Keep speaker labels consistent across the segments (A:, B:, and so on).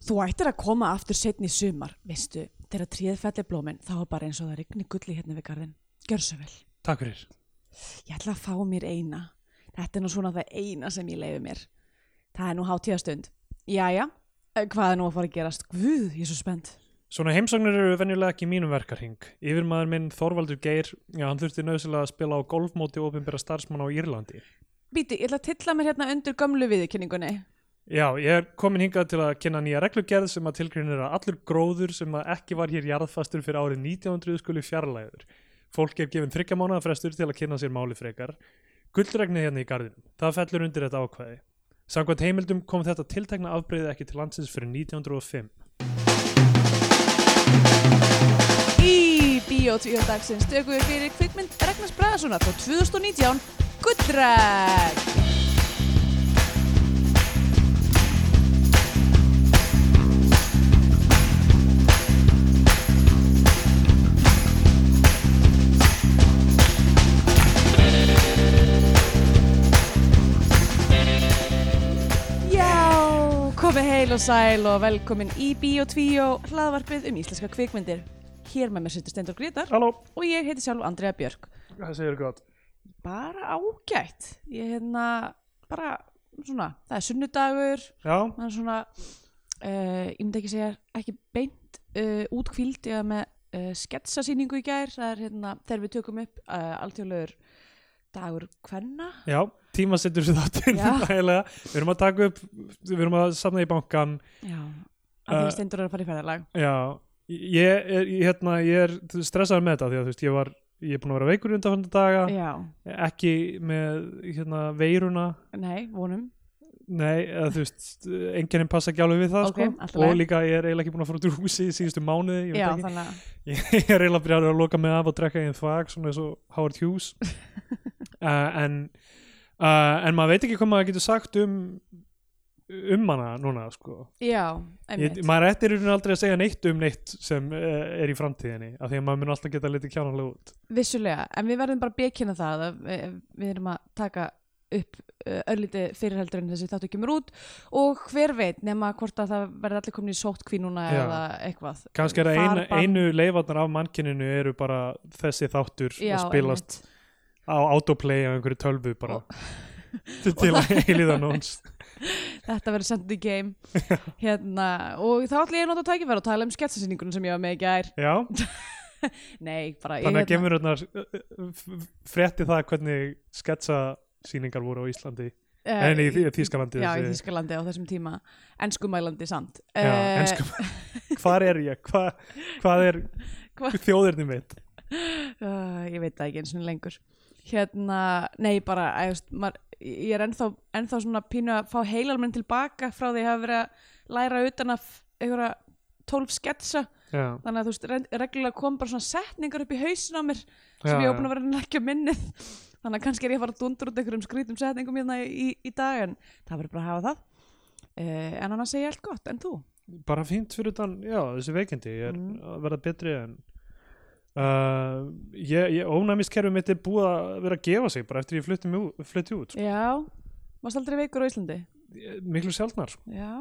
A: Þú ættir að koma aftur setni sumar, veistu, þegar tríð fellir blómin, þá er bara eins og það rigni gulli hérna við garðin. Gjör svo vel.
B: Takk fyrir.
A: Ég ætla að fá mér eina. Þetta er nú svona það eina sem ég leiði mér. Það er nú hátíðastund. Jæja, eh, hvað er nú að fara að gerast? Guð, ég er svo spennt.
B: Svona heimsóknir eru venjulega ekki í mínum verkarhing. Yfirmaður minn Þorvaldur Geir, já, hann þurfti nöðsilega að spila á golfmóti ofinbera starfsmanna á Írlandi.
A: Bíti, ég ætla að tilla mér hérna undir gömlu viðurkenningunni.
B: Já, ég er komin hingað til að kynna nýja reglugerð sem að tilgreinir að allur gróður sem að ekki var hér jarðfastur fyrir árið 1900 skuli fjarlæður. Fólk er gefin þryggja mánaða frestur til að kynna sér máli frekar. Gullregnið hérna í gardinum, það fellur undir þetta ákvæði. Samkvæmt heimildum kom þetta tiltekna afbreyði ekki til landsins fyrir 1905.
A: Í Bíotvíundagsins tökum við fyrir kvikmynd Ragnars Bræðarssonar frá 2019, Gullræk! Já, komið heil og sæl og velkomin í Bíotvíó, hlaðvarpið um íslenska kvikmyndir. Hér með mér sittur Steindor Grétar
B: Halló,
A: og ég heiti sjálf Andrea Björk.
B: það segir gott.
A: Bara ágætt, ég hérna, bara svona, það er sunnudagur,
B: Já,
A: það er svona, uh, ég myndi ekki segja, ekki beint uh, útkvíld, ég var með uh, sketsasýningu í gær, það er hérna, þegar við tökum upp uh, alltjóðlegur dagur hvenna,
B: já, tíma setur sér þáttir.
A: Já.
B: Við erum að taka upp, við erum að safna í bankan,
A: já, að því
B: Eh,
A: að Steindor er að fara í ferðarlag.
B: Já, ég er, ég- hérna, ég er stressaður með þetta því að þú veist, ég var, ég er búin að vera veikur undanfænda daga,
A: Já,
B: ekki með, hérna, veiruna,
A: nei, vonum.
B: nei, eða þú veist, enginn passa ekki alveg við það,
A: Ok, allt í
B: sko, og
A: lagi.
B: líka ég er eiginlega ekki búin að fara út úr húsi í síðustu mánuði, ég veit
A: Já,
B: ekki,
A: þannig að
B: ég er eiginlega byrjaður að loka mig af og drekka einn þvag, svona eins og Howard Hughes, uh, en, uh, en maður veit ekki hvað maður getur sagt um, um hana núna, sko.
A: Já,
B: Ég,
A: einmitt.
B: maður ættir í raun aldrei að segja neitt um neitt sem uh, er í framtíðinni af því að maður mun alltaf geta litið kjánalega út
A: Vissulega, en við verðum bara að bekina það að við, við erum að taka upp uh, örlítið fyrirheldur en þessi þáttu kemur út og hver veit nema hvort að það verði allir komin í sótkví núna
B: Já.
A: eða eitthvað.
B: kannski er að einu,
A: Farbann.
B: einu leifarnar af mannkyninu eru bara þessi þáttur
A: Já,
B: að spilast
A: einmitt.
B: á autoplay af einhverju tölvu bara til til að eilíða nóns
A: Þetta verður sendið í game. hérna, og þá ætlum ég að nota tækifæra og tala um sketsasýningunum sem ég var með í gær.
B: já,
A: Nei, bara
B: þannig að
A: ég
B: gemur hérna frétti það hvernig sketsa síningar voru á Íslandi
A: Eh,
B: en í Þý- Þýskalandi
A: Já, í
B: þessi-
A: Þískalandi á þessum tíma. Enskumælandi samt.
B: Já,
A: Eh,
B: enskum, hvar er ég, Hva, hvað er
A: Hva-
B: þjóðirni mitt
A: uh, ég veit það ekki eins og lengur hérna, nei bara æ, þú veist, maður, ég er ennþá, ennþá svona pínu að fá heilalmenn tilbaka frá því að hafa verið að læra utan af einhverja tólf sketsa
B: já,
A: þannig að þú veist, re- reglulega kom bara svona setningar upp í hausin á mér sem ég
B: Já, já.
A: er opna að vera að leggja á minnið þannig að kannski er ég að fara að dundur út einhverjum skrítum setningum hérna í, í dag en það verður bara að hafa það uh, en annars segja allt gott, en þú?
B: bara fínt fyrir utan, já, þessi veikindi ég er
A: Mm.
B: að verða betri en uh, ég, ég ónæmiskerfið mitt er búið að vera að gefa sig bara eftir ég flutti, mig ú- flutti út sko.
A: Já, varst aldrei veikur á Íslandi?
B: Ég- miklu sjaldnar sko.
A: Já,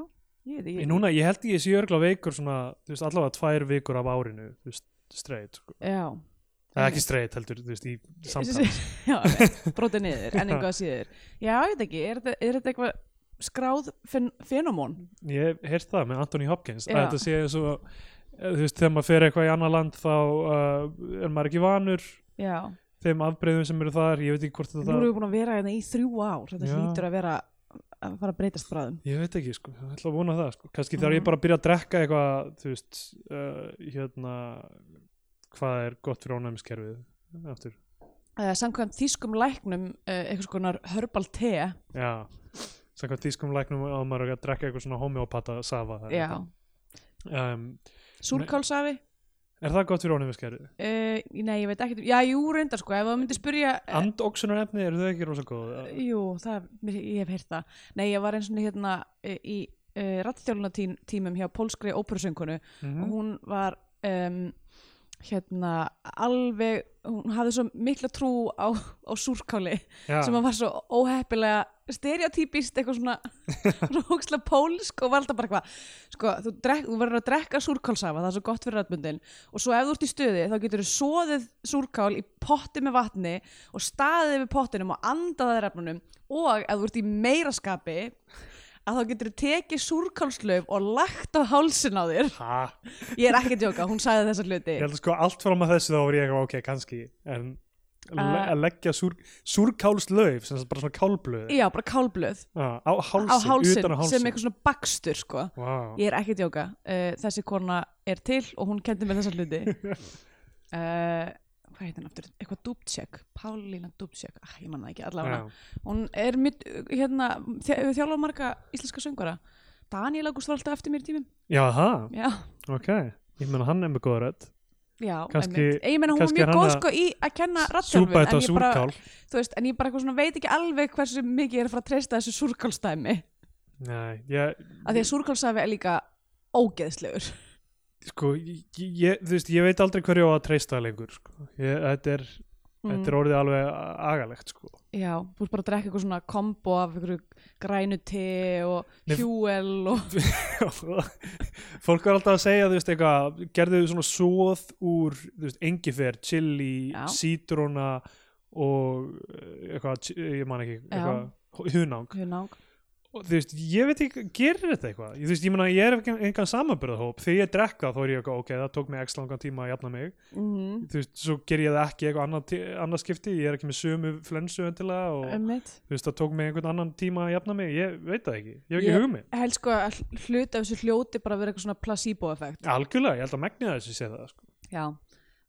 A: ég veit
B: ég,
A: ekki
B: núna, ég held ég sé örgla veikur svona, þú veist, allavega tvær vikur af árinu þú veist, streit, sko.
A: Já,
B: eða ekki streit heldur, þú veist, í samtals
A: Já, ok, brotið niður, en einhvað síður Já, ég veit ekki, er þetta, er þetta eitthvað skráð fen fenomón?
B: ég hef heyrt það með Anthony Hopkins að
A: Já.
B: þetta sé svo, þú veist, þegar maður fer eitthvað í annað land þá uh, er maður ekki vanur
A: Já,
B: þeim afbreyðum sem eru þar, ég veit ekki hvort
A: nú
B: þetta
A: erum við búin að vera hérna í þrjú ár Þetta
B: Já.
A: hlýtur að vera að fara að breytast bráðum
B: Ég veit ekki, sko, ég ætla að vona það, sko. Kannski þegar
A: Mhm.
B: ég bara byrja að drekka eitthvað, þú veist, uh, hérna, hvað er gott fyrir ónæmiskerfið, aftur.
A: uh, Samkvæmt þýskum læknum uh, eitthvað konar hörbal te
B: Já, samkvæmt tískum læknum á maður að drekka eitthvað svona homeopata safa. eða
A: Já,
B: eitthvað. Um,
A: súlkálsafi
B: er það gott fyrir ónæmiskerfið?
A: uh, Nei, ég veit ekki, já, jú, reyndar sko Ef það myndi spyrja uh,
B: Andóksunarefni, eru þau ekki rosa góð?
A: Jú, það, mér- ég hef heyrt það Nei, ég var eins og hérna uh, í uh, rattþjálfuna tímum hjá pólskri óperusöngunu
B: Mm
A: og hún var um, hérna alveg, hún hafði svo mikla trú á, á súrkáli
B: Já,
A: sem að var svo óheppilega stereotypist eitthvað svona svona hókslega pólsk og var alltaf bara eitthvað sko, þú, drek, þú verður að drekka súrkálsafa það er svo gott fyrir rættbundin og svo ef þú ert í stuði þá getur þú soðið súrkál í potti með vatni og staðið við pottinum og andað að refnunum og ef þú ert í meira skapi að þá getur þú tekið súrkálslöf og lagt á hálsin á þér
B: ha,
A: ég er ekki að djóka, hún sagði þessa hluti
B: ég held sko allt fram að þessu þá var ég eitthvað ok, kannski en le
A: Ah.
B: að leggja súr, súrkálslauf sem sagt bara svona kálblöð
A: já, bara kálblöð
B: ah, á hálsin,
A: á hálsin,
B: utan á
A: sem
B: hálsin
A: eitthvað svona bakstur sko.
B: wow.
A: ég er ekki að djóka uh, þessi kona er til og hún kendi mér þessa hluti uh, hvað heitir hann aftur, eitthvað Dubček Pálína Dubček, ah, ég manna ekki allavega hún er mitt, hérna þjá- þjálfa marga íslenska söngvara Daniel August var alltaf eftir mér í tímum
B: já, ha,
A: já,
B: ok ég meina hann er með góða rödd
A: já,
B: Kannski-
A: einmitt. ég meina hún var
B: kannski
A: mjög
B: er hann
A: góð
B: að
A: sko í að kenna
B: súpa
A: rattjálfum
B: þetta
A: en ég bara,
B: súrkál
A: þú veist, en ég bara eitthvað svona veit ekki alveg hversu mikið ég er að fara að treysta þessu súrkálstæmi
B: Nei, ég,
A: af því að súrkálstæmi er líka ógeðslegur
B: sko, ég, ég, þú veist, ég veit aldrei hverju á að treysta lengur sko. ég, þetta, er, þetta er orðið alveg agalegt sko.
A: Mm. Já, þú ert bara að drekka eitthvað svona kombo af einhverju grænu te og
B: Nei, f-
A: hjúel og
B: fólk er alltaf að segja þú veist, eitthvað, gerðu svona svoð úr þú veist, engifer, chili,
A: Já.
B: sítróna og eh, eitthvað, chi- ég man ekki eitthvað, hunang
A: hunang.
B: og, þú veist, ég veit ekki, gerir þetta eitthvað ég, þú veist, ég, meina, ég er ekki engan samanbyrðahóp þegar ég drekka þá er ég eitthvað, ok, það tók mig x langan tíma að jafna mig
A: Mm
B: þú veist, svo ger ég það ekki eitthvað annað, tí- annað skipti, ég er ekki með sömu flensu endilega og
A: Um.
B: þú veist, það tók mig einhvern annan tíma að jafna mig, ég veit það ekki, ég hef
A: Ég-
B: ekki yeah. hugmið
A: Helst sko að hl- hluti af þessu hljóti bara að vera eitthvað svona placebo-effekt.
B: algjörlega, ég held að megni þessu sé það sko.
A: Já,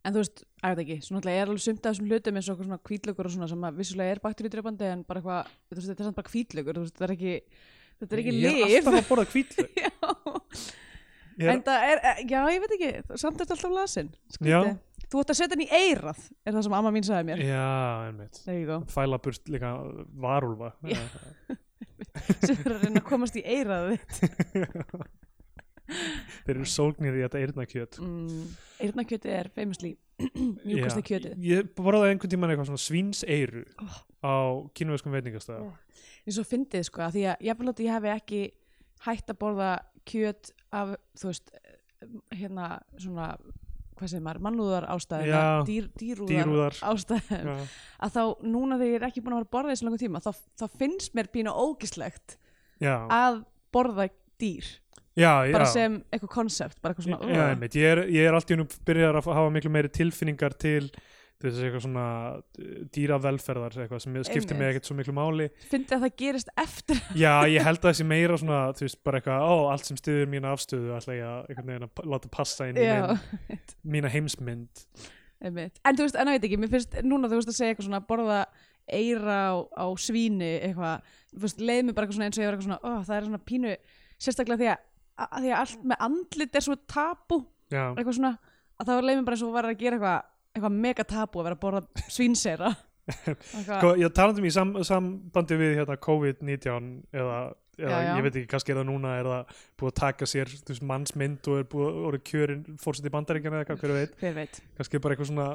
A: en þú veist, að þetta ekki, svona alltaf er alveg sumt af þessum hlutum eins og eitthvað svona kvítlökur og svona sem að vissulega er bakteríudrepandi en bara eitthvað, þú veist, þetta er samt bara kvítlökur, þú veist, þetta er ekki, þetta er ekki
B: ég er
A: lif.
B: alltaf að borða hvítlaug
A: Já,
B: Ég er-
A: en það er, eh, já, ég veit ekki, samt er þetta alltaf lasin.
B: Já.
A: Þú ætti að setja hann í eirað, er það sem amma mín sagði mér.
B: já, einmitt
A: There you go.
B: fæla burt líka varúlfa
A: Já. sem er að reyna að komast í eiraði
B: þeir eru sólgnir í þetta eyrnakjöt
A: mm, eirnakjöti er famously mjúkasta
B: Já.
A: kjötið
B: ég borðaði einhvern tímann eitthvað svona svínseiru á kínuveskum veitingastæða
A: Oh. eins og fyndið sko af því að ég að ég hef ekki hætt að borða kjöt af þú veist hérna svona hvað segir maður, mannúðar ástæðum
B: Já,
A: dýr, dýrúðar,
B: dýrúðar.
A: ástæðum
B: Já.
A: að þá núna þegar ég er ekki búin að vera að borða þessu langan tíma þá, þá finnst mér pínu ógislegt
B: já,
A: að borða dýr
B: já,
A: bara
B: já.
A: sem eitthvað konsept bara eitthvað svona
B: Já,
A: "Ugh."
B: einmitt, ég er, ég er allt í hennum byrjar að hafa miklu meiri tilfinningar til þessi eitthvað svona eh, dýravelferðar eitthvað sem skiptir mig
A: Einmitt.
B: ekkert svo miklu máli
A: fyndið að það gerist eftir
B: já, ég held að þessi meira svona þú veist, bara eitthvað, ó, allt sem stuður mína afstöðu ætla ég að einhvern veginn að pa- láta passa inn í
A: Já.
B: minn, mína heimsmynd
A: Einmitt. En þú veist, en ég veit ekki, mér finnst núna þú veist að segja eitthvað svona að borða eira á, á svíni eitthvað, þú veist, leið mér bara eitthvað svona eins og ég var eitthvað svona, ó, það er svona pínu sérstaklega því að, að því að allt með andlit er svo tabu,
B: já,
A: eitthvað svona að það leið mér bara eins og var að gera eitthvað eitthvað mega tabu að vera að borða svínsera
B: Sko, ég talandi um í sam, sambandi við hérna, COVID-19 eða, eða
A: Já, já.
B: ég veit ekki, kannski er það núna er það búið að taka sér þú veist, mannsmynd og er búið að orða kjörin fórsett í bandaríkjana eða eitthvað, hver veit
A: hver veit,
B: kannski bara eitthvað svona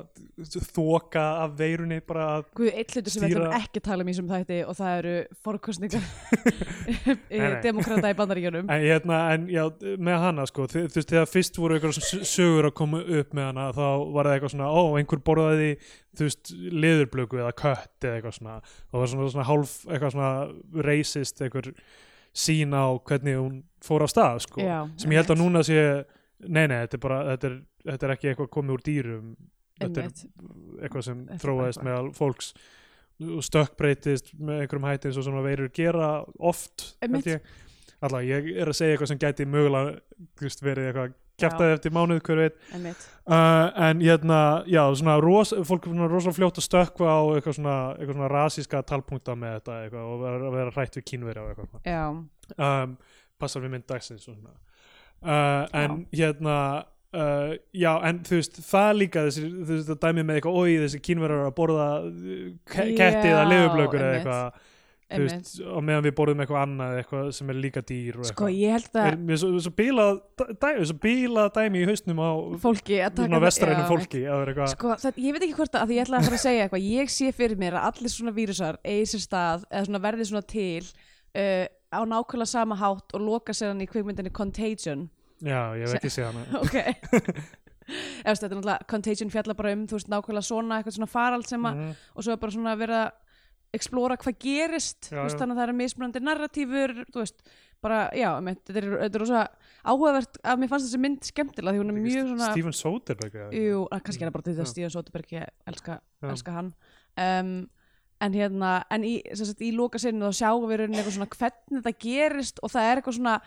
B: þoka af veirunni bara að
A: guð, eitt hlutur sem við
B: Stýra-
A: ætlum ekki að tala um í þessum þætti og það eru forkostningar
B: nei.
A: demokrata í bandaríkjunum
B: En, hérna, en já, með hana sko, þi- þú veist, þegar fyrst voru eitthvað sem s- sögur að koma upp með hana, þá var það eitthvað svona, ó, einhver borðaði, þú veist, liðurblöku eða kött eða eitthvað svona, og það var svona, svona hálf, eitthvað svona racist, einhver sín á hvernig hún fór á stað, sko,
A: Já,
B: sem ég held að núna sé, nei, nei, þetta er bara, þetta er, þetta er ekki eitthvað komið úr dýrum, þetta er
A: einmitt,
B: eitthvað
A: Þetta
B: sem
A: er bara
B: þróaðist
A: eitthvað.
B: meðal fólks og stökkbreytist með einhverjum hætti eins og svona veirur gera oft
A: Einmitt.
B: held ég. Alla, ég er að segja eitthvað sem gæti mögulega þú veist, verið eitthvað kjartaði eftir mánuð hver veit
A: einmitt.
B: uh, en hérna, já, svona ros, fólk er svona rosalega fljótt að stökkva á eitthvað svona, eitthvað svona rasíska talpunkta með þetta eitthvað, og vera, vera hrætt við kínverja og eitthvað svona
A: Já,
B: um, passar við mynd dagsins og svona uh, en hérna uh, já, en þú veist, það líka þessi, þú veist, það dæmi með eitthvað, oi, þessi kínverjar eru að borða uh, ke-
A: Já,
B: ketti eða liðurblökur eða
A: einmitt.
B: eitthvað Þú veist, og meðan við borðum eitthvað annað eitthvað sem er líka dýr og
A: sko
B: eitthvað
A: ég held
B: Er-
A: að
B: mér er svo, svo bílað dæmi, svo bílað dæmi í hausnum á
A: fólki að taka
B: svona vestrænum
A: Já,
B: fólki að vera eitthvað
A: Sko, það, ég veit ekki hvort að, að ég ætla að fara að segja eitthvað ég sé fyrir mér að allir svona vírusar eigi sér stað eða svona verði svona til uh, á nákvæmlega sama hátt og loka sér hann í kvikmyndinni Contagion
B: já, ég hef ekki séð hana
A: ok eða þú veist, þetta er náttúrulega Contagion fjallar bara um þú veist nákvæmlega svona eitthvað svona farald sem að
B: Mhm.
A: og svo er bara svona að vera að explora hvað gerist
B: Já,
A: þú veist,
B: já.
A: þannig að það eru mismunandi narratífur þú veist, bara, já, einmitt, þetta er, þetta er rosa áhugavert að mér fannst þessi mynd skemmtilega því hún er mjög svona
B: Steven Soderbergh eða eitthvað.
A: Jú, að kannski er það bara til
B: Já.
A: þess Stíðan Soterberg, ég elska,
B: Já.
A: elska hann um, en hérna en í, sem sagt, í loka sinni þá sjáum við í rauninni eitthvað svona hvernig þetta gerist og það er eitthvað svona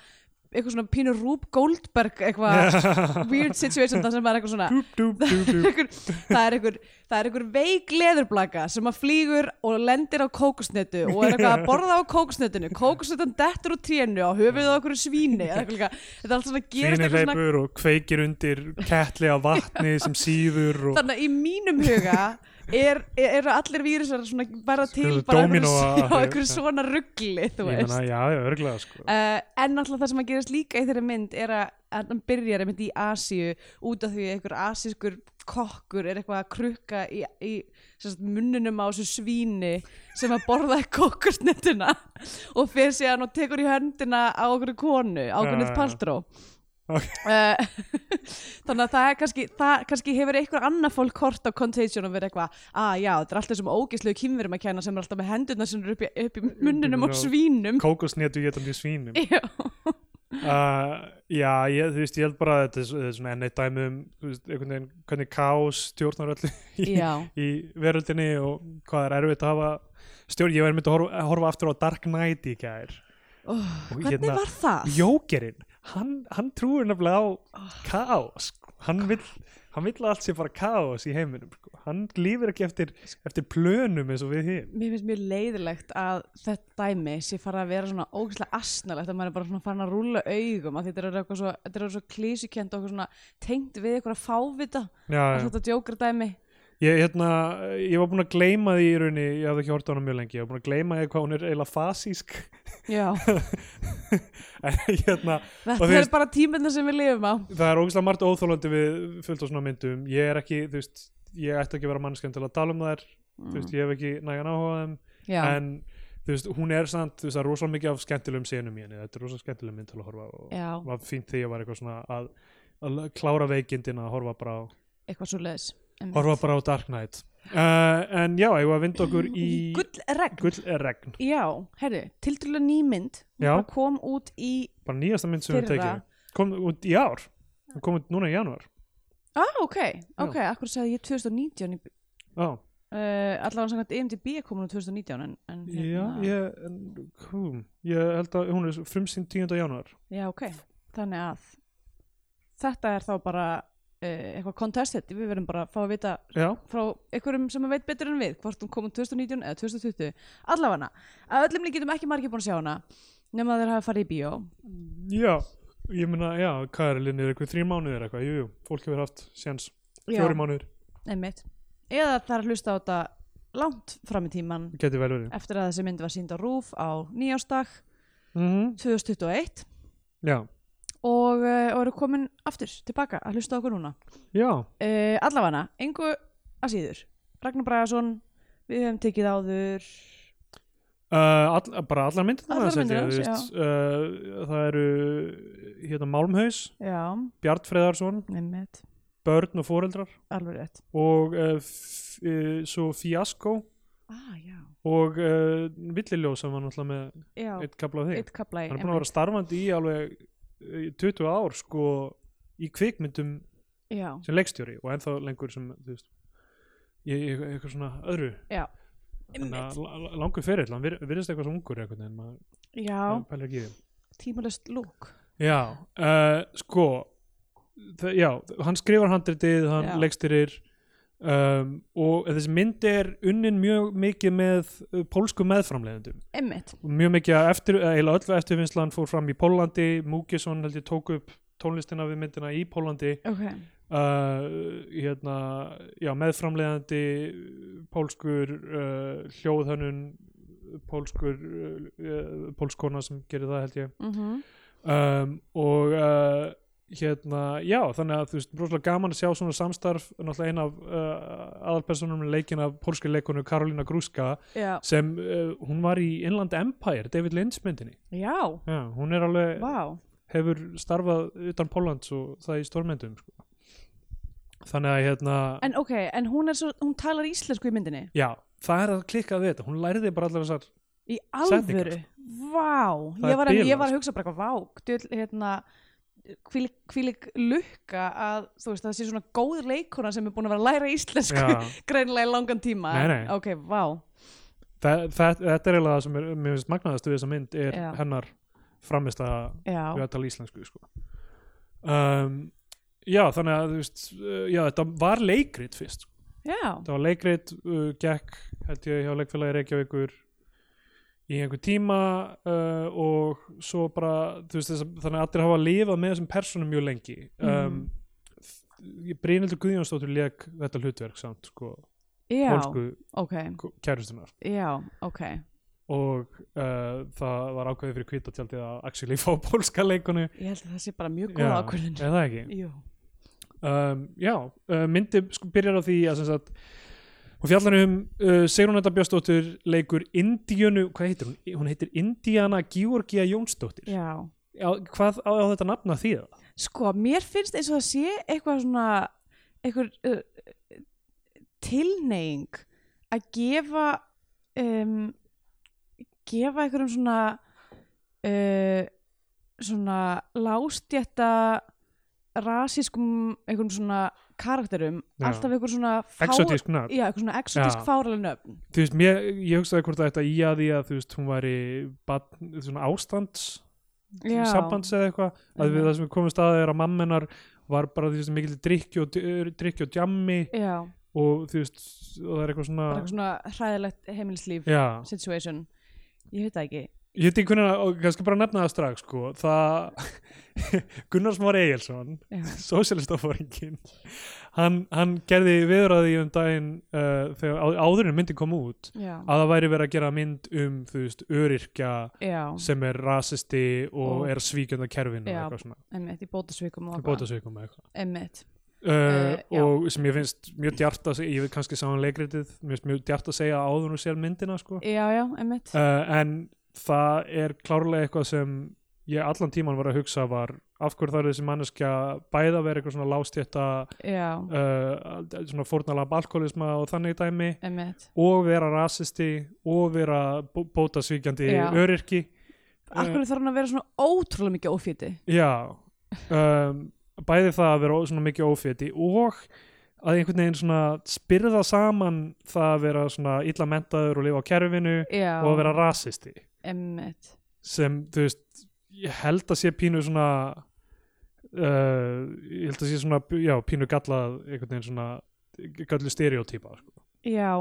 A: eitthvað svona pínur Rúb Goldberg eitthvað weird situation það sem er eitthvað svona
B: Dúp, dúp, dúp, dúp.
A: einhver, það er einhver, það er einhver veik leðurblaka sem að flýgur og lendir á kókusnetu og er eitthvað að borða á kókusnetinu kókusnetan dettur úr trénu á höfuð á einhverju svíni eða eitthvað líka. þetta er allt svona að gerast
B: Svínin
A: eitthvað svona
B: hleypur og kveikir undir kettli á vatni sem síður og
A: þannig að í mínum huga er, er, eru allir vírusar svona bara til
B: Svona
A: bara
B: dominóa-
A: einhverju- já, einhverju
B: já.
A: svona ruggli þú
B: ég
A: veist
B: meina, já, já, örglega sko
A: uh, en alltaf það sem að gerast líka í þeirri mynd er að að hann byrjar einmitt í Asíu út af því að einhver asískur kokkur er eitthvað að krukka í, í sem sagt, munninum á þessu svíni sem að borðaði kokkursnettuna og fyrir síðan og tekur í höndina á okkur konu, á
B: Já,
A: okkur
B: já, já.
A: paltró
B: Ok.
A: þannig að það er kannski, það kannski hefur einhver annað fólk hort á Contagion og verið eitthvað að já, þetta er alltaf þessum ógislegu kynverum að kenna sem er alltaf með hendurna sem eru upp í, upp í munninum á
B: Já.
A: svínum
B: kókosnétu getandi svínum
A: Já.
B: uh, já, ég, þú veist, ég held bara að þetta er, þetta er svona enn eitt dæmi um þú veist, einhvern veginn, hvernig kaos stjórnar öllu í,
A: Já.
B: í veröldinni og hvað er erfitt að hafa stjórn, ég var einmitt að horfa, horfa aftur á Dark Knight í gær
A: Oh,
B: Og
A: hvernig
B: hérna-
A: var það?
B: Jókerinn, hann, hann trúir nefnilega á kaos sko. hann vill, hann vill að allt sé bara kaos í heiminum, sko. hann lífir ekki eftir, eftir plönum eins og við hinn
A: Mér finnst mjög leiðilegt að þetta dæmi sé fara að vera svona ógeðslega asnalegt að maður er bara svona farin að rúla augum að þetta er eitthvað svo, þetta er orðið svo klísukent og eitthvað svona tengt við eitthvað að fávita
B: já,
A: að þetta djókar dæmi
B: Ég, hérna, ég var búin að gleyma því í rauninni, ég hafði ekki hort á hana mjög lengi, ég var búin að gleyma því hvað hún er eiginlega fasísk.
A: Já,
B: En hérna, Og
A: þetta
B: þú
A: er
B: veist-
A: bara tímina sem við lifum á
B: það er ógeðslega margt óþólandi við fullt á svona myndum. Ég er ekki, þú veist, ég ætti ekki að vera mannskjönd til að tala um þær, þú veist, ég hef ekki nægan áhuga á þeim.
A: Mm, Já,
B: En, þú veist, hún er samt, þú veist, það er rosalega mikið af skemmtilegum senum í henni, þetta er rosalega skemmtileg mynd til að horfa á. og
A: já,
B: var fínt því ég var eitthvað svona að, að klára veikindin að horfa bara á
A: eitthvað svo leiðis
B: horfa bara á Dark Knight uh, en já, ég var að vinda okkur í
A: Gull regn
B: gull er regn
A: Já, herri, tildurlega nýmynd
B: Já.
A: hún bara kom út í
B: bara nýjasta mynd sem
A: Fyrra.
B: við tekið kom út í ár hún kom út núna í janúar
A: Ah, ok, ok, akkur sagði ég 2019 í
B: oh.
A: Uh, allavega samkvæmt IMDb er komin á 2019 en, en hérna-
B: já, ég, en, hú, ég held að hún er frumsýnd 10. janúar
A: já, ok þannig að þetta er þá bara uh, eitthvað contested við verðum bara að fá að vita
B: já,
A: frá einhverjum sem veit betur en við hvort hún kom á 2019 eða 2020 allavega, að öllum líkjum ekki margir búin að sjá hana nema að þeir hafa farið í bíó
B: já ég meina, já, hvað er linnir eitthvað þrjum mánuðir eitthvað, jú, jú, fólk hefur haft séns, fjóri mánuðir,
A: einmitt eða það er að hlusta á þetta langt fram í tíman
B: geti vel verið
A: eftir að þessi mynd var sínd á RÚF á nýjásdag
B: mm
A: Mhm. 2021
B: já,
A: og, uh, og eru komin aftur tilbaka að hlusta á okkur núna
B: já,
A: uh, allafana, engu að síður Ragnar Bragason, við höfum tekið áður
B: Uh, all, bara allar myndirna
A: Allar
B: held ég,
A: myndirnar,
B: þú veist, uh, það eru hérna Málmhaus,
A: já,
B: Bjartfreðarsson
A: nemmit,
B: Börn og foreldrar
A: alveg rétt
B: og uh, f- uh, svo Fiasko
A: ah, já,
B: og uh, Villiljó sem var náttúrulega með
A: já,
B: eitt kapla af þig
A: eitt kapla í
B: hann er búin að vera starfandi í alveg uh, í 20 ár sko í kvikmyndum
A: einmitt. já,
B: sem leikstjóri og ennþá lengur sem þú veist í í- eitthvað svona öðru
A: Já.
B: Þannig að la- la- langur ferill, hann vir- virðist eitthvað sem ungur eitthvað en maður
A: já,
B: maður pælir ekki í því
A: tímalust lúk
B: Já, uh, sko þa- já, hann skrifar handritið hann
A: Já.
B: leikstyrir um, og þessi mynd er unnin mjög mikið með uh, pólsku meðframleiðendum
A: einmitt,
B: Og mjög mikið af eftir, eða eiginlega öllu eftirvinnslan fór fram í Pólandi, Múkisson held ég tók upp tónlistina við myndina í Pólandi
A: ok
B: uh, hérna já, meðframleiðandi pólskur uh, hljóðhönnun pólskur uh, pólskona sem gerir það held ég
A: mm
B: um, og uh, hérna, já, þannig að þú veist, rosalega gaman að sjá svona samstarf náttúrulega ein af uh, aðalpersonum leikin af pólski leikonu Karolina Gruska
A: Já,
B: sem, uh, hún var í Inland Empire, David Lynch myndinni
A: já,
B: já, hún er alveg,
A: vá
B: hefur starfað utan Póllands og það í stórmyndum sko. þannig að hérna
A: En ok, en hún, er svo, hún talar íslensku í myndinni
B: já, það er að klikka við þetta hún læriði bara allar þessar
A: Í
B: Setningar,
A: alvöru, vá
B: Það
A: ég
B: er
A: var, að, ég
B: bilað,
A: var að hugsa bara eitthvað, vá djöll, hérna, hvílík, hvílík lukka að þú veist, það sé svona góð leikona sem er búin að vera að læra íslensku
B: Já.
A: greinilega í langan tíma
B: Nei, nei.
A: Ok, vá,
B: það, það, þetta er eiginlega það sem er, mér finnst magnaðast við þessa mynd er
A: Já.
B: hennar framist að við
A: já,
B: að tala íslensku sko. um, já, þannig að þú veist, uh, já, þetta var leikrit fyrst, sko.
A: já
B: þetta var leikrit uh, gekk, held ég, hjá leikfélagi Reykjavíkur í einhver tíma uh, og svo bara, þú veist, þess, þannig að allir hafa lifað með þessum personum mjög lengi um,
A: Mhm.
B: mm. Brynildur Guðjónsdóttur leik þetta hlutverk samt, sko,
A: Já,
B: hólsku
A: ok,
B: kærustunar
A: já, ok
B: og uh, það var ákveðið fyrir kvítatjaldið að actually fá pólska leikonu
A: Ég held að það sé bara mjög góð
B: Já,
A: ákvörðin
B: er það ekki?
A: Jú,
B: um, já, uh, myndi sko, byrjar á því að sem sagt hún fjallar um uh, Sigrunetta Björnsdóttir leikur Indíönu, hvað heitir hún? Hún heitir Indiana Georgia Jónsdóttir
A: já
B: á, Hvað á, á þetta nafna því það?
A: Sko, mér finnst eins og það sé eitthvað svona eitthvað uh, tilneying að gefa um, gefa einhverjum svona uh, svona lástjætta rasískum einhverjum svona karakterum
B: Já.
A: alltaf einhver svona fá-
B: Exotísk nafn
A: Já, eitthvað svona
B: Já.
A: exotisk fáraleg nöfn
B: Þú veist, mér, ég hugsaði hvort að þetta í að því að þú veist, hún væri badn, svona ástands
A: Já.
B: sambands eða eitthvað að við
A: Mhm.
B: það sem við komum staðið er að mammenar var bara því sem mikil drikki og, drikki og djammi
A: Já,
B: og þú veist, og það er eitthvað svona,
A: bara eitthvað svona hræðilegt heimilislíf
B: já
A: situation Ég veit það ekki
B: Ég veit ekki hvernig, að- og kannski bara nefna það strax sko, það Gunnar Smári Egilson,
A: Já.
B: sósélistafóringin hann, hann gerði viðraði um daginn uh, þegar á- áður en myndin kom út
A: Já,
B: að það væri verið að gera mynd um þú veist, öryrkja
A: já
B: sem er rasisti
A: Og-
B: og, er svíkjönd að kerfinu
A: Já.
B: og eitthvað svona,
A: Emmitt, í bótasvikum og eitthvað.
B: bótasvikum eða eitthvað
A: Emmitt,
B: Uh,
A: Eh, já.
B: og sem ég finnst mjög djart að segja, ég veit kannski sá hann leikritið mér finnst mjög djart að segja áður og sér myndina sko.
A: já, já, emmitt
B: uh, en það er klárlega eitthvað sem ég allan tíman var að hugsa var af hverju það er þessi manneskja bæði að vera eitthvað svona lástjætta
A: Já,
B: uh, svona fórnalab alkoholisma og þannig dæmi
A: emmitt
B: og vera rasisti og vera bó bótasvíkjandi
A: Já.
B: öryrki
A: Akkur þarf hann að vera svona ótrúlega mikið ófíti
B: já um, bæði það að vera ó- svona mikið óféti og að einhvern veginn svona spyrða saman það að vera svona illa mentaður og lifa á kerfinu
A: Já,
B: og að vera rasisti
A: emmitt
B: sem þú veist ég held að sé pínu svona uh, ég held að sé svona já, pínu gallað einhvern veginn svona gallu stereotypa sko.
A: Já,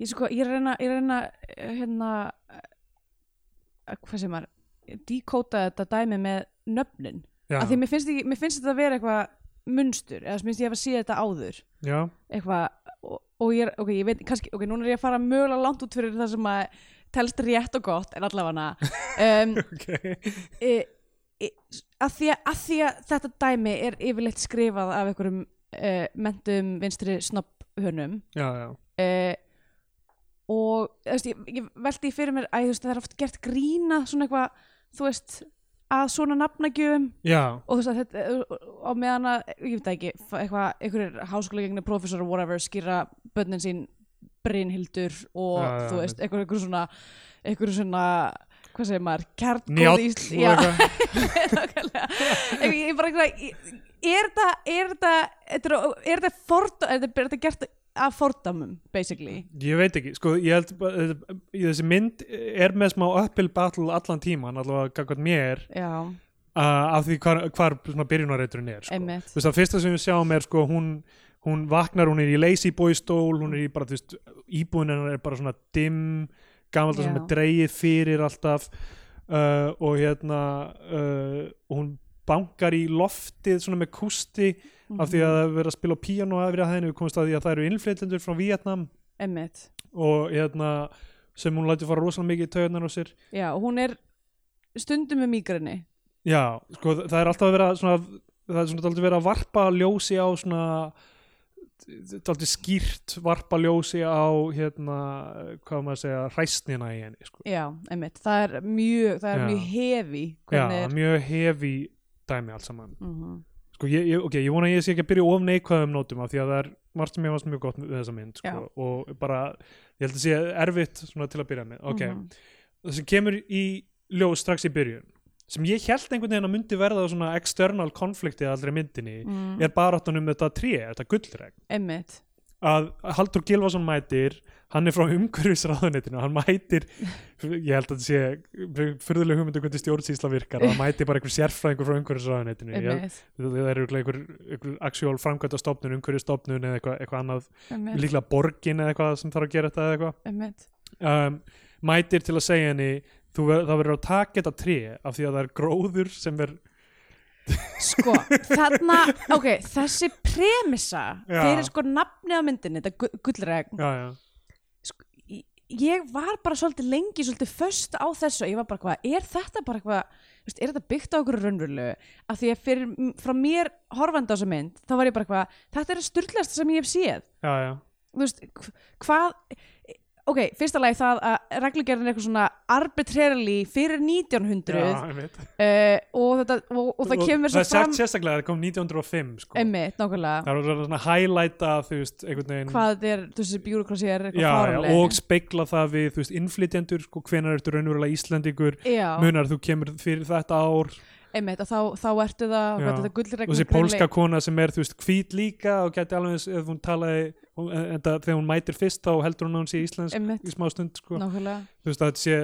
A: ég sko, ég er að reyna, ég er að reyna eh, hérna eh, hvað sem maður, dekóta þetta dæmi með nöfnin
B: já,
A: af því mér finnst, ekki, mér finnst þetta að vera eitthvað munstur, eða sem finnst ég að sé þetta áður
B: já,
A: eitthvað og, og ég, er, ok, ég veit, kannski, ok, núna er ég að fara mögulega langt út fyrir það sem að telst rétt og gott, en allavega um,
B: ok
A: e, e, að, því að, að því að þetta dæmi er yfirleitt skrifað af einhverjum e, mentum vinstri snopphönum
B: já, já,
A: e, og þú veist, ég, ég veldi fyrir mér að þú veist, það er oft gert grína svona eitthvað þú veist að svona nafnagjöfum
B: já,
A: og þú veist að þetta á meðan að, ég veit það ekki fa- eitthvað, einhverjir háskólegengni professor og whatever skýra bönnin sín Brynhildur og
B: Já, já,
A: þú veist, einhver, einhver svona einhver svona, hvað segir maður
B: njáll
A: kjartgóð
B: og
A: ísl já,
B: eitthvað
A: nákvæmlega Ég- ég bara eitthvað ég- er þetta er þetta þetta er- er þetta fordó- er þetta- er þetta gert af fordamum basically
B: ég veit ekki, sko, ég held bara- þetta- þessi mynd er með smá uphill battle allan tíman, allavega gangvæmt mér
A: já,
B: uh, af því hvar, hvar svona byrjunarreiturinn er sko.
A: Einmitt.
B: þú veist að fyrsta sem við sjáum er sko hún hún vaknar, hún er í lazy boy stól hún er í bara, þú veist, íbúin hennar er bara svona dimm, gamalt
A: Já.
B: sem er dreigið fyrir alltaf uh, og hérna uh, hún bankar í loftið svona með kústi af því að það er verið að spila á píano að við komumst að því að það eru innflytjendur frá Vietnam
A: emmitt
B: og hérna sem hún lætur fara rosalega mikið í taugarnar á sér
A: Já, og hún er stundum með mýgrinni
B: Já, sko, þa- það er alltaf að vera svona, það er svona daldið verið að varpa ljósi á svona daldið skýrt varpa ljósi á hérna, hvað á maður að segja hræstnina í henni, sko
A: Já, einmitt, það er mjög, það er
B: Já.
A: mjög hefi
B: Já,
A: hvernig er
B: mjög hefi dæmi allt saman
A: mm
B: Sko, ég, ég, ok, ég vona að ég sé ekki að byrja of neikvæðum nótum af því að það er margt sem ég varst mjög gott með þessa mynd, sko, og bara ég held að sé erfitt svona til að byrja með ok,
A: Mhm.
B: það sem kemur í ljós strax í byrjun, sem ég held einhvern veginn að myndi verða svona external konflikti allri myndinni,
A: mm,
B: er baráttan um þetta tré, þetta gullregn
A: Einmitt,
B: að Haldur Gilvason mætir hann er frá umhverfisráðunetinu hann mætir, ég held að þetta sé fyrðuleg hugmyndu hvernig stjórnsýsla virkar að hann mætir bara einhver sérfræðingur frá umhverfisráðunetinu Ég-
A: einmitt,
B: það eru örugglega einhver, einhver aksjól framkvæmtastofnun, umhverfistofnun eða eitthvað, eitthvað annað,
A: einmitt,
B: líklega borgin eða eitthvað sem þarf að gera þetta eða eitthvað
A: einmitt
B: um, mætir til að segja henni þú, ver- það verður að taka þetta tré af því að það er gróður sem er
A: Sko, þarna, ok, þessi premissa
B: Já.
A: fyrir sko nafnið á myndinni, þetta gu- gullregn
B: já, já,
A: Ég- Ég var bara svolítið lengi, svolítið föst á þessu Ég var bara hvað, er þetta bara hvað veist, Er þetta byggt á okkur raunverulegu Af því að fyrir, frá mér horfandi á þessu mynd Þá var ég bara hvað, þetta er að styrlast sem ég hef séð
B: já, já,
A: þú veist, hv- hvað ok, fyrsta lagi það að reglugerðin er eitthvað svona arbitrarily fyrir 1900
B: já
A: uh,
B: einmitt.
A: og, þetta, og, og það kemur svo
B: það er
A: fram
B: sagt sko. sérstaklega að það kom 1905 sko.
A: einmitt, nákvæmlega,
B: það er orðið svona að highlighta þú veist, einhvern veginn
A: hvað þetta er þessi bjúrokrasi er
B: já,
A: eitthvað
B: já,
A: fárlega
B: og speikla það við þú veist, innflytjendur, sko, hvenar ertu raunverulega Íslendingur,
A: já,
B: munar þú kemur fyrir þetta ár
A: einmitt, og þá, þá ertu það og
B: Já.
A: hvað þetta
B: og
A: gullregn
B: þessi pólska kona sem er þú veist hvít líka og gæti alveg eins ef hún talaði hún- en en það, þegar hún mætir fyrst þá heldur hún að hún sé íslensk
A: einmitt,
B: í smá stund sko.
A: nákvæmlega
B: þú veist að þetta sé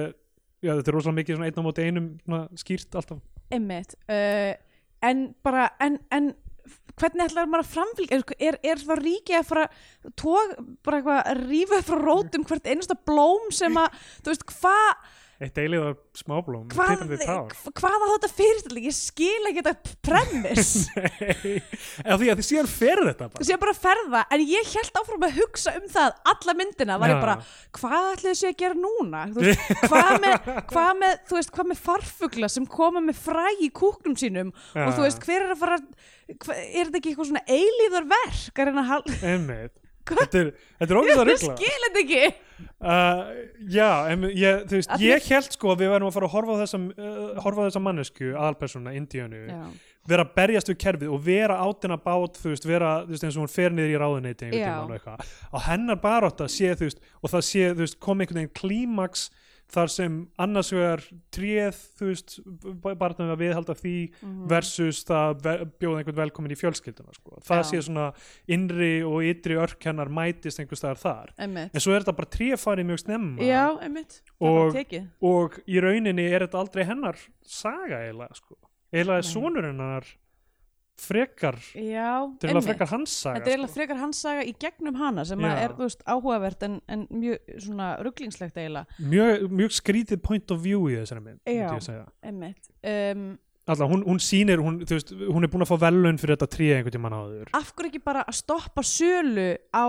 B: já, þetta er rosalega mikið svona einn á móti einum svona, skýrt alltaf
A: einmitt uh, en bara en, en hvernig ætlar maður að framfylgja er, er, er það ríki að fara tók, bara eitthvað rífa frá rótum hvert einasta blóm sem að þú veist hvað
B: eitt eilið af smáblóm með
A: hvað,
B: titrandi tár.
A: hvað á þetta fyrirstæðlega ég skil ekki þetta premiss
B: Nei, af því að þið síðan fer þetta bara
A: þess ég bara að ferða en ég held áfram að hugsa um það alla myndina var ég
B: Já.
A: bara, hvað ætli þessi að gera núna Þú veist, hvað, með, hvað með þú veist, hvað með farfugla sem koma með fræ í kúknum sínum og
B: Já.
A: þú veist, hver er að fara hva, er þetta ekki eitthvað svona eilíður verk að reyna að halda,
B: einmitt
A: Hvað?
B: Þetta er, þetta er ógæða
A: ég
B: ruggla
A: skil þetta ekki
B: uh, Já, em, ég, þú veist,
A: Að því-
B: ég held sko að við verðum að fara að horfa á þessa, uh, horfa á þessa mannesku, aðalpersóna, indíönu vera að berjast við kerfið og vera átina bát þú veist, vera þú veist, eins og hún fer niður í ráðuneyti einhvern
A: Já.
B: tímann og eitthvað og hennar baróta sé þú veist og það sé þú veist kom einhvern veginn klímaks þar sem annars vegar tréð þú veist barnum að viðhalda því
A: Mhm.
B: versus það ve- bjóða einhvern velkomin í fjölskylduna sko. það
A: Já.
B: sé svona innri og ytri örk hennar mætist einhvers staðar þar
A: einmitt,
B: en svo er þetta bara tréfarið mjög snemma
A: já, einmitt það er
B: Og-
A: bara tekið
B: og í rauninni er þetta aldrei hennar saga eiginlega sko. eiginlega er
A: Nei.
B: sonur hennar frekar þetta
A: já,
B: er eiginlega frekar hans saga
A: Þetta er eiginlega
B: sko.
A: frekar hans saga í gegnum hana sem að
B: Já.
A: er, þú veist, áhugavert en, en mjög svona rugglingslegt eiginlega,
B: mjög, mjög skrítið point of view í þessari mynd myndi
A: Já.
B: ég segja.
A: emmitt. Um,
B: Alla, hún, hún sýnir, hún, þú veist, hún er búin að fá velun fyrir þetta tríð einhvern tímann áður
A: af hverju ekki bara að stoppa sölu á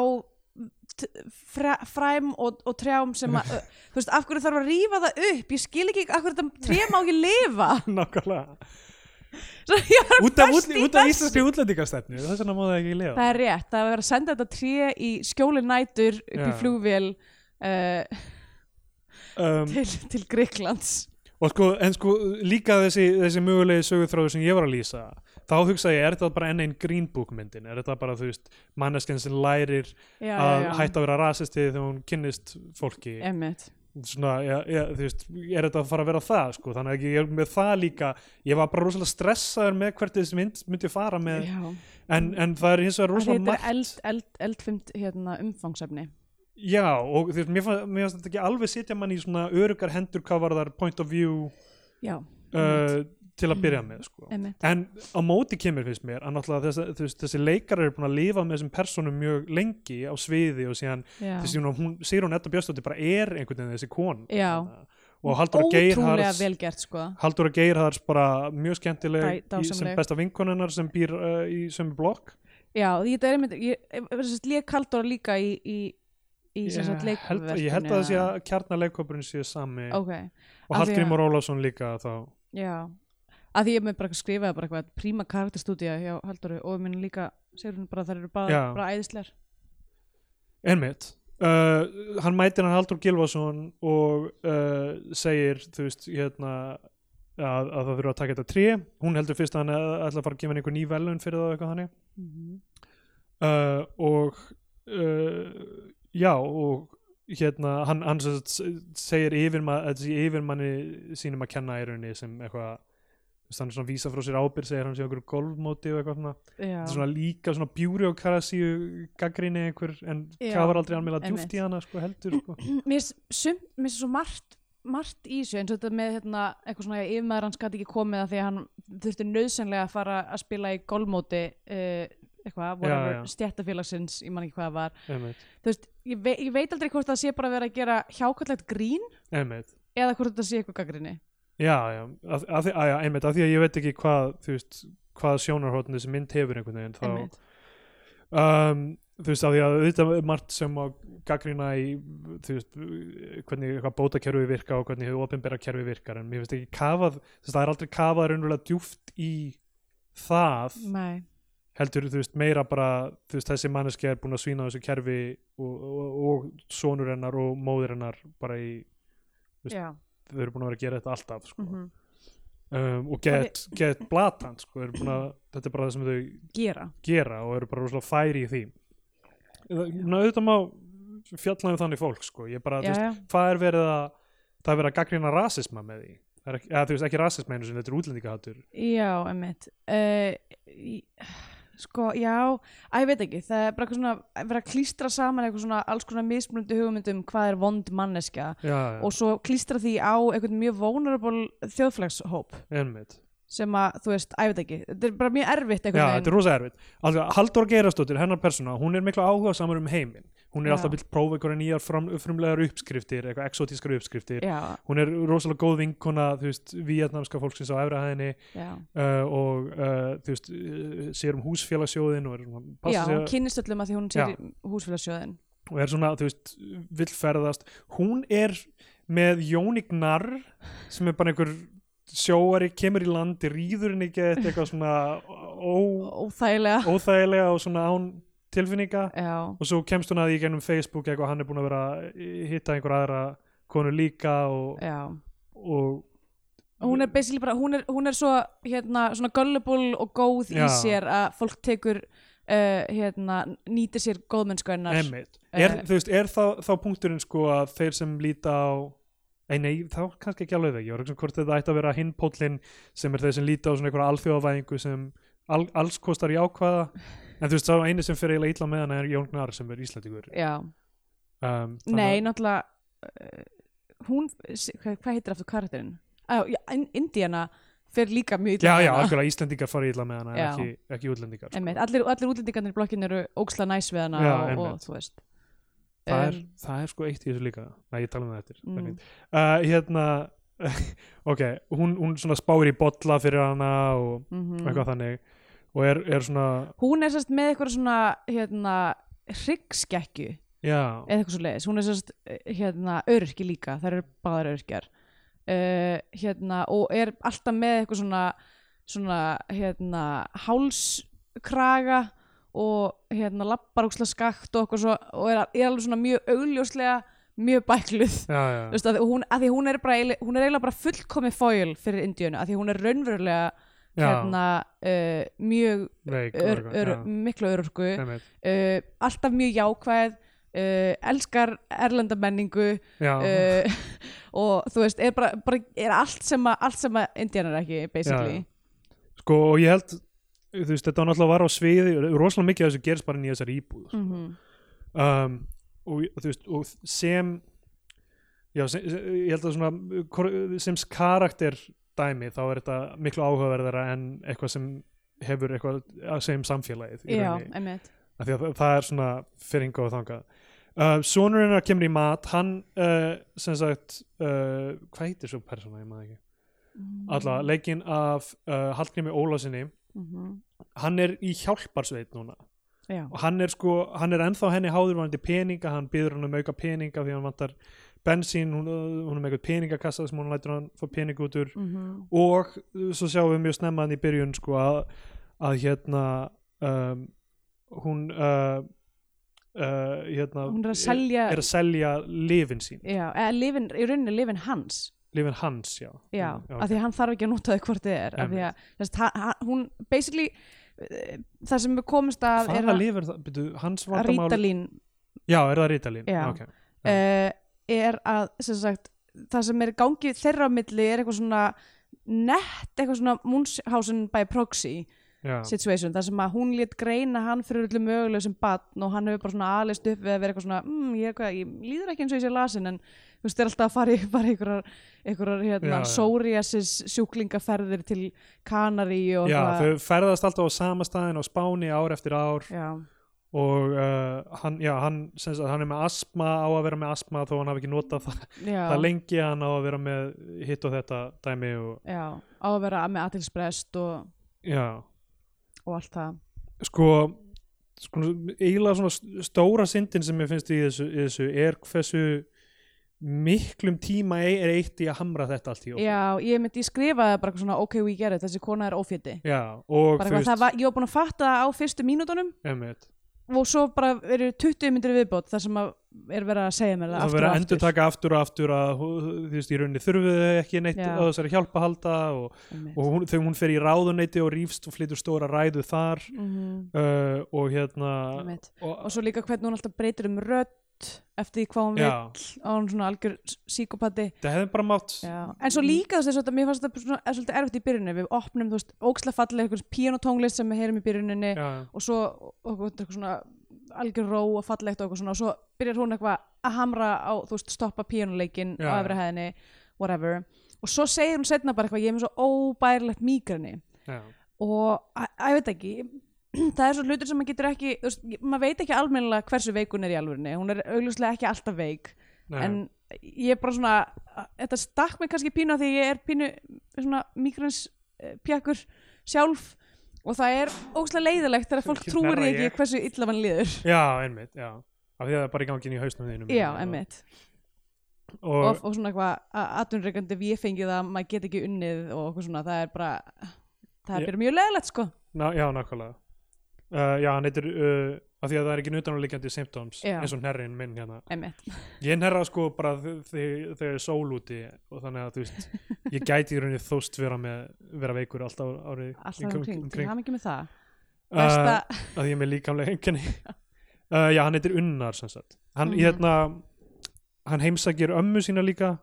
A: t- fræ- fræm og, og trjám sem að, ö, þú veist, af hverju þarf að rífa það upp? Ég skil ekki af hverju þetta tré má ekki lifa.
B: nákvæmlega
A: Svo ég var
B: út af,
A: best
B: út,
A: í
B: út af
A: þessu.
B: íslenskri útlendingastefnu þess vegna má það ekki lifa
A: Það er rétt, það er verið að senda þetta tré í skjóli nætur upp í
B: Já.
A: flugvél uh,
B: um,
A: til, til Greiklands.
B: og sko, en sko líka þessi, þessi mögulegi sögutráður sem ég var að lýsa þá hugsa ég, er þetta bara enn einn Green Book myndin er þetta bara, þú veist, manneskinn sem lærir
A: Já,
B: að hætta að vera rasisti þegar hún kynnist fólki
A: Emmitt.
B: svona, ja, ja, þú veist, er þetta að fara að vera það sko, þannig að ég er með það líka ég var bara rosalega stressaður með hvert þessi mynd myndi fara með,
A: Já.
B: en, en það er hins vegar
A: Þetta
B: rosalega
A: er
B: margt
A: eld, eld, eldfimt hérna, umfangsefni.
B: já, og þú veist, mér fannst, mér fannst þetta ekki alveg sitja mann í svona örugar hendur hvað var þar point of view
A: Já,
B: uh, til að byrja með sko.
A: emmitt.
B: en á móti kemur finnst mér að náttúrulega þessi, þessi, þessi leikar eru búin að lifa með þessum personum mjög lengi á sviði og síðan
A: Já.
B: þessi hún, hún Sigrún Edda Björnsdóttir bara er einhvern veginn þessi kon
A: Já.
B: og Halldóra
A: Ótrúlega
B: Geirharðs
A: vel gert, sko.
B: Halldóra Geirharðs bara mjög
A: Dæ-
B: skemmtileg í, sem
A: dásamleg.
B: besta vinkonunnar sem býr uh, í sem blokk
A: eh, Já, því þetta er einmitt, ég, ég, ég, ég, ég kaldóra líka í, í, í sem sagt
B: Ég held, ég held að það sé
A: leikverkinu,
B: að kjarnaleikopurinn sé sami
A: eða- ok,
B: og
A: af því að-
B: Hallgrímur Ólafsson líka þá
A: já að því ég með bara skrifaði bara eitthvað príma karakterstúdía hjá Halldóru og minn líka segir hún bara að þær eru bara,
B: Já.
A: bara æðislegar
B: Einmitt Uh, hann mætir hann Haldur Gilvason og uh, segir þú veist hérna að, að það þurfa að taka þetta tré hún heldur fyrst að hann ætla að fara að gefa hann einhver ný velun fyrir það og eitthvað þannig
A: mm -hmm.
B: uh, og uh, já og hérna hann, hann sem sagt s- segir yfirma, að þessi yfirmanni sínum að kenna í rauninni sem eitthvað þú veist, hann er svona að vísa frá sér ábyrð segir hann sé okkur golfmóti og eitthvað svona
A: já,
B: þetta er svona líka svona bjúri og karasíu gaggrinni einhver en
A: Já,
B: kafar aldrei alveg
A: einmitt.
B: djúft í hana sko, heldur sko.
A: mér finnst sum- mér finnst svo margt margt í þessu eins og þetta með hérna, eitthvað svona yfirmaður hans gæti ekki komið að því að hann þurfti nöðsynlega að fara að spila í golfmóti uh, eitthvað, whatever,
B: já.
A: stjættafélagsins ég man ekki hvað það var
B: einmitt,
A: Þú veist, ég, ve ég veit aldrei hvort það sé bara að vera að gera hjákallegt grín
B: einmitt
A: eða hvort þetta sé eitthvað gaggrinni
B: já, já, að, að, að, já, einmitt, af því að ég veit ekki hvað þú veist, hvað sjónarhóttni þessi mynd hefur einhvern veginn þá,
A: einmitt.
B: um, þú veist, af því að auðvitað er margt sem má gaggrina í þú veist, hvernig eitthvað bótakerfi virka og hvernig hefur opinbera kerfi virkar en mér finnst ekki kafað, þú veist, það er aldrei kafað raunverulega djúft í það
A: Nei,
B: heldur þú veist meira bara þú veist þessi manneski er búin að svína á þessu kerfi og, og, og sonur hennar og móðir hennar bara í Veist-
A: já,
B: þau eru búin að vera að gera þetta alltaf sko.
A: mm
B: um, og get, get blatan sko, eru búin að, þetta er bara það sem þau
A: gera
B: gera og eru bara rosalega færi í því Það- Ná, auðvitað má fjalla um þannig fólk sko. ég bara,
A: já,
B: þú veist,
A: já,
B: hvað er verið að það er verið að gaggrina rasisma með því Það er ekki, eða, þú veist ekki rasisma einu sinni, þetta er útlendingahattur
A: já, emmitt uh, sko, já að ég veit ekki, það er bara eitthvað svona að vera að klístra saman eitthvað svona alls konar mismunandi hugmyndum hvað er vond manneskja
B: já,
A: og svo klístra því á einhvern mjög vulnerable þjóðflagshóp
B: einmitt
A: sem að, þú veist, að ég veit ekki þetta er bara mjög erfitt
B: Já,
A: einhvern
B: þetta er rosa erfitt. Alltaf, Halldór Geirastóttir, hennar persóna, hún er miklu áhuga samar um heiminn. Hún
A: Já.
B: er alltaf vill prófa einhverja nýjar fram, frumlegar uppskriftir, eitthvað exotískar uppskriftir.
A: já,
B: Hún er rosalega góð vinkona, þú veist, vietnamska fólksins á efrahæðinni
A: já,
B: uh, og, uh, þú veist, uh, sér um húsfélagsjóðin og er, svona-
A: já,
B: passa sig
A: hún
B: að-
A: kynnist öllum að því hún
B: Já.
A: sér húsfélagsjóðin
B: og er svona, þú veist, vill ferðast. Hún er með Jónik Narr, sem er bara einhver sjóari, kemur í landi, rýður henni ekki eitthvað svona ó,
A: óþægilega,
B: óþægilega og svona án tilfinninga
A: já,
B: og svo kemst hún að því í gennum Facebook eitthvað hann er búin að vera að hitta einhver aðra konu líka og,
A: já
B: og
A: hún er basically bara, hún er, hún er svo hérna, svona gullible og góð í
B: Já.
A: sér að fólk tekur uh, hérna, nýtir sér góðmennsku hennar
B: emmitt er,
A: Eh.
B: þú veist, er þá, þá punkturinn sko að þeir sem líta á ei nei, þá kannski ekki alveg það ég var ekki hvort þetta ætti að vera hinn pólinn sem er þeir sem líta á svona einhverja alþjóðavæðingu sem al, alls kostar jákvæða en þú veist, þá einu sem fyrir eiginlega illa með hana er Jón Gnar sem er Íslandingur
A: já,
B: um,
A: nei, náttúrulega uh, hún, s- hvað, hvað heitir aftur karakterinn? Ah, já, In- Indiana fer líka mjög illa
B: já,
A: með
B: já,
A: hana.
B: akkurat Íslandingar fari illa með hana en
A: Já.
B: ekki, ekki útlendingar sko.
A: Einmitt, allir, allir útlendingarnir í blokkinu eru óksla næs við hana
B: Já,
A: og,
B: einmitt.
A: og þú veist
B: það, er,
A: Um,
B: það er sko eitt í þessu líka Nei, ég tala um það eftir Það er
A: Mm.
B: fínt. uh, Hérna Ok, hún, hún svona spáir í bolla fyrir hana og
A: mhm.
B: eitthvað þannig og er, er svona
A: hún er sérst með eitthvað svona hérna, hryggskekkju
B: Já,
A: eða eitthvað svo leiðis, hún er sérst eh, hérna, öryrki líka, það eru báðar öryrkjar uh, hérna og er alltaf með eitthvað svona svona hérna hálskraga og hérna labbaróksla skakt og eitthvað svo og er, er alveg svona mjög augljóslega mjög bækluð
B: já,
A: Þú
B: já,
A: veist, að hún, að því hún er bara eiginlega- hún er eiginlega bara fullkomi fóil fyrir Indíunu að því hún er raunverulega
B: Já.
A: hérna uh, mjög
B: veik og
A: ör,
B: eitthvað,
A: ör,
B: já.
A: miklu örorku
B: Einmitt.
A: uh, alltaf mjög jákvæð uh, elskar erlenda menningu
B: Já,
A: uh, og þú veist er, bara, bara, er allt sem að, allt sem að indianar ekki basically
B: Já, sko og ég held þú veist, þetta var náttúrulega var á sviði rosalega mikið af þessu gerist bara nýja þessari íbúð
A: mm -hmm.
B: um, og, ég- þú veist, og sem já, sem, sem- ég held að svona kor- sem karakter dæmi þá er þetta miklu áhugaverðara en eitthvað sem hefur eitthvað að segja um samfélagið í
A: já
B: rauninni.
A: einmitt
B: Af því að það- það er svona fyrring og þangað uh, sonurinn að kemur í mat hann uh, sem sagt uh, hvað heitir svo persóna, ég maður ekki alla, leikinn af uh, Hallgrími Ólasinni
A: mm -hmm.
B: hann er í hjálparsveit núna
A: já,
B: og hann er sko, hann er ennþá henni háður varandi peninga, hann byður hann um auka peninga því hann vantar bensín hún, uh, hún er með eitthvað peningakassa sem hún lætur hann fá pening út úr
A: mm
B: og uh, svo sjáum við mjög snemma hann í byrjun sko að, að hérna um, hún uh, uh, hérna
A: hún er að selja
B: er að selja lifin sín
A: já, eða lifin, í rauninni lifin hans
B: lifin hans, já
A: já,
B: Mm, já,
A: af því að hann þarf ekki að nota þau hvort þið er af því að þess, hann, hann- hún basically eh, það sem við komumst að
B: Hvaða
A: er að,
B: lifir það? Byrju, hans
A: að
B: vandamál
A: rítalín
B: Já, er það rítalín?
A: Já.
B: ok. Já.
A: uh, er að sem sagt, það sem er í gangi þeirra á milli er eitthvað svona nett, eitthvað svona Munchausen by proxy
B: Já.
A: situation þar sem að hún létt greina hann fyrir öllu möguleg sem batn og hann hefur bara svona aðlist upp við að vera eitthvað svona mm, ég, er hvað, ég líður ekki eins og ég sé lasin en þú veist, er alltaf að fara í bara einhverjar, einhverjar
B: Já,
A: hérna,
B: já.
A: psoriasis sjúklingaferðir til Kanari og
B: Já,
A: eitthvað-
B: þau ferðast alltaf á sama staðin á Spáni ár eftir ár
A: já,
B: og uh, hann, já, hann, sem sagt, hann er með asma á að vera með asma þó hann hafi ekki notað það,
A: já,
B: það lengi hann á að vera með hitt og þetta dæmi og
A: já, á að vera með atilsprest og,
B: já,
A: og allt það
B: sko, sko eiginlega svona st- stóra syndin sem ég finnst í þessu, í þessu er hversu miklum tíma ei- er eitt í að hamra þetta allt í okkur.
A: já, ég myndi ég skrifa það bara eitthvað svona ok, we get it, þessi kona er ófjöti
B: Já, og
A: bara eitthvað, það var, ég var búin að fatta það á fyrstu mínútonum
B: einmitt,
A: og svo bara eru 20 myndir viðbót þar sem að er verið að segja mér það,
B: það
A: aftur og
B: verður að
A: aftur
B: endur taka aftur og aftur að hú- þú veist, í rauninni þurfum við ekki neitt
A: Já.
B: á þessari hjálpa halda og,
A: Einmitt.
B: og hún, þegar hún fer í ráðuneyti og rífst og flytur stóra ræðu þar
A: Mhm,
B: uh, og hérna
A: einmitt.
B: og,
A: og svo líka hvernig hún alltaf breytir um rödd eftir því hvað hún vil
B: já,
A: og hún svona algjör s- psíkopati
B: það hefði bara mátt
A: Já. en svo líka þess að mér fannst þetta svona, er svolítið erfitt í byrjunni við opnum þú veist óksla fallega einhvers píanotónglist sem við heyrum í byrjuninni
B: já,
A: og svo og, og, eitthvað svona algjör ró og fallegt og, eitthvað svona, og svo byrjar hún eitthvað að hamra á þú veist stoppa píanuleikin
B: Já,
A: á
B: já.
A: öfri hæðinni whatever og svo segir hún setna bara eitthvað ég er með svo óbærilegt mígrani
B: já,
A: og að, að ég veit ekki það er svo hlutur sem maður getur ekki þú veist, maður veit ekki almennilega hversu veik hún er í alvörinni hún er augljóslega ekki alltaf veik
B: nei,
A: en ég er bara svona þetta stakk mig kannski pínu af því ég er pínu svona migrans pjakkur sjálf og það er ógslag leiðilegt þegar fólk
B: Ekki
A: trúir því
B: verra
A: ekki
B: ég.
A: hversu illa mann liður
B: já, einmitt, já af því að það er bara í gangin í hausnum þínum
A: já, emmitt
B: og,
A: og, og svona eitthvað aðunreikandi við fengið að maður get ekki unnið og eitthvað svona það er bara það
B: Ég-
A: er bara mjög leiðilegt sko
B: na, já, nákvæmlega uh, já, hann heitir uh, af því að það er ekki nutanulíkjandi symptoms
A: Já.
B: eins og hnerrin minn hérna
A: emmitt
B: Ég nærra sko bara þ- þeg- þegar er sól úti og þannig að þú veist, ég gæti í rauninni þóst vera, með, vera veikur alltaf á- árið
A: alltaf
B: kring-
A: umkring, til
B: kring.
A: hafa ekki með það
B: Uh,
A: Versta,
B: að ég er með líkamlega enginni uh, Já, hann heitir Unnar sem sagt Hann,
A: Mhm.
B: hérna, hann heimsækir ömmu sína líka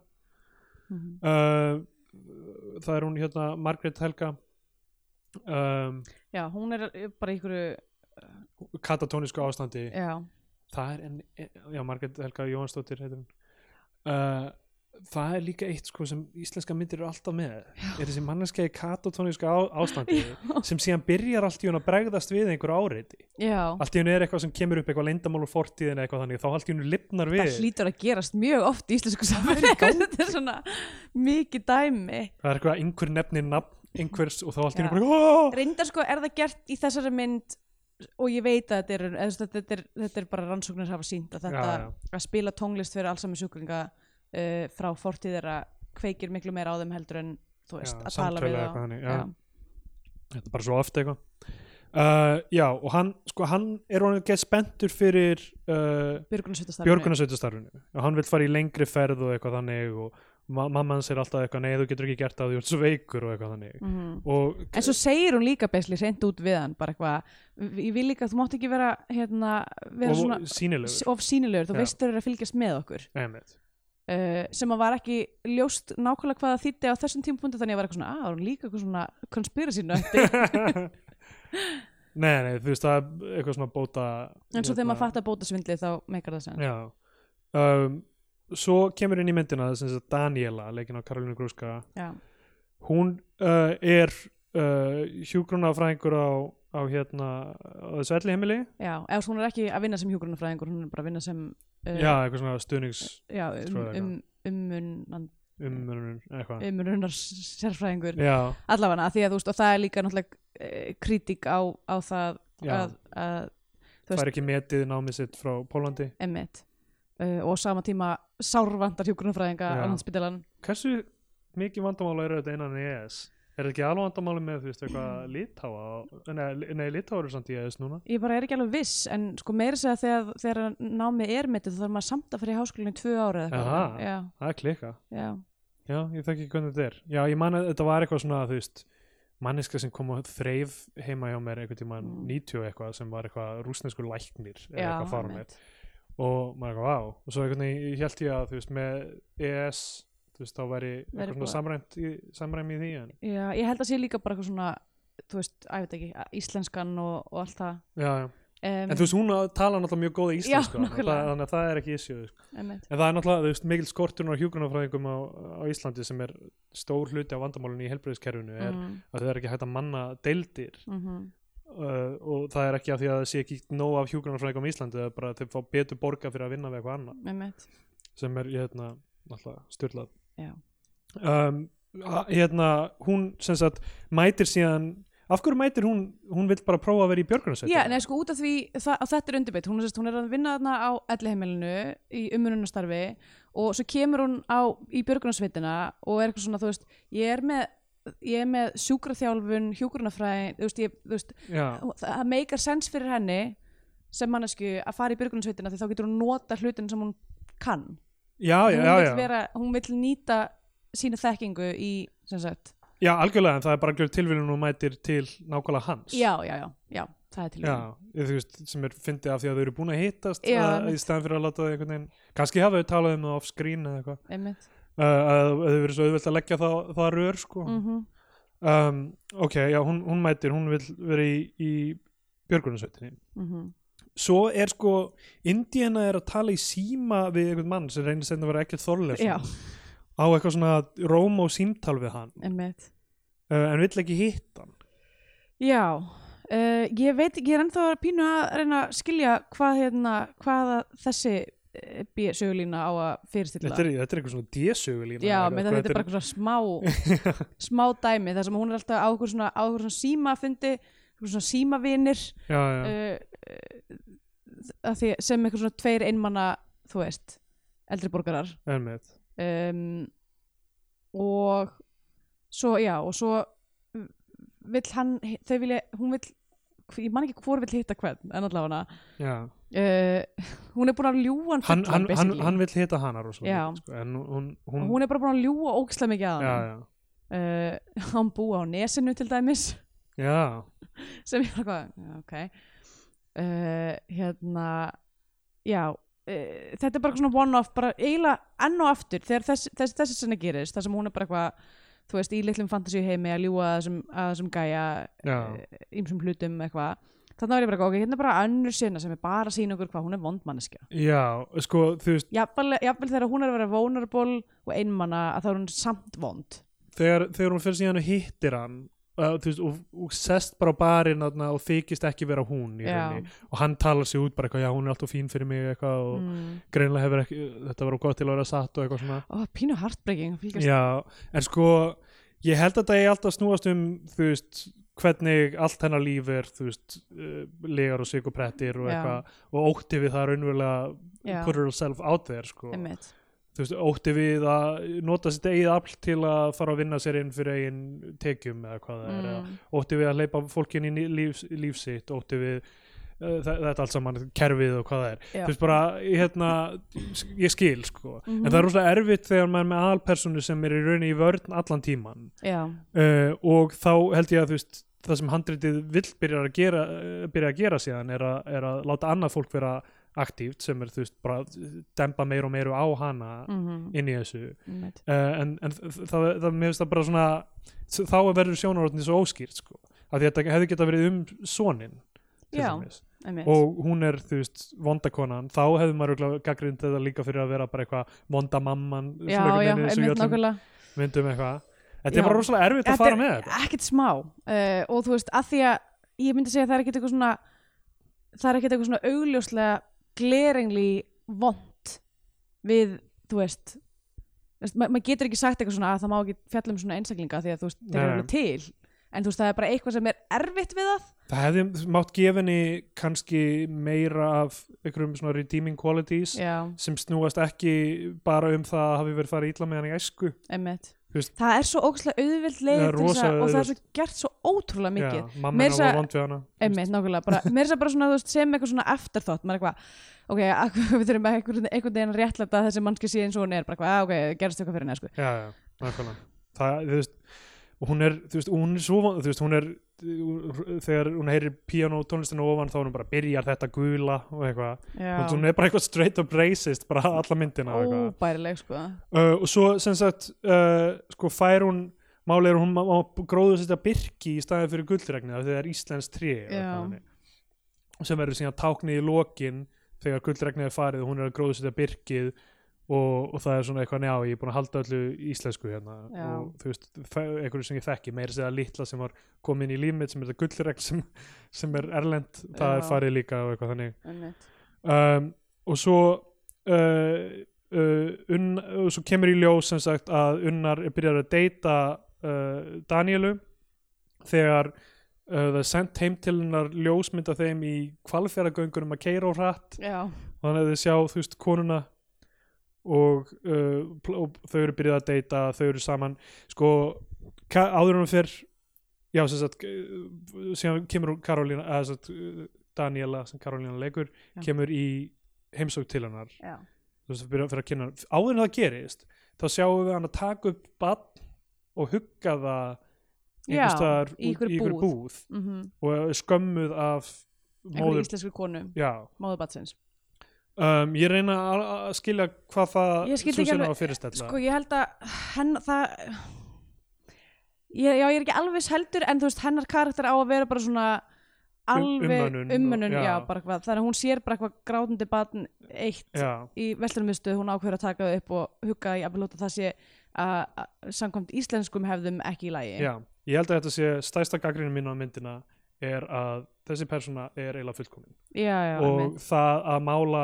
A: Mhm.
B: uh, Það er hún hérna Margrét Helga um,
A: Já, hún er bara í einhverju,
B: katatónisku ástandi
A: já,
B: það er en, já, Margrét Helga Jóhansdóttir heitir hún uh, það er líka eitt sko sem íslenska myndir eru alltaf með er þessi manneska í katatóníska á, ástandi sem síðan byrjar allt í hún að bregðast við einhver áreiti
A: já,
B: allt í hún er eitthvað sem kemur upp eitthvað leyndamál úr fortíðin eða eitthvað þannig þá allt í hún lifnar við
A: það hlýtur að gerast mjög oft í íslensku samfélagi, þetta er svona mikið dæmi.
B: það er eitthvað að einhver nefnir nafn einhvers og þá allt í hún
A: Já.
B: bara "Aah!"
A: Reyndar sko er það gert í þessari mynd og ég veit að þetta er, eða þú veist, þetta er, þetta er bara rannsóknir hafa sínt að þetta
B: Já, já.
A: að spila tónlist fyrir allsami sjúklinga uh, frá fortíð þeirra kveikir miklu meira á þeim heldur en þú veist,
B: Já,
A: að tala
B: samtöl
A: við
B: eða
A: þá.
B: eitthvað þannig, já. þetta er bara svo oft eitthvað uh, já og hann sko hann er hann gett spenntur fyrir uh,
A: Björgunarsveitastarfinu.
B: björgunarsveitastarfinu og hann vil fara í lengri ferð og eitthvað þannig og ma mamma hans er alltaf eitthvað nei þú getur ekki gert það þú ert svo veikur og eitthvað þannig
A: Mhm.
B: og
A: En svo segir hún líka beisli reynd út við hann bara eitthvað, ég vil líka, þú mátt ekki vera hérna, vera
B: og
A: svona
B: sínilegur
A: of sínilegur, þú
B: Já.
A: veist þau eru að fylgjast með okkur
B: einmitt.
A: uh, sem að var ekki ljóst nákvæmlega hvað það þýtti á þessum tímpunktu þannig að ég var eitthvað svona, að það var líka eitthvað svona conspiracy nötti,
B: nei nei þú veist það er eitthvað svona bóta hérna.
A: en svo þegar maður fattar bóta svindli þá meikar það sem
B: já um, svo kemur inn í myndina sem sagt Daniela leikin á Karolínu Grúska
A: já,
B: hún uh, er uh, hjúgrunafræðingur á, á hérna á þessu elli heimili
A: já, eða svo hún er ekki að vinna sem hjúgrunafræðingur, hún er bara að vinna sem uh,
B: já eitthvað svona stuðnings
A: já um,
B: Trúlega.
A: um, um,
B: umurinn eitthvað
A: um, um sérfræðingur
B: já
A: eh, allavega, því að þú veist, og það er líka náttúrulega uh, kritík á, á það
B: Já.
A: að, að Þú
B: fær ekki metið námið sitt frá Pólandi
A: emmitt uh, og sama tíma sárvandar hjúkurnafræðinga á
B: Já.
A: landspítalan
B: hversu mikið vandamála eru þetta innan EES er þetta ekki alveg vandamáli með þú veist eitthvað litáa nei, nei litáa eru samt í EES núna
A: ég bara er ekki alveg viss en sko meira segja þegar, þegar námið er metið þá þarf maður samt að fyrir í háskólinu í tvö ára eða
B: Aha.
A: eitthvað já,
B: það er klika
A: já,
B: já ég þekki ekki hvernig þetta er já ég man að þetta var eitthvað svona þú veist manneska sem kom og þreif heima hjá mér einhvern tímann
A: Mm.
B: 90 og eitthvað sem var eitthvað rúsnesku læknir eða
A: já
B: eitthvað fara með
A: einmitt.
B: og maður eitthvað vá og svo einhvern veginn held ég að þú veist með EES þú veist þá væri eitthvað
A: Væri
B: svona
A: búið.
B: samræmt í, samræmi í því en
A: já, ég held að sé líka bara eitthvað svona þú veist, að ég veit ekki, að íslenskan og, og allt það
B: já, já.
A: um,
B: en þú veist hún tala náttúrulega mjög góða íslensku
A: Já,
B: þannig að það-
A: nákvæmlega.
B: þannig að það er ekki issue sko.
A: einmitt.
B: en það er náttúrulega þú veist mikil skorturinn á hjúgrunafræðingum á, á Íslandi sem er stór hluti af vandamálunni í helbriðiskerfinu er
A: Mm,
B: að þau er ekki hægt að manna deildir
A: mhm.
B: uh, og það er ekki af því að það sé ekki nóg af hjúgrunafræðingum í Íslandi það er bara að þau fá betur borga fyrir að vinna við eitthvað annað
A: Einmitt.
B: sem er hérna, náttúrulega styrlað
A: Já.
B: um, a- hérna, hún sem sagt mætir síðan af hverju mætir hún, hún vill bara prófa að vera í björgunarsveit
A: Já, nei, sko, út af því það, að þetta er undirbeitt, hún, er sem sagt- hún er að vinna þarna á elliheimilinu í umununastarfi og svo kemur hún á, í björgunarsveitina og er eitthvað svona, þú veist, ég er með ég er með sjúkraþjálfun, hjúkurnafræðin þú veist, ég, þú veist,
B: Já,
A: það meikar sens fyrir henni sem mannesku að fara í björgunarsveitina því þá getur hún nota hlutin sem hún kann
B: já, já,
A: hún,
B: já,
A: vill
B: já.
A: Vera, hún vill nýta sína þekkingu í, sem sagt,
B: já algjörlega en það er bara algjör tilvílun hún mætir til nákvæmlega hans
A: já, já, já, já það er til
B: Já, ég, þú veist, sem er fyndið af því að þau eru búin að hittast
A: Já,
B: að,
A: einmitt.
B: í staðan fyrir að láta þau einhvern veginn kannski hafa þau talað um það off screen eða eitthvað
A: einmitt
B: uh, að að þau verið svo auðvelt að leggja það, það rör sko
A: mm -hmm.
B: um, ok, já, hún, hún mætir, hún vill vera í, í björgunarsveitinni
A: mhm,
B: svo er sko Indiana er að tala í síma við einhvern mann sem reynir seinna að vera ekkert
A: Já,
B: Þorleifsson á eitthvað svona róm og símtal við hann
A: einmitt
B: uh, en vill ekki hitta hann
A: Já, uh, ég veit ekki, ég er ennþá að pínu að reyna að skilja hvað, hérna, hvað þessi uh, B- sögulína á að fyrirstilla.
B: þetta er, þetta er eitthvað svona désögulína
A: Já,
B: eða
A: með
B: eitthvað,
A: það þetta er bara eitthvað svona smá, smá dæmi, þar sem hún er alltaf á okkur svona, á okkur svona símafundi, okkur svona símavinir,
B: já, já,
A: uh, uh, því, sem eitthvað svona tveir einmanna, þú veist, eldri borgarar.
B: einmitt.
A: um, og svo já og svo vill hann þau vilja, hún vill ég man ekki hvor vill hitta hvern en allavega
B: já.
A: uh, hún er búin að ljúa hann
B: Hann, hann,
A: fullan,
B: hann,
A: basically.
B: hann vill hitta hana rosalega
A: Já.
B: mikið, sko, en hún, hún,
A: Og hún er bara búin að ljúa ógislega mikið að
B: já,
A: hann
B: já,
A: uh, hann búa á nesinu til dæmis
B: já,
A: sem ég var eitthvað ok uh, hérna já uh, þetta er bara svona one off bara eiginlega enn og aftur þegar þess, þess, þessi sinni gerist þar sem hún er bara eitthvað þú veist í litlum fantasíu heimi að ljúga að þessum, að þessum gæja
B: já,
A: Eh. ímsum hlutum eitthvað þannig var ég bara eitthvað ok hérna er bara önnur sinna sem er bara að sína okkur hvað hún er vondmanneskja
B: já sko, þú veist,
A: jafnvel, jafnvel þegar hún er að vera vulnerable og einmanna að þá er hún samt vond
B: þegar, þegar hún fyrir síðan og hittir hann uh, þú veist, og, og sest bara á barinn þarna og þykist ekki vera hún í
A: Já.
B: rauninni og hann talar sig út bara eitthvað, já hún er alltaf fín fyrir mig eitthvað og
A: mm.
B: greinlega hefur ekki þetta var of gott til að vera satt og eitthvað svona
A: og pínu heartbreaking að fylgjast-
B: já, en sko ég held að það er alltaf snúast um þú veist, hvernig allt hennar líf er þú veist, uh, legar og sigurprettir og
A: Já.
B: eitthvað, og ótti við það raunverulega
A: Já.
B: put herself out there sko.
A: einmitt
B: þú veist, ótti við að nota sitt eigið afl til að fara að vinna sér inn fyrir eigin tekjum eða hvað það er eða
A: mm.
B: ótti við að leipa fólkin inn í lífs, lífsitt ótti við uh, þa- þetta allt saman kerfið og hvað það er
A: Já.
B: þú veist bara, hérna, ég skil sko.
A: Mhm.
B: en það er rosalega erfitt þegar maður er með aðalpersonu sem er í rauninni í vörn allan tíman
A: já
B: uh, og þá held ég að þú veist það sem handritið vill byrja að gera, uh, byrja að gera síðan er, að er að láta annað fólk vera aktíft sem er þú veist bara dempa meir og meiru á hana
A: mm
B: inn í þessu
A: einmitt
B: uh, en, en það, það, það mér finnst það bara svona s- þá verður sjónarotni svo óskýrt sko. af því að þetta hefði geta verið um sonin
A: Já, einmitt.
B: og hún er þú veist vondakonan, þá hefði maður gaggrind þetta líka fyrir að vera bara eitthvað vonda mamman
A: já,
B: svona
A: já,
B: einhvern veginn eins og í
A: einmitt
B: öllum
A: nákvæmlega
B: myndum eitthvað þetta
A: Já.
B: er bara rosalega erfitt að
A: Þetta
B: fara
A: er
B: með þetta
A: ekkert smá uh, og þú veist, að því að ég myndi segja að það er ekkert eitthvað svona það er ekkert eitthvað svona augljóslega glerengli vond við, þú veist þú veist, ma maður getur ekki sagt eitthvað svona að það má ekki fjalla um svona einsaklinga því að þú veist, þeir
B: Nei,
A: eru
B: nei.
A: alveg til en þú veist það er bara eitthvað sem er erfitt við það
B: það hefði mátt gefinni kannski meira af einhverjum svona redeeming qualities
A: já,
B: sem snúast ekki bara um það að hafi verið farið illa með hann í æsku
A: einmitt
B: Þú veist-
A: það er svo ógæslega auðvild leið
B: Það er
A: til þess
B: rosa
A: að, og það er
B: auðvelt.
A: svo gert svo ótrúlega mikið
B: Já, mamma
A: Meira
B: hennar
A: segja-
B: var vond við hana
A: einmitt, nákvæmlega, bara, mér er það bara svona þú veist, sem eitthvað svona eftirþátt, maður er eitthvað ok, ak- við þurfum að einhvern, einhvern veginn réttlæta að þessi mannski sé eins og hún er, bara eitthvað, "Ah, ok, gerast eitthvað fyrir henni, sko
B: já, já, nákvæmlega það, þú veist, og hún er, þú veist, hún er svo von- þú veist, hún er þegar hún heyrir piano tónlistinu ofan þá er hún bara byrjar þetta gula og eitthvað
A: Já.
B: Þú veist, hún er bara eitthvað straight up racist bara alla myndina og eitthvað
A: óbærileg, sko
B: uh, og svo sem sagt uh, sko fær hún málið er að hún má, má gróðu setja birki í staðið fyrir gullregnið af því það er Íslands tré eða
A: Já.
B: eitthvað þannig. sem verður síðan táknið í lokin þegar gullregnið er farið og hún er að gróðu setja birkið og, og það er svona eitthvað njá ég er búin að halda öllu íslensku hérna
A: Já.
B: og þú veist, það- einhverju sem ég þekki meira sér að segja litla sem var komin inn í líf mitt sem er þetta gullregn sem, sem er erlend það
A: Já.
B: er farið líka og eitthvað þannig
A: einmitt,
B: um, og svo uh, uh, unn, og svo kemur í ljós sem sagt að Unnar byrjar að deyta uh, Danielu þegar uh, það er sendt heim til hennar ljósmynda þeim í kvalfjöragöngunum að keira og hratt
A: já,
B: og þannig að þau sjá þú veist konuna og, uh, pl- og þau eru byrjað að deyta þau eru saman sko ka- áður en hún fyrr já sem sagt uh, síðan kemur hún Karolína eða sem sagt uh, Daniela sem Karolína leikur
A: Já.
B: kemur í heimsók til hennar
A: já,
B: þú veist að byrja að fyrir að kynna hana. áður en það gerist þá sjáum við hann að taka upp bann og hugga það
A: já
B: einhvers staðar
A: í
B: út-
A: ykkur búð, búð.
B: búð
A: Mm
B: og skömmuð af
A: einhver
B: móður
A: íslenskur konu,
B: já
A: móðubatsins
B: Um, ég reyna að að skilja hvað það
A: Ég skildi ekki
B: Susanna
A: alveg-
B: var fyrirstælla
A: sko ég held að henn, það ég, já, ég er ekki alveg viss heldur en þú veist hennar karakter á að vera bara svona alveg
B: Um- umönnun og-
A: ummönnun, já,
B: já.
A: bara hvað þannig að hún sér bara eitthvað grátandi batn eitt
B: Já,
A: í vestlunarmiðstöð, hún ákveður að taka það upp og hugga í abilóta það sé að að samkvæmt íslenskum hefðum ekki í lagi
B: já, ég held að þetta sé stæsta gaggrinu mín á myndina er að þessi persóna er eiginlega fullkomin
A: já, já,
B: og
A: einmitt.
B: það að mála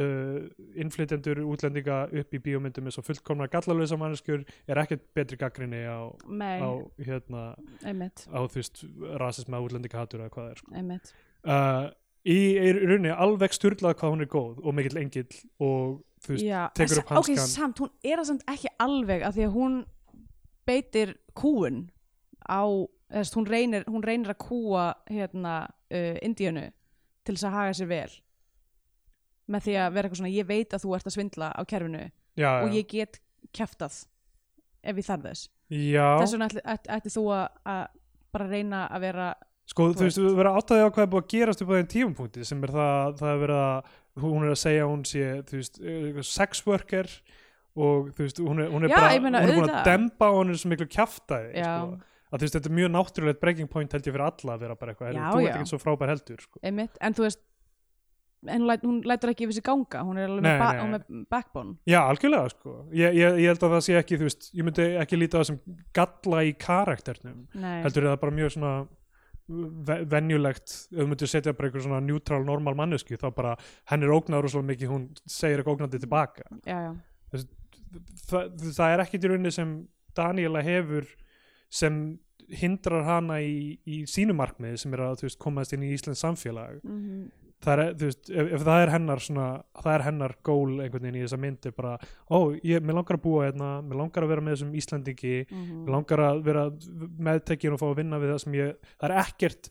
B: uh, innflytjendur útlendinga upp í bíómyndum eins og fullkomna gallalösa manneskjur er ekkert betri gaggrinni á,
A: Nei,
B: á hérna
A: einmitt,
B: á þú veist rasismi að útlendinga hatur eða hvað það er sko.
A: einmitt
B: uh, í, í rauninni alveg styrlað hvað hún er góð og mikill engill og þú veist,
A: já,
B: tekur
A: en
B: upp
A: sa- ok,
B: hanskann.
A: samt, hún er það samt ekki alveg af því að hún beitir kúun á, þess, hún, reynir, hún reynir að kúa hérna uh, Indíönu til þess að haga sér vel með því að vera eitthvað svona ég veit að þú ert að svindla á kerfinu
B: já,
A: og
B: já.
A: ég get kæftað ef ég þarf þess
B: já.
A: þess vegna ætli, ætti, ætti þú að, að bara reyna að vera
B: Sko,
A: Þú
B: þú veist, við verðum að áttaði á hvað er búið að gerast upp á þeim tímapunkti sem er það, það er verið að hún er að segja að hún sé, þú veist, eh, eitthvað sex worker og þú veist, hún er, hún er
A: Já,
B: bara,
A: ég meina,
B: hún er búin
A: auðvitað.
B: að dempa og hún er svo miklu kjaftaði,
A: Já.
B: sko. Að þú veist, þetta er mjög náttúrulegt breaking point held ég fyrir alla að vera bara eitthvað,
A: Já,
B: heyrðu, þú
A: já.
B: ert ekki svo frábær heldur, sko.
A: einmitt, en þú veist en hún læt, hún lætur ekki yfir sig ganga hún er alveg
B: Nei,
A: með, ba
B: nei.
A: hún er með backbone
B: Já, algjörlega, sko. Ég, ég, ég held að það sé ekki, þú veist, ég myndi ekki líta á það sem galla í karakternum.
A: nei,
B: heldur er það bara mjög svona ve- venjulegt, ef þú myndir setja bara einhver svona neutral normal mannesku þá bara henn er ógnaður og svo mikið hún segir eitthvað ógnandi tilbaka
A: já, já,
B: það, það er ekkit í rauninni sem Daniela hefur sem hindrar hana í, í sínu markmiði sem er að þú veist, komast inn í Íslands samfélag
A: mm
B: það er, þú veist, ef, ef það er hennar svona, það er hennar gól einhvern veginn í þessa myndi bara, ó, ég, mér langar að búa hérna mér langar að vera með þessum Íslandingi
A: mhm. Mm.
B: Mig langar að vera meðtekin og fá að vinna við það sem ég það er ekkert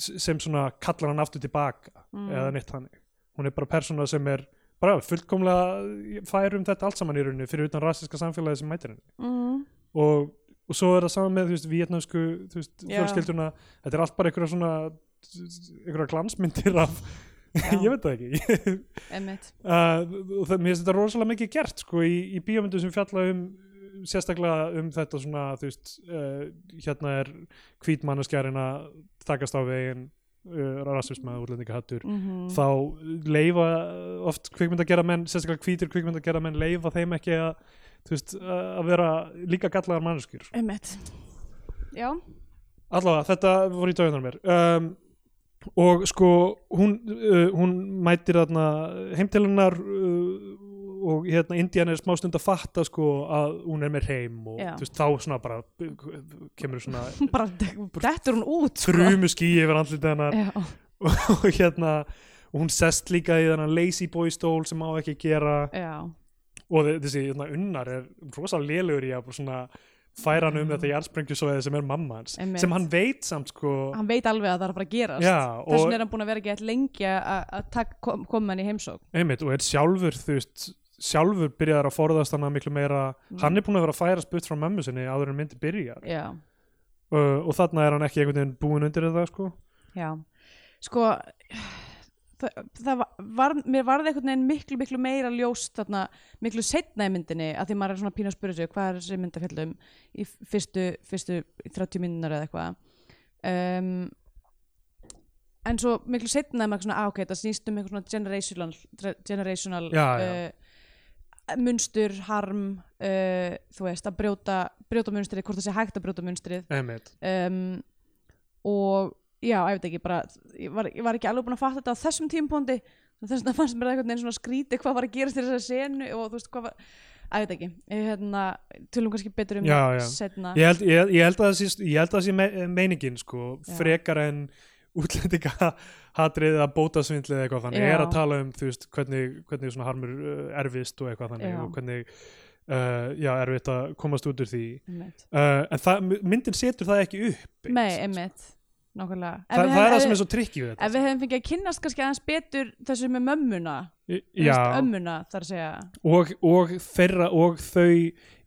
B: s- sem svona kallar hann aftur tilbaka
A: Mm.
B: eða neitt þannig hún er bara persóna sem er bara fullkomlega fær um þetta allt saman í rauninni fyrir utan rasiska samfélagi sem mætir henni
A: Mm
B: og, og svo er það saman með þú veist vietnamsku þú veist
A: Já.
B: fjölskylduna þetta er allt bara einhverja svona einhverja glansmyndir af
A: Já.
B: ég veit það ekki
A: einmitt
B: uh, og það, mér finnst þetta rosalega mikið gert sko, í, í bíómyndum sem fjalla um sérstaklega um þetta svona þú veist, uh, hérna er hvítmannaskjarinn að takast á veginn uh, rasisma og útlendingahattur
A: mm
B: þá leifa oft kvikmyndagera menn, sérstaklega hvítir kvikmyndagera menn leifa þeim ekki að, þú veist, að vera líka gallaðar manneskjur
A: einmitt já,
B: allavega, þetta voru í döðunar mér um, og sko hún, uh, hún mætir þarna heimtilinnar uh, og hérna Indiana er smá stund að fatta sko að hún er með reym og
A: Já. Sko.
B: þú veist, þá svona bara kemur svona
A: hún bara dettur hún út sko.
B: þrjumu skí yfir andlitið hennar
A: Já,
B: og hérna og hún sest líka í þennan lazy boy stól sem á ekki að gera
A: já,
B: og þe- þessi hérna, unnar er rosa lélugur í að bara svona færa hann um þetta jarðsprengjusvæði sem er mamma hans
A: Mm. Einmitt.
B: sem hann veit samt sko
A: hann veit alveg að það er að fara að gerast
B: Já,
A: þess
B: og-
A: vegna er hann búin að vera ekki eitthvað lengi að að taka- kom- koma hann í heimsók
B: einmitt og er sjálfur þú veist sjálfur byrjaðar að forðast hana miklu meira
A: Mm.
B: hann er búin að vera að færa sputt frá mömmu sinni áður en myndi byrjar
A: já,
B: uh, og þarna er hann ekki einhvern veginn búin undir þetta sko
A: já sko það, það var, mér varði einhvern veginn miklu miklu meira ljóst þarna, miklu setna í myndinni að því maður er svona pínu að spyrja sig hvað er þessi mynd að fjalla um í fyrstu, fyrstu 30 minnunar eða eitthvað um, en svo miklu setna er maður svona að ok, það snýst um einhver svona generational, generational
B: Já, já.
A: Uh, munstur, harm uh, þú veist, að brjóta, brjóta munstrið, hvort það sé hægt að brjóta munstrið
B: einmitt
A: um, og já, ég veit ekki bara, ég var, ég var ekki alveg búin að fatta þetta á þessum tímpóndi þess vegna fannst mér það einhvern veginn svona skríti hvað var að gerast í þessari senu og þú veist hvað var að ég veit ekki, ég hérna tölum kannski betur um
B: Já,
A: það
B: já.
A: seinna.
B: ég held, ég, ég held að það sé, ég held að það sé me, meiningin sko,
A: Já.
B: frekar en útlendinga hatrið eða bótasvindli eða eitthvað þannig,
A: Já.
B: er að tala um þú veist, hvernig, hvernig svona harmur uh, erfist og eitthvað þannig
A: Já.
B: og hvernig uh, já, erfitt að komast út úr því
A: Einmitt.
B: uh, en það, myndin setur það ekki upp
A: Nei, einmitt Nákvæmlega Ef
B: Þa,
A: við
B: það er
A: hefðum-
B: það sem
A: ef
B: er svo trikki við
A: við- Ef
B: þetta
A: við hefum fengið að kynnast kannski aðeins betur þessu með mömmuna
B: Í-
A: þú
B: já,
A: veist, ömmuna þar að segja
B: og, og þeirra og þau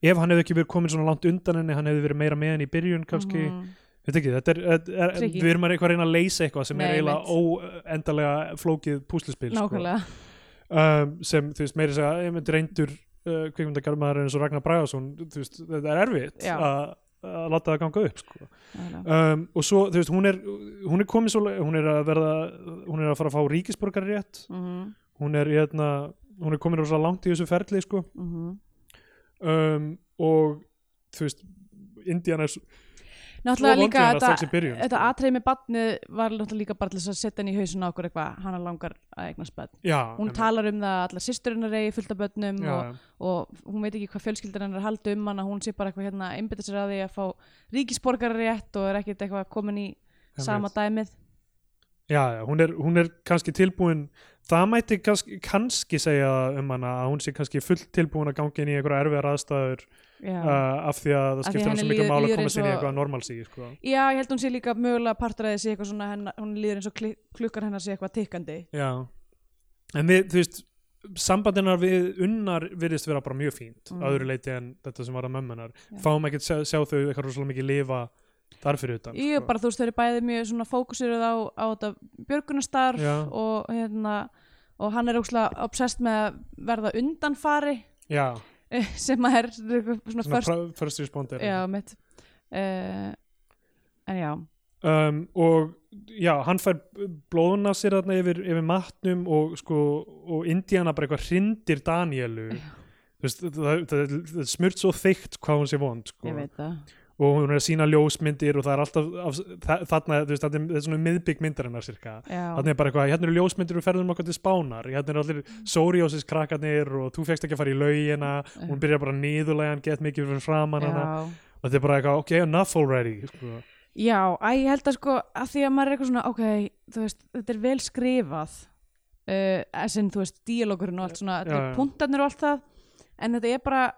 B: ef hann hefði ekki verið komin svona langt undan henni hann hefði verið meira með henni í byrjun kannski
A: Mhm.
B: Þetta ekki, þetta er, þetta er,
A: Tricky.
B: við erum að eitthvað að reyna að leysa eitthvað sem er
A: Nei,
B: eiginlega óendalega flókið púslispil
A: Nákvæmlega
B: um, sem þú veist meiri segja, ég myndi reyndur uh, kvikmyndagarmaður eins og Ragnar Bræðarsson þú veist, þetta er erfitt
A: Já.
B: að að láta það ganga upp sko.
A: Nákvæmlega.
B: um, og svo, þú veist, hún er hún er komin svo, le- hún er að verða hún er að fara að fá ríkisborgar rétt
A: Mhm,
B: hún er, hérna, hún er komin rosa langt í þessu ferli, sko
A: mhm.
B: um, og, þú veist Indiana er svo
A: Náttúrulega
B: svo
A: líka
B: vondur hennar
A: þetta
B: strax í byrjun,
A: Þetta
B: sko.
A: atriði með barnið var náttúrulega líka bara til þess að setja hann í hausin á okkur eitthvað, hann langar að eignast barn.
B: Já,
A: Hún
B: einmitt.
A: talar um það að allar sýsturinn reyði fullt af börnum
B: Já,
A: og, og hún veit ekki hvað fjölskyldan hennar haldi um hann að hún sé bara eitthvað hérna einbytta sér að því að fá ríkisborgararétt og er ekkert eitthvað komin í sama
B: einmitt.
A: dæmið.
B: Já, já, hún er, hún er kannski tilbúin það mætti kannski, kannski segja um hana að hún sé kannski fullt tilbúin að gangi inn í einhverja erfiðar aðstæður
A: Já.
B: uh, af því að það
A: Af því
B: skiptir hann
A: henni
B: svo mikið
A: líður-
B: mála að
A: líður
B: komast
A: eins
B: inn í
A: og-
B: eitthvað normalsí sko.
A: Já, ég held hún sé líka mögulega partaræðið sé eitthvað svona, hennar, hún líður eins og kli- klukkar hennar sé eitthvað tikkandi.
B: Já, en við, þú veist sambandinar við unnar virðist vera bara mjög fínt,
A: Mm.
B: mm. öðru leiti en þetta sem var að mömmunar,
A: Já.
B: fáum ekki að sjá, sjá þau eitthvað rosalega mikið lifa þar fyrir utan sko.
A: Ég bara, þú veist, þau eru bæði mjög svona fókusiruð á, á þetta björgunastarf
B: Já.
A: og hérna og hann er ókslega obsessed með að verða undanfari
B: Já,
A: eh, sem að er svona
B: svona
A: först,
B: pra- first responder
A: já, mitt uh, en já,
B: um, og já, hann fær blóðun af sér þarna yfir, yfir matnum og sko, og Indiana bara eitthvað hrindir Danielu Þú veist, það, það, það, það er smurt svo þykkt hvað hún sé vond sko.
A: ég veit það
B: og hún er að sína ljósmyndir og það er alltaf af, það, þarna, þú veist, þetta er- þetta er svona miðbygg myndarinnar cirka,
A: já,
B: þarna er bara eitthvað hérna eru ljósmyndir og ferðum okkar til spánar hérna eru allir sóriósis krakkarnir og þú fegst ekki að fara í laugina hún byrjar bara niðurlegan, gett mikið fyrir framan hana
A: já.
B: og þetta er bara eitthvað, ok, enough already sko.
A: já að ég held að sko að því að maður er eitthvað svona, ok þú veist, þetta er vel skrifað uh, sem þú veist, díalókurinn og allt svona,
B: Já, já.
A: punktarnir og allt það en þetta er bara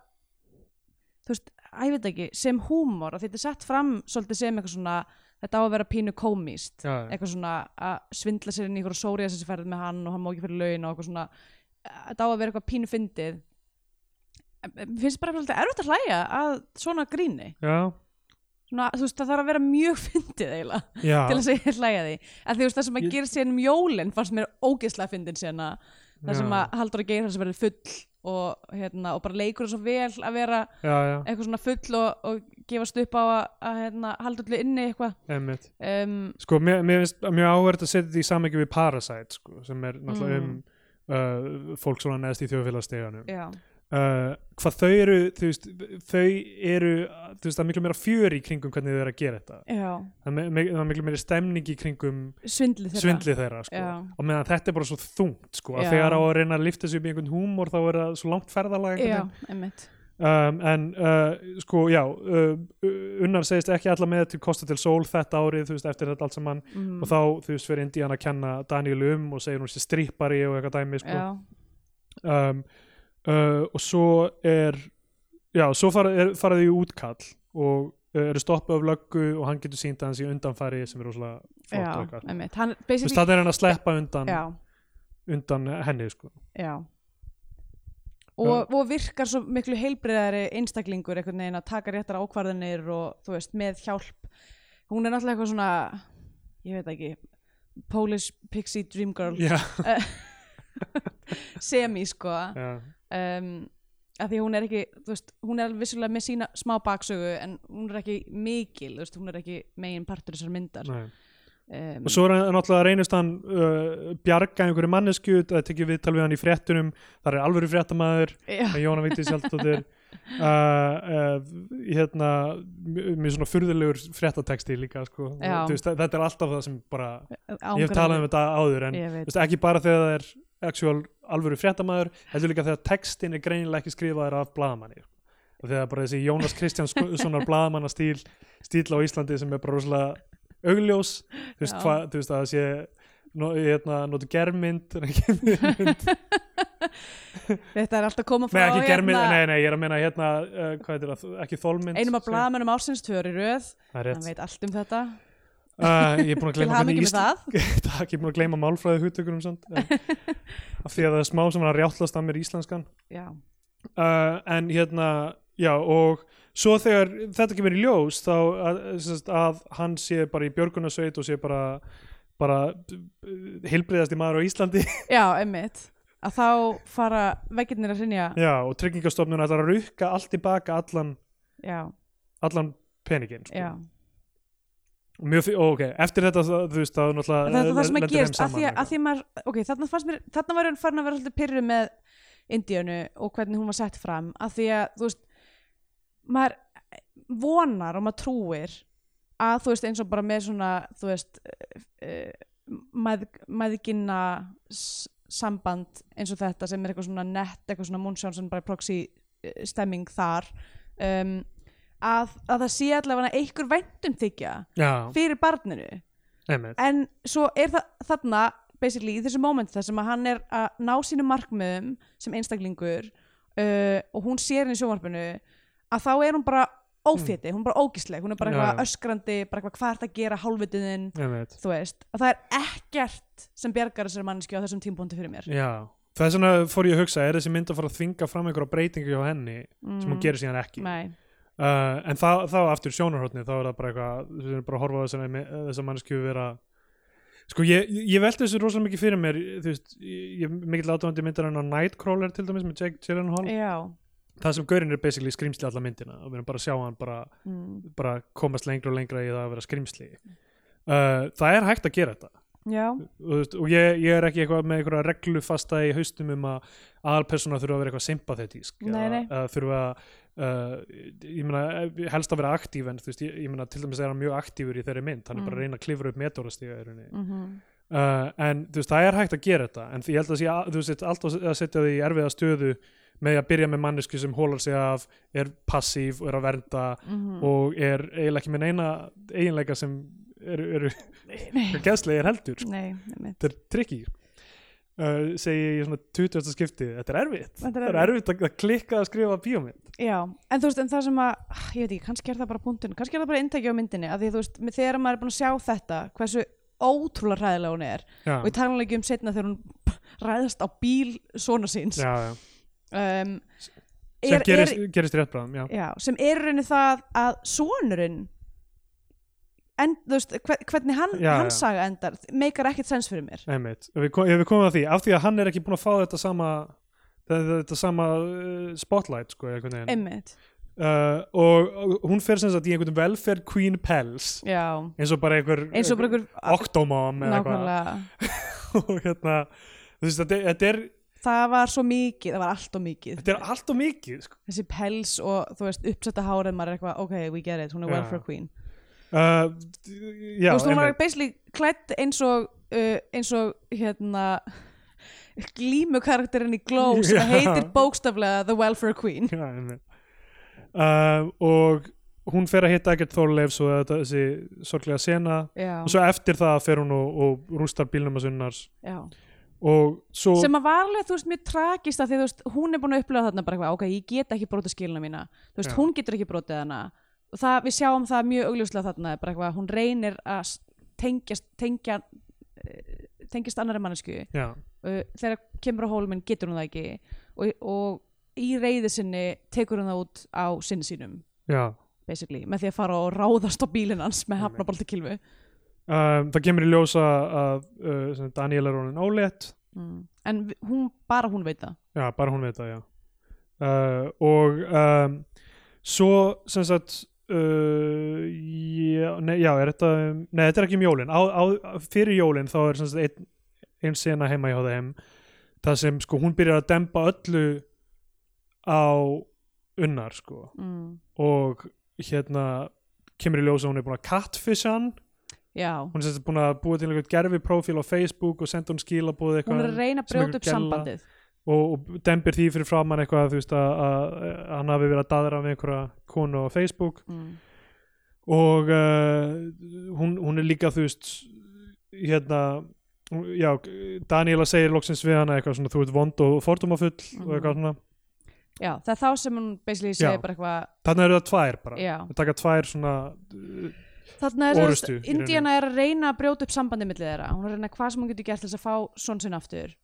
A: þú veist, að ég veit ekki, sem húmor að þetta er sett fram svolítið sem eitthvað svona þetta á að vera pínu komíst
B: já, já.
A: eitthvað svona að svindla sér inn í einhverja sóriða sem ferð með hann og hann má ekki fyrir laun og eitthvað svona þetta á að vera eitthvað pínu fyndið En mér finnst bara eitthvað erfitt að hlæja að svona gríni
B: já.
A: svona, þú veist það þarf að vera mjög fyndið eiginlega
B: Já,
A: til að segja hlæja því að þú veist það sem að
B: Ég-
A: gera sér um jólin fannst mér ógeðslega fyndin sérna það sem
B: Já.
A: að haldur að geira þess að vera full og, hérna, og bara leikur svo vel að vera
B: já, já,
A: eitthvað svona full og, og gefast upp á að, að hérna, haldur allir inni eitthvað
B: emmitt
A: um,
B: Sko, mér, mér finnst mjög áhverjt að setja þetta í samhengi við Parasite, sko, sem er náttúrulega
A: Mm.
B: um uh, fólk svona neðst í þjóðfélagssteganum
A: já,
B: uh, hvað þau eru þú veist, þau eru þú veist, það er miklu meira fjör í kringum hvernig þau eru að gera þetta
A: já,
B: það er, me- það er miklu meira stemning í kringum
A: svindli þeirra
B: svindli þeirra sko.
A: Já.
B: og meðan þetta er bara svo þungt sko,
A: Já.
B: að þegar á að reyna að lifta sig upp í einhvern húmor þá er það svo langt ferðalag einhvern
A: já,
B: veginn.
A: einmitt
B: um, en uh, sko já uh, unnar segist ekki alla með til Costa til Sól þetta árið þú veist eftir þetta allt saman
A: mm,
B: og þá þú veist fyrir Indiana að kenna Daniel um og segir hún sér strippari og eitthvað dæmi sko.
A: já,
B: um, uh, og svo er já svo fara, er, faraði í útkall og uh, eru stoppuð af löggu og hann getur sínt að hans í undanfari sem er rosalega flott og
A: já,
B: eitthvað.
A: einmitt hann,
B: Þú veist,
A: basically,
B: það er hann að sleppa undan
A: já,
B: undan henni sko.
A: já og, og virkar svo miklu heilbriðari einstaklingur einhvern veginn að taka réttar ákvarðanir og þú veist, með hjálp hún er náttúrulega eitthvað svona ég veit ekki Polish Pixie Dream Girl
B: já,
A: semi sko
B: já,
A: um, að því hún er ekki þú veist, hún er vissulega með sína smá baksögu en hún er ekki mikil þú veist, hún er ekki megin partur þessar myndar
B: nei.
A: um,
B: og svo er hann náttúrulega reynist hann uh, bjarga einhverju mannesku það tekið viðtal við hann í fréttunum þar er alvöru fréttamaður
A: já,
B: með Jóna Vigdís Hjaltadóttir uh, uh, hérna mj- mjög svona furðulegur fréttateksti líka sko. Og,
A: Já.
B: þú veist, þa- þetta er alltaf það sem bara ég hef
A: ángrar-
B: talað um þetta áður en
A: Ég veit.
B: þú veist, ekki bara þegar það er actual alvöru fréttamaður heldur líka þegar textin er greinilega ekki skrifaður af blaðamanni og þegar bara þessi Jónas Kristjánssonar blaðamanna stíl stíl á Íslandi sem er bara rosalega augljós þú veist
A: Já.
B: hvað, þú veist að það sé no, hérna, notu germynd en ekki mynd.
A: þetta er alltaf að koma
B: nei
A: frá
B: ekki germynd, nei nei ég er að meina hérna uh, hvað heitir það, ekki þólmynd
A: einum af blaðmennum ásins tvör í röð
B: Það
A: hann
B: er rétt.
A: veit allt um þetta
B: Uh, ég er búin að
A: til
B: gleyma
A: hafa mikið
B: hvernig
A: með
B: Ísland
A: það
B: Takk, ég er búin að gleyma málfræði hugtökunum samt en, af því að það er smá sem að rjáttlast að mér íslenskan
A: já,
B: uh, en hérna já og svo þegar þetta kemur í ljós þá að, að, að hann sé bara í björgunarsveit og sé bara bara hilbriðasti maður á Íslandi
A: já, einmitt að þá fara veggirnir að hrynja
B: já, og tryggingastofnun ætlar að rukka allt tilbaka allan,
A: já,
B: allan peningin
A: já
B: sko. Og mjög fyrir, ok, eftir þetta þá- þú veist þá náttúrulega
A: þetta er það sem að
B: lendir
A: gerist
B: þeim
A: að því,
B: saman hérna.
A: að því maður, ok, þarna fannst mér þarna var hann farin að vera alltaf pyrru með Indíönu og hvernig hún var sett fram að því að, þú veist maður vonar og maður trúir að, þú veist, eins og bara með svona, þú veist uh, mæð, mæðginna s- samband eins og þetta sem er eitthvað svona nett, eitthvað svona Munchausen bara proxy eh, stemming þar um, að, að það sé allavega einhver væntum þykja
B: eitthvað.
A: fyrir barninu
B: já, einmitt,
A: en svo er það þarna basically í þessu moment þar sem að hann er að ná sínum markmiðum sem einstaklingur uh, og hún sér henni í sjónvarpinu að þá er hún bara óféti, hún er bara ógisleg hún er bara
B: Já,
A: eitthvað
B: já.
A: öskrandi bara eitthvað hvað ert að gera hálfvitiðin
B: einmitt
A: þú veist, að það er ekkert sem bjargar þessari manneski á þessum tímpóndi fyrir mér
B: já, það er svona fór ég að hugsa er þessi mynd að fara að þvinga fram einhverja breytingu hjá henni sem hún gerir síðan ekki
A: Mm. Nei,
B: uh, en þá, þá aftur sjónarhóttni þá er það bara eitthvað, við erum bara að horfa á þessar þessar mannsku vera sko ég, ég velti þessu rosalega mikið fyrir mér þú veist, ég er mikill átöfandi myndar en á Nightcrawler til dæmis með Jake Gyllenhaal
A: já
B: það sem gaurinn er basically skrimsli alla myndina og við erum bara að sjá hann bara,
A: mm.
B: bara komast lengra og lengra í það að vera skrimsli uh, það er hægt að gera þetta
A: Já,
B: og, þú veist, og ég, ég er ekki eitthvað með einhverja reglu fasta í haustum um að aðalpersona þurfa að vera eitthvað sympathetísk
A: Nei, nei.
B: Eða, eða þurfa uh, ég meina, eh, helst að vera aktíf en þú veist, ég, ég meina, til dæmis er hann mjög aktífur í þeirri mynd, hann
A: Mm.
B: er bara að reyna að klifra upp metórastiga í rauninni
A: mm
B: uh, en þú veist, það er hægt að gera þetta en ég held að sé, að- þú veist, alltaf að setja því í erfiða stöðu með að byrja með mannesku sem hólar sig af, er passív og er að vernda
A: Mhm. Mm.
B: og er eiginlega ekki með neina eiginleika sem eru, eru
A: Nei,
B: gæðslegir heldur sko
A: nei, einmitt.
B: þetta er tricky uh, segi ég í svona 20. skipti þetta er erfitt,
A: Þetta er
B: það er erfitt að, að klikka að skrifa bíómynd
A: Já, en þú veist, en það sem að, ah, ég veit ekki, kannski er það bara punktin, kannski er það bara inntæki á myndinni, að því þú veist, með- þegar maður er búin að sjá þetta, hversu ótrúlega ræðilega hún er,
B: já,
A: og ég tala nú ekki um setna þegar hún ræðast á bíl svona síns,
B: já, já.
A: um,
B: sem
A: er,
B: gerist,
A: er,
B: gerist rétt bráðum já.
A: já, sem er í rauninni það að sonurinn, en, þú veist, hver, hvernig hann,
B: Já, já.
A: hann saga endar, meikar ekkert sens fyrir mér.
B: einmitt, ef við, kom- ef við komum að því af því að hann er ekki búin að fá þetta sama þetta, þetta sama uh, spotlight sko, einhvern veginn.
A: Einmitt,
B: uh, og, og hún fer sem sagt í einhvern velferð queen pels
A: já,
B: eins og bara einhver,
A: eins og bara einhver,
B: octomom eða eitthvað
A: nákvæmlega,
B: og hérna þú veist, þetta, er- þetta er
A: það var svo mikið, það var allt og mikið
B: Þetta er allt og mikið sko.
A: þessi pels og þú veist uppsetta hárið maður er eitthvað, ok, we get it, hún er
B: Já.
A: welfare queen
B: uh, Já,
A: þú veist, hún var
B: einmitt.
A: basically klætt eins og uh, eins og hérna glímu karakterinn í Glow sem
B: Já.
A: heitir bókstaflega The Welfare Queen
B: Já, einmitt. uh, Og hún fer að hitta ekkert Þorleifs og þetta, þessi sorglega sena
A: já,
B: og svo eftir það fer hún og, og rústar bílnum að sunnars
A: já.
B: og svo
A: sem að var alveg, þú veist, mjög tragist að því, þú veist, hún er búin að upplifa þarna bara eitthvað, ok, ég get ekki brotið skilina mína þú veist,
B: Já.
A: hún getur ekki brotið hana og það, við sjáum það mjög augljóslega þarna bara eitthvað, hún reynir að s- tengjast tengja eh, tengjast annari mannesku
B: já,
A: uh, þegar kemur á hólminn getur hún það ekki og, og í reyði sinni tekur hún það út á sinni sínum
B: já.
A: basically, með því að fara og ráðast á bílinn hans með
B: Einmitt.
A: hafnaboltakilfu
B: Um, það kemur í ljósa að uh, sem Daniel er honin ólétt
A: mm. en vi- hún, bara hún veit það
B: já, bara hún veit það, já uh, og um, svo sem sagt uh, já, nei, já, er þetta um, nei, þetta er ekki um jólin á, á, fyrir jólin þá er sem sagt ein, ein sena heima hjá þeim það sem sko hún byrjar að dempa öllu á unnar sko
A: mm.
B: og hérna kemur í ljósa að hún er búin að catfish hann
A: já,
B: hún er sem sagt búin að búa til einhvern gerfi prófíl á Facebook og senda hún skilabúð eitthvað
A: hún er að reyna að
B: sem
A: brjóta
B: einhver
A: upp
B: gælla.
A: sambandið
B: og, og dembir því fyrir framann eitthvað þú veist að, að, að hann hafi verið að daðra með einhverja konu á Facebook
A: mm.
B: og uh, hún, hún er líka þú veist hérna hún- já, Daniela segir loksins við hana eitthvað svona þú ert vond og fordómafull og
A: Mhm.
B: eitthvað svona
A: já, það er þá sem hún basically
B: Já.
A: segir bara eitthvað
B: þannig eru það tvær bara
A: já.
B: við taka tvær svona
A: þarna er
B: Orustu,
A: þess
B: í rauninni.
A: Indiana er að reyna að brjóta upp sambandið millir þeirra, hún er að reyna hvað sem hún getur gert til þess að fá svon sinn aftur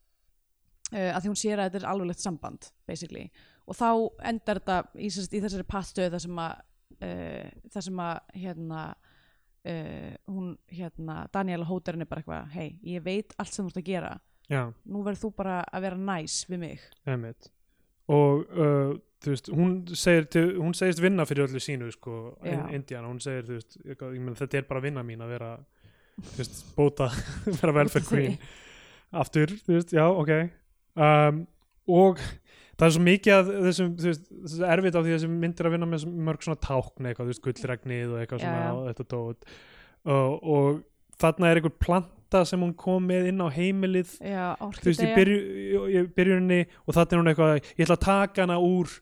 A: uh, að því hún sér að þetta er alveglegt samband basically, og þá endar þetta í, sérst, í þessari pattstöð þar sem að uh, þar sem að hérna uh, hún hérna, Daniela hótar henni bara eitthvað hei, ég veit allt sem þú ert að gera
B: já,
A: nú verður þú bara að vera næs við mig
B: emitt og uh, þú veist, hún segir til, hún segist vinna fyrir öllu sínu sko,
A: Já.
B: Indiana, hún segir þú veist, eitthvað, ég menn, þetta er bara vinna mín að vera þú veist, bóta, vera velferð
A: Bóta
B: queen
A: þig.
B: aftur, þú veist, já, ok um, og það er svo mikið að þessum, þú veist, þessu erfitt af því þessum myndir að vinna með svo mörg svona tákn eitthvað, þú veist, gullregnið og eitthvað
A: Já,
B: svona
A: já.
B: og þetta tótt uh, og þarna er einhver planta sem hún kom með inn á heimilið
A: já,
B: þú veist, í,
A: orkideyja.
B: byrju, í- í byrjuninni og þarna er hún eitthvað, ég ætla að taka hana úr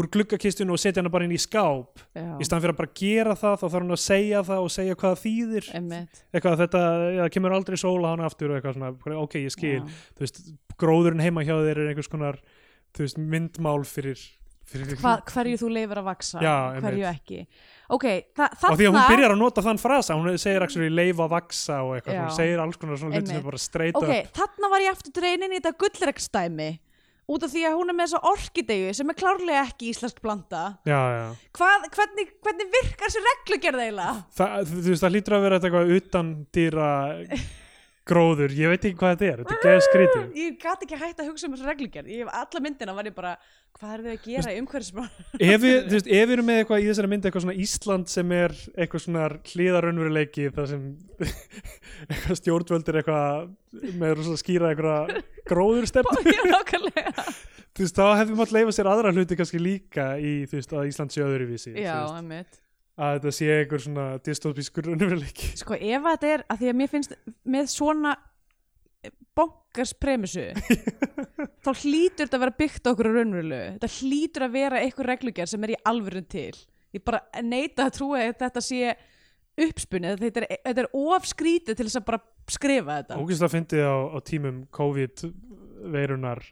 B: úr gluggakistunni og setja hana bara inn í skáp
A: já,
B: í staðan fyrir að bara gera það þá þarf hún að segja það og segja hvað það þýðir
A: einmitt,
B: eitthvað að þetta, já, það kemur aldrei sóla hana aftur og eitthvað svona, ok, ég skil
A: já.
B: þú veist, gróðurinn heima hjá þér er einhvers konar, þú veist, myndmál fyrir, fyrir
A: Hva, hverju þú leifir að vaksa
B: Já,
A: hverju
B: einmitt.
A: ekki ok, þa þarna
B: og því að hún byrjar að nota þann frasa hún segir actually leifa að vaksa og eitthvað
A: Já.
B: hún segir alls konar svona hluti sem
A: Einmitt.
B: er bara straight
A: ok, þarna var ég aftur dreinin í þetta gullrekstæmi út af því að hún er með þessa orkideyju sem er klárlega ekki íslensk blanda
B: up já, já
A: Hvað, hvernig, hvernig virkar þessi reglugerð eiginlega?
B: Þa, þú veist, það hlýtur að vera þetta eitthvað utan dýra gróður, ég veit ekki hvað þetta er, þetta er geða skrítið.
A: Ég gat ekki hægt að hugsa um þessu reglugerð Ég hef alla myndina var ég bara Hvað er þau að gera í umhverfismál?
B: Ef við, þú veist, ef við erum með eitthvað í þessari mynd eitthvað svona Ísland sem er eitthvað svona hliðarunveruleiki þar sem eitthvað stjórnvöldir eitthvað með rosa skýra eitthvað gróðurstefnu,
A: Já, nákvæmlega
B: þú veist, þá hefum alltaf leifa sér aðra hluti kannski líka í, þú veist, að Ísland sé öðruvísi, þú
A: Já,
B: veist,
A: emmitt
B: að þetta sé eitthvað svona dystopískur unveruleiki.
A: Sko, ef að þetta er að því að mér finnst með svona bókars premissu þá hlýtur þetta að vera byggt á okkur raunverulegu þetta hlýtur að vera einhver reglugerð sem er í alvörun til ég bara neita að trúa að þetta sé uppspunnið, þetta er, þetta er ofskrítið til þess að bara skrifa þetta
B: ógæslega fyndið á, á tímum COVID-veirunar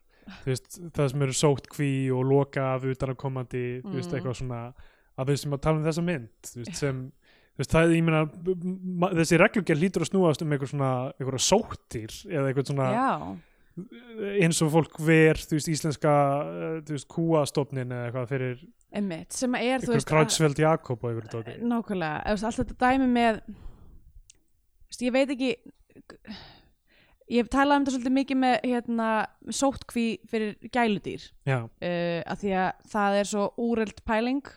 B: þú veist, það sem eru sótt kví og loka af utan að komandi þú veist,
A: Mm.
B: eitthvað svona að við sem að tala um þessa mynd þú veist, sem, þú veist, það, ég meina ma- þessi reglugjör hlýtur að snúast um eitthvað svona, eitthvað sóttir eða eitthvað svona,
A: Já,
B: eins og fólk ver, þú veist, íslenska eh, þú veist, kúastofnin eða eitthvað fyrir
A: emmitt, sem að er þú
B: eitthvað
A: veist að-
B: Krátsveld Jakob og eitthvað tóti
A: nákvæmlega, eða þú veist, allt þetta dæmi með þú veist, ég veit ekki ég hef talað um þetta svolítið mikið með hérna, sóttkví fyrir gæludýr
B: já,
A: uh, að því að það er svo úreld pæling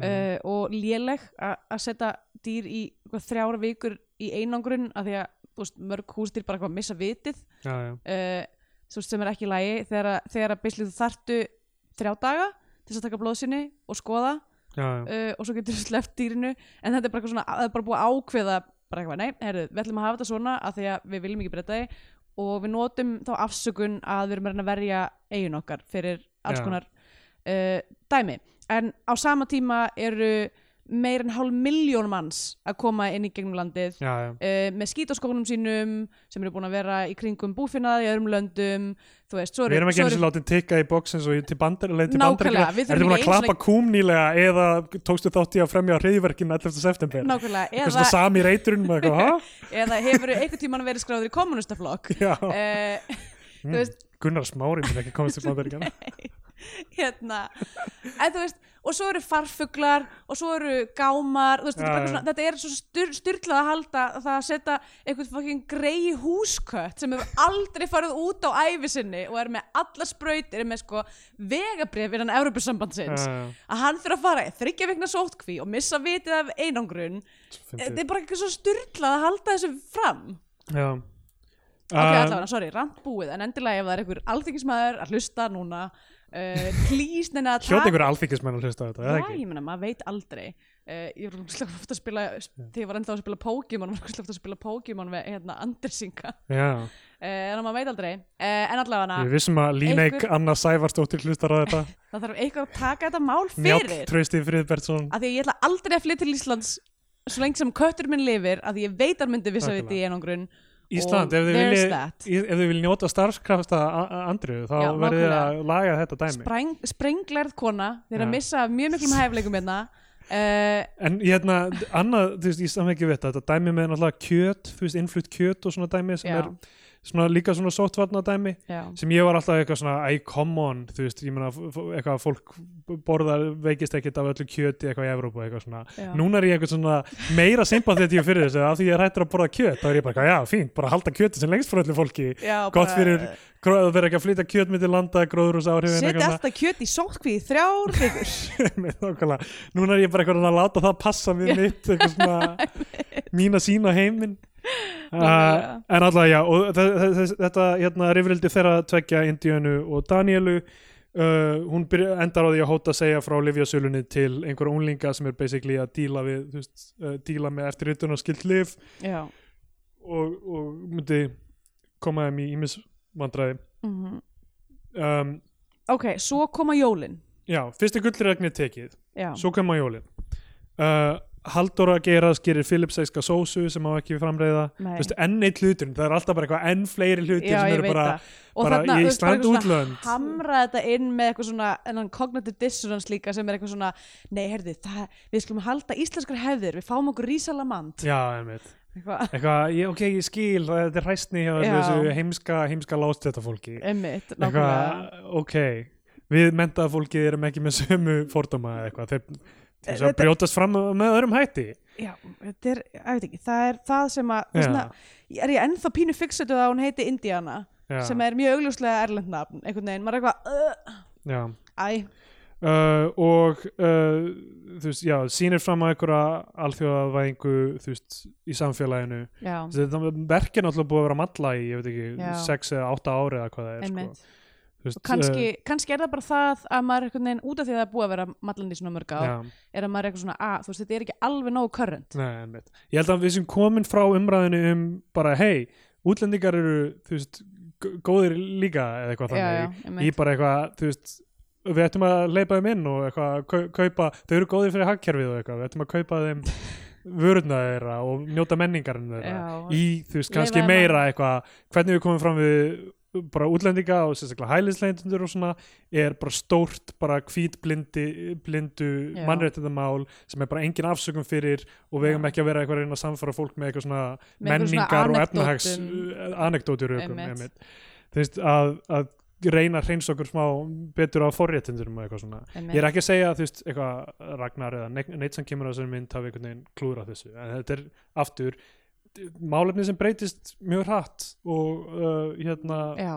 B: Mm.
A: uh, og léleg a- að setja dýr í eitthvað þrjára vikur í einangrun að því að þú veist, mörg húsdýr bara eitthvað missa vitið
B: já, já,
A: uh, þú veist, sem er ekki í lagi þegar, að- þegar að beislið þartu þrjá daga til þess að taka blóðsynni og skoða
B: já, já,
A: uh, og svo getur þú sleppt dýrinu en þetta er bara eitthvað svona, það er bara búið að ákveða bara eitthvað, nei, heyrðu, við ætlum að hafa þetta svona af því að við viljum ekki breyta því og við notum þá afsökun að við erum að reyna að verja eigin okkar fyrir alls
B: Já.
A: konar uh, dæmi en á sama tíma eru meir en hálf miljón manns að koma inn í gegnum landið
B: já, já.
A: uh, með skítaskónum sínum sem eru búin að vera í kringum búfinnaði í öðrum löndum þú veist, svo eru,
B: Við erum ekki
A: svo
B: eins
A: eru
B: og látið tikka í bóksins og til bandar, leið til
A: Nákvæmlega,
B: bandar
A: við
B: Ertu
A: þurfum
B: búin að
A: ekki einu
B: klappa kúm nýlega eða tókstu þátt í að fremja hriðverkin 11. september?
A: nákvæmlega
B: Eitthvað svona
A: eða,
B: sami reyturinn með eitthvað, ha?
A: eða hefur einhvern tímann verið skráður í kommunistaflokk
B: Já,
A: uh, þú
B: mm,
A: veist,
B: Gunnar Smári minn ekki komast til Ah, bandaríkjana
A: hérna en þú veist, og svo eru farfuglar og svo eru gámar þú veist, þetta, er bara
B: Já, já.
A: eitthvað svona, þetta er svo styr, styrlað að halda að það að setja einhvern fokkin grei húskött sem hefur aldrei farið út á ævi sinni og er með alla sprautir er með sko vegabrif innan Evrópusambandsins að hann þurfa að fara í þryggja vikna sótkví og missa vitið af einangrun Eh, þetta er bara eitthvað svo styrlað að halda þessu fram
B: Já
A: ok,
B: Ah, Um,
A: allavega, sorry, rand búið en endilega ef það er einhver alþingismæður að hlusta núna uh, please, neina að
B: Hljóta ykkur alþykismenn að hlusta á þetta,
A: Já,
B: eða ekki?
A: ég meina, maður veit aldrei uh, Ég var rúmslega ofta að spila Þegar ég var ennþá að spila Pokémon Var rúmslega ofta að spila Pokémon með hérna, Andersinga uh,
B: Já,
A: En maður veit aldrei uh, En allavega,
B: við vissum að Líneik
A: Einhver-
B: Anna Sævarsdóttir hlustar á þetta
A: það þarf eitthvað að taka þetta mál
B: Njáll
A: fyrir
B: Trausti Friðbertsson
A: Af því að ég ætla aldrei að flytja til Íslands Svo lengi sem köttur minn lifir Af því ég veit að myndi vissa
B: Nákvæmlega.
A: viti í einangrun
B: Ísland,
A: og
B: ef þið
A: there's
B: viljið-
A: that.
B: í- ef þið viljið njóta starfskrafsta Andriðu, þá
A: Já,
B: verðið þið að laga þetta dæmi
A: Spreng, Sprenglerð kona Þeir að
B: Já.
A: missa af mjög miklum hæfleikum hérna uh,
B: En hérna, annað, þú veist, í samhengi við þetta, þetta dæmi með náttúrulega kjöt, þú veist, innflutt kjöt og svona dæmi sem
A: Já.
B: er svona, líka svona sóttvarna dæmi
A: Já,
B: sem ég var alltaf eitthvað svona, æ, come on, þú veist, ég meina, f- f- eitthvað að fólk borðar, veikist ekkert af öllu kjöti eitthvað í Evrópu eitthvað svona.
A: Já.
B: Núna er ég eitthvað svona meira sympathetíu fyrir þessu, af því ég er hættur að borða kjöt, þá er ég bara, eitthvað, já, fínt, bara halda kjöti sem lengst frá öllu fólki,
A: Já,
B: gott
A: bara-
B: fyrir, gróð, það verður ekki að flytja kjöt mitt í landa, gróður
A: Setja alltaf kjöt í sótkví í þrjár vikur
B: Einmitt, nákvæmlega. núna er ég bara eitthvað að láta það passa við mitt eitthvað svona mína sína heiminn uh,
A: Nákvæmlega.
B: en alltaf já og þe- þe- þe- þetta hérna rifrildi þeirra tvekja Indiönu og Danielu uh, hún byrja, endar á því að hóta að segja frá livjasölunni til einhverja unglinga sem er basically að díla við þú veist, uh, díla með eftirritun og skilt liv
A: Já
B: og, og myndi koma þeim í ímis vandræði
A: mm
B: um,
A: Ok, svo koma jólin
B: já, fyrsti gullregni tekið
A: Já,
B: Svo kemur jólin uh, Halldóra Geiras gerir Philipsæska sósu sem á ekki framreiða
A: Nei.
B: Vist, enn eitt hluturinn, það er alltaf bara eitthvað enn fleiri hlutir
A: já
B: sem
A: ég
B: eru
A: veit
B: bara,
A: það Og
B: bara
A: þarna,
B: í
A: þú veist, bara
B: Ísland
A: eitthvað svona
B: útlönd
A: hamra þetta inn með eitthvað svona ennan cognitive dissonance líka sem er eitthvað svona nei, herði, það, við skulum halda íslenskar hefðir við fáum okkur rísalamant
B: Já, einmitt
A: eitthvað,
B: eitthvað, ég, ok, ég skil, þetta er hræstni hjá öllu
A: Já.
B: þessu heimska, heimska lástetta fólki
A: emmitt,
B: eitthvað,
A: nákvæmlega
B: ok við mentaða fólkið erum ekki með sömu fordóma eða eitthvað, þeir, þeir svo
A: Eh, Þetta-
B: brjótast fram með öðrum hætti
A: já, þetta er, ég veit ekki, það er það sem að,
B: Já.
A: þess vegna, er ég ennþá pínu fixetu að hún heiti Indiana
B: Já.
A: sem er mjög augljóslega erlend nafn einhvern veginn, maður er eitthvað,
B: Já.
A: uh, æ
B: uh, og uh, þú veist, já, sýnir fram á einhverja alþjóðavæðingu þú veist, í samfélaginu
A: já,
B: Þessi, þetta verkið er náttúrulega búið að vera matla í, ég veit ekki,
A: Já.
B: sex eða átta ári eða hvað það er,
A: emmitt
B: sko Þú veist,
A: og kannski, kannski er það bara það að maður er einhvern veginn út af því að það er búið að vera mallan í svona mörg
B: uh,
A: ár,
B: já,
A: er að maður er eitthvað svona að, þú veist, þetta er ekki alveg nógu current
B: nei, einmitt. ég held að við sem komin frá umræðinu um bara, hei, útlendingar eru þú veist, g- góðir líka eða eitthvað
A: já, já,
B: þannig, í
A: einmitt.
B: bara eitthvað, þú veist við ættum að leipa þeim inn og eitthvað kau- kaupa, þau eru góðir fyrir hagkerfið og eitthvað við ættum að kaupa þeim vöruna þeirra og njóta menningarinn þeirra
A: já,
B: í, þú veist,
A: Leyfa
B: kannski
A: þeim að-
B: meira eitthvað hvernig við komum fram við bara útlendinga og sérstaklega hælisleitundur og svona er bara stórt, bara hvítblindi blindu
A: Já.
B: mannréttindamál sem er bara engin afsökum fyrir og við eigum ekki að vera eitthvað að reyna að samfara fólk með eitthvað svona
A: Með einhverjum svona
B: menningar og
A: anekdótum.
B: efnahags anekdóturökum
A: Einmitt.
B: einmitt. þú veist, að, að reyna að hreins okkur smá betur á forréttindurum og eitthvað svona
A: einmitt.
B: Ég er ekki að segja að þú veist eitthvað Ragnar eða ne- neitt sem kemur á þessari mynd hafi einhvern veginn klúra þessu en þetta er aftur málefni sem breytist mjög hratt og uh, hérna
A: já.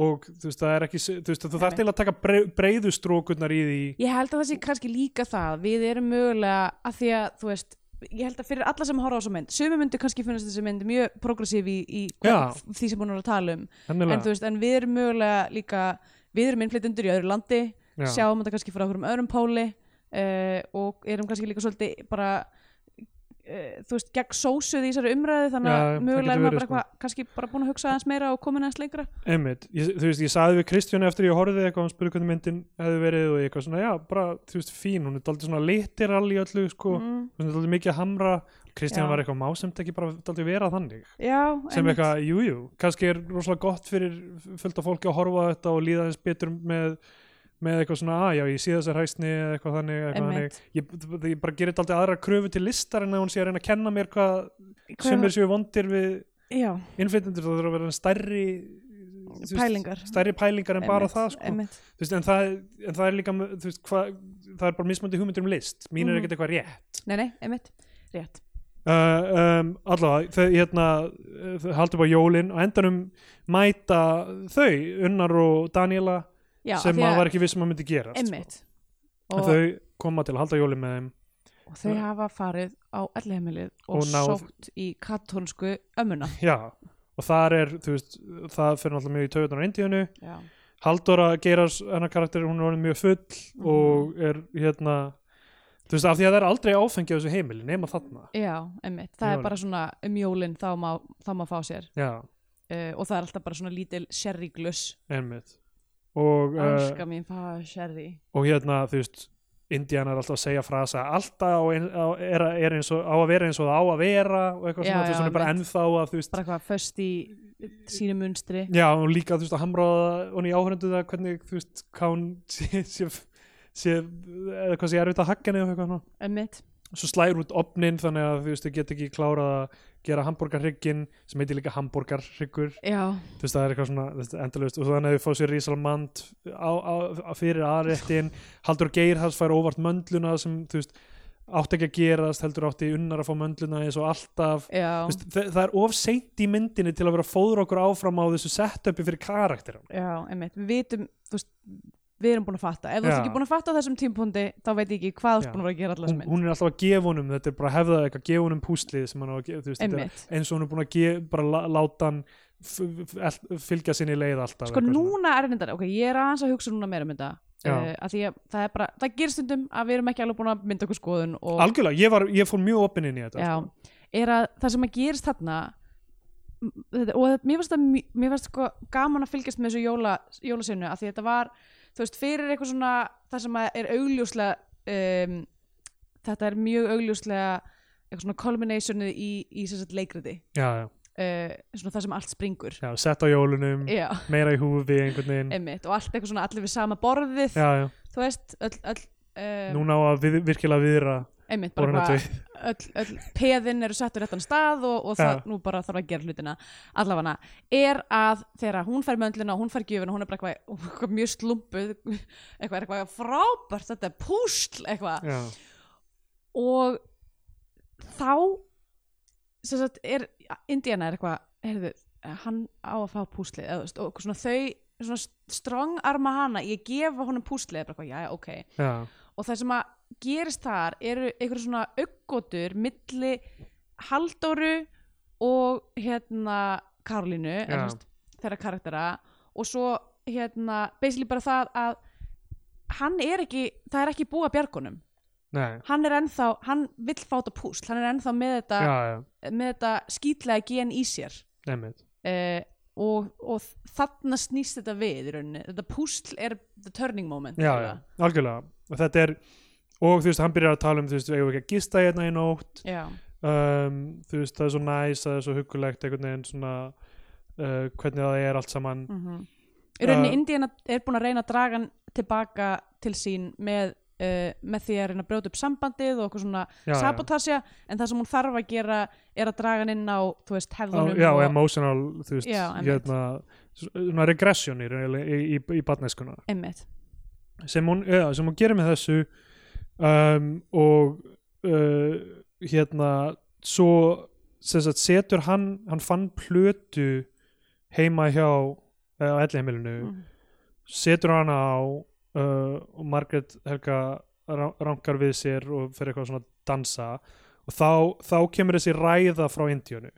B: og þú veist það er ekki s- þú veist þú
A: Einmitt.
B: þarf til að taka brei, breiðu strókurnar í því
A: ég held að það sé kannski líka það við erum mögulega, að því að þú veist ég held að fyrir alla sem horfa á þessu mynd sumi myndu kannski finnast þessi mynd mjög progressív í, í
B: Já.
A: hvað, því sem hún er að tala um en, þú
B: Hennilega,
A: veist, en við erum mögulega líka við erum innflytjendur í öðru landi
B: Já.
A: sjáum þetta kannski frá okkur um öðrum póli uh, og erum kannski líka svolítið bara uh, þú veist, gegn sósuð í þessari umræðu þannig
B: Já,
A: að
B: það
A: mögulega
B: getur
A: er
B: verið,
A: maður bara
B: sko.
A: eitthvað kannski bara búin að hugsa aðeins meira og komin aðeins lengra
B: einmitt ég, þú veist, ég saði við Kristján eftir ég horfði eitthvað hann spurði hvernig myndin hefði verið og ég eitthvað svona, já, bara, þú veist, fín hún er daldið svona literal í öllu, sko
A: mm,
B: hún er daldið mikið að hamra Kristján
A: Já.
B: var eitthvað másemt ekki bara daldið vera þannig
A: já,
B: sem
A: einmitt.
B: eitthvað, jújú, jú, kannski er rosalega gott fyrir fullt af fólki að horfa á þetta og líða þess betur með með eitthvað svona, að já, ég sé þessar hæsni eða eitthvað þannig, eitthvað
A: Einmitt.
B: þannig. Ég, ég bara gerir þetta aðra kröfu til listar en að hún sé að reyna að kenna mér hvað
A: Hvað-
B: sem er séu vondir við
A: já,
B: innflytjendur það þurfa að vera stærri þú veist,
A: Pælingar.
B: stærri pælingar en bara
A: einmitt,
B: það sko.
A: einmitt.
B: Þú veist, en, það, en það er líka þú veist, hva, það er bara mismöndi hugmyndir um list mín er
A: Mhm.
B: ekkert eitthvað rétt
A: nei, nei, einmitt, rétt
B: Uh, um, allavega, þau hérna uh, þau haldur bara jólin og endanum mæta þau Unnar og Daniela
A: já, af
B: sem
A: því
B: maður
A: að-
B: var ekki viss um að myndi gerast
A: einmitt
B: sko. En
A: og,
B: þau koma til að halda jólin með þeim
A: og þau hafa farið á ellheimilið og,
B: Og náð-
A: sótt í kattónsku ömmuna
B: já, og þar er, þú veist það fyrir náttúrulega mjög í taugunar á Indíunu
A: já,
B: Halldóra Geiras, hennar karakter hún er orðin mjög full
A: Mhm.
B: og er hérna þú veist, af því að það er aldrei áfengi á þessu heimili, nema þarna
A: já einmitt, það
B: Jólin.
A: er bara svona um jólin þá má, þá má fá sér
B: já,
A: uh, og það er alltaf bara svona lítil sherry glöss
B: einmitt og uh,
A: anska mín fá sherry
B: og hérna þú veist Indiana er alltaf að segja frasa alltaf á ein, á, er, er eins og á að vera eins og það á að vera og eitthvað
A: Já,
B: svona, þú veist,
A: já,
B: hún er bara
A: einmitt.
B: ennþá að þú veist,
A: bara hvað, föst í sínu munstri
B: já, og líka þú veist að hamraða hún í áhörundu það hvernig þú veist, hvað hún sé, sé, sé eða hvað sé erfitt að hagga niður eitthvað svona,
A: einmitt,
B: svo slæður út opnin þannig að þú veist, þau get ekki klárað að gera hambúrgarhrygginn, sem heitir líka hambúrgarhryggur,
A: já,
B: þú veist, það er eitthvað svona þú veist, endalaust, og þannig að þau fá sér rísalmand á, á, á fyrir aðréttin Haldur Geirhals fær óvart möndluna sem, þú veist, átti ekki að gerast heldur átti unnar að fá möndluna eins og alltaf
A: já,
B: Þú veist, það, það er of seint í myndinni til að vera að fóður okkur áfram á þessu setupi fyrir karakterum
A: já, einmitt við vitum, þú veist við erum búin að fatta, ef þú
B: Já.
A: ert ekki búin að fatta á þessum tímpúndi þá veit ég ekki hvað þú
B: Já.
A: ert búin að vera að gera allas
B: hún,
A: mynd
B: hún er alltaf að gefa honum, þetta er bara að hefða eitthvað gefa honum púslið sem hann á að gefa þú veist, þetta
A: einmitt,
B: er eins og hún er búin að gefa, bara lá- láta hann f- f- el- fylgja sinni leið alltaf
A: sko
B: eitthvað svona.
A: núna er reyndar ok, ég er aðeins að hugsa núna meira um þetta
B: Já.
A: uh, að því að það er bara, það gerir stundum að við erum ekki alveg búin að mynda okkur skoðun og
B: algjörlega, ég, var, ég fór mjög opinn inn í þetta
A: já,
B: sko.
A: er að það sem að gerist þarna m- þetta, og þetta- mér fannst það mj- mér fannst sko gaman að fylgjast með þessu jóla, jólasinu að því þetta var, þú veist, fyrir eitthvað svona það sem að er augljóslega um, þetta er mjög augljóslega eitthvað svona culminationið í, í sem sagt leikriti
B: já, já,
A: uh, svona það sem allt springur
B: já, sett á jólunum
A: já,
B: meira í húfi einhvern veginn
A: einmitt, og allt eitthvað svona allir við sama borðið,
B: já, já.
A: þú veist öll, öll um,
B: núna á að við, virkilega viðra
A: einmitt, bara
B: borðan
A: hvað
B: að tvei
A: öll, öll peðin eru settur réttan stað og, og það, nú bara þarf að gera hlutina allafana, er að þegar hún fær möndluna og hún fær gjöfuna, hún er bara eitthvað, eitthvað mjög slumpuð eitthvað, er eitthvað frábært, þetta er púsl eitthvað,
B: já,
A: og þá sem sagt, er Indiana er eitthvað, heyrðu, hann á að fá púslið, eða þú veist, og svona þau svona strong arma hana, ég gefa honum púslið, bara eitthvað, já, ok
B: já,
A: og það sem að gerist þar eru einhverjum svona auggotur milli Halldóru og hérna Karolínu eða
B: Já.
A: sem sagt, þeirra karaktera og svo hérna basically bara það að hann er ekki, það er ekki búið að bjargunum
B: nei
A: hann er ennþá, hann vill fá þetta púsl hann er ennþá með þetta,
B: já, já,
A: með þetta skýtlega gen í sér
B: nefnir
A: eh, og, og þarna snýst þetta við í rauninni, þetta púsl er the turning moment
B: já, já,
A: eiginlega.
B: algjörlega og þetta er og þú veist, hann byrjar að tala um þú veist, við eigum ekki að gista hérna í nótt
A: já,
B: um, þú veist, það er svo næs það er svo huggulegt einhvern veginn svona uh, hvernig það er allt saman
A: mm Í rauninni
B: Uh,
A: Indiana er búin að reyna að draga hann tilbaka til sín með, uh, með því að reyna að brjóta upp sambandið og okkur svona
B: já, já,
A: sabotasja en það sem hún þarf að gera er að draga hann inn á, þú veist,
B: Á,
A: hefðunum
B: já
A: og,
B: emotional, þú veist
A: Já, einmitt.
B: hérna, svona regression í, í, í, í, í barneskuna
A: einmitt,
B: sem hún, ja, sem hún gerir með þessu um, og uh, hérna svo sem sagt, setur hann hann fann plötu heima hjá eða á ellheimilinu
A: Mhm.
B: setur hann á uh, og Margrét Helga ra- rankar við sér og fer eitthvað svona að dansa og og þá, þá kemur þessi ræða frá Indíunu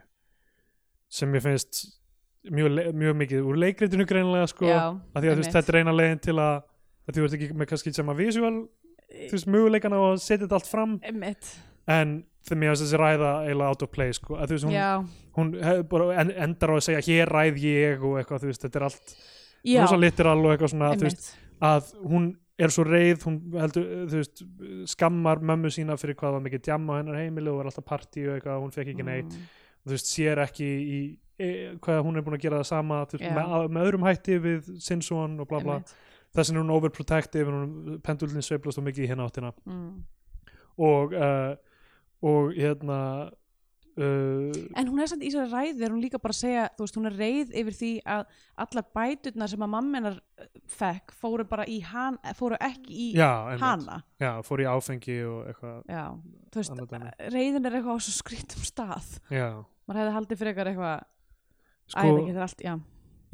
B: sem ég finnst mjög, le- mjög mikið úr leikritinu greinlega sko,
A: Já,
B: að því að þú veist,
A: einmitt.
B: þetta er eina leiðin til að, að þú ert ekki með kannski sem að visual þú veist, möguleikan á að setja þetta allt fram
A: Einmitt.
B: en þegar mér finnst þessi ræða eiginlega out of play sko, að þú veist, hún,
A: Já,
B: hún hef- bara en, endar á að segja hér ræð ég og eitthvað, þú veist, þetta er allt
A: já,
B: rosa literal og eitthvað svona, þú veist,
A: einmitt.
B: að hún er svo reið, hún heldur, þú veist skammar mömmu sína fyrir hvað var mikið djamma á hennar heimili og var alltaf partí og eitthvað hún fekk ekki neitt,
A: Mm.
B: þú veist, sér ekki í e, hvað hún er búin að gera það sama þú veist,
A: Já.
B: með, að- með öðrum hætti við Sinsuan og bla bla,
A: Einmitt.
B: þess vegna er hún overprotective hún pendulin sveiflast og mikið í hérna áttina
A: Mm.
B: og uh, og hérna uh,
A: En hún er samt í þessari ræði er hún líka bara að segja, þú veist, hún er reið yfir því að allar bæturnar sem að mammenar fekk fóru bara í hann, fóru ekki í
B: já, einmitt,
A: hana.
B: já, fór í áfengi og eitthvað
A: Já, þú veist,
B: annað dæmi.
A: reiðin er eitthvað á svo skrítum stað.
B: já,
A: Maður hefði haldið fyrir eitthvað eitthvað, sko, æði
B: sko,
A: ekki, það er allt, já.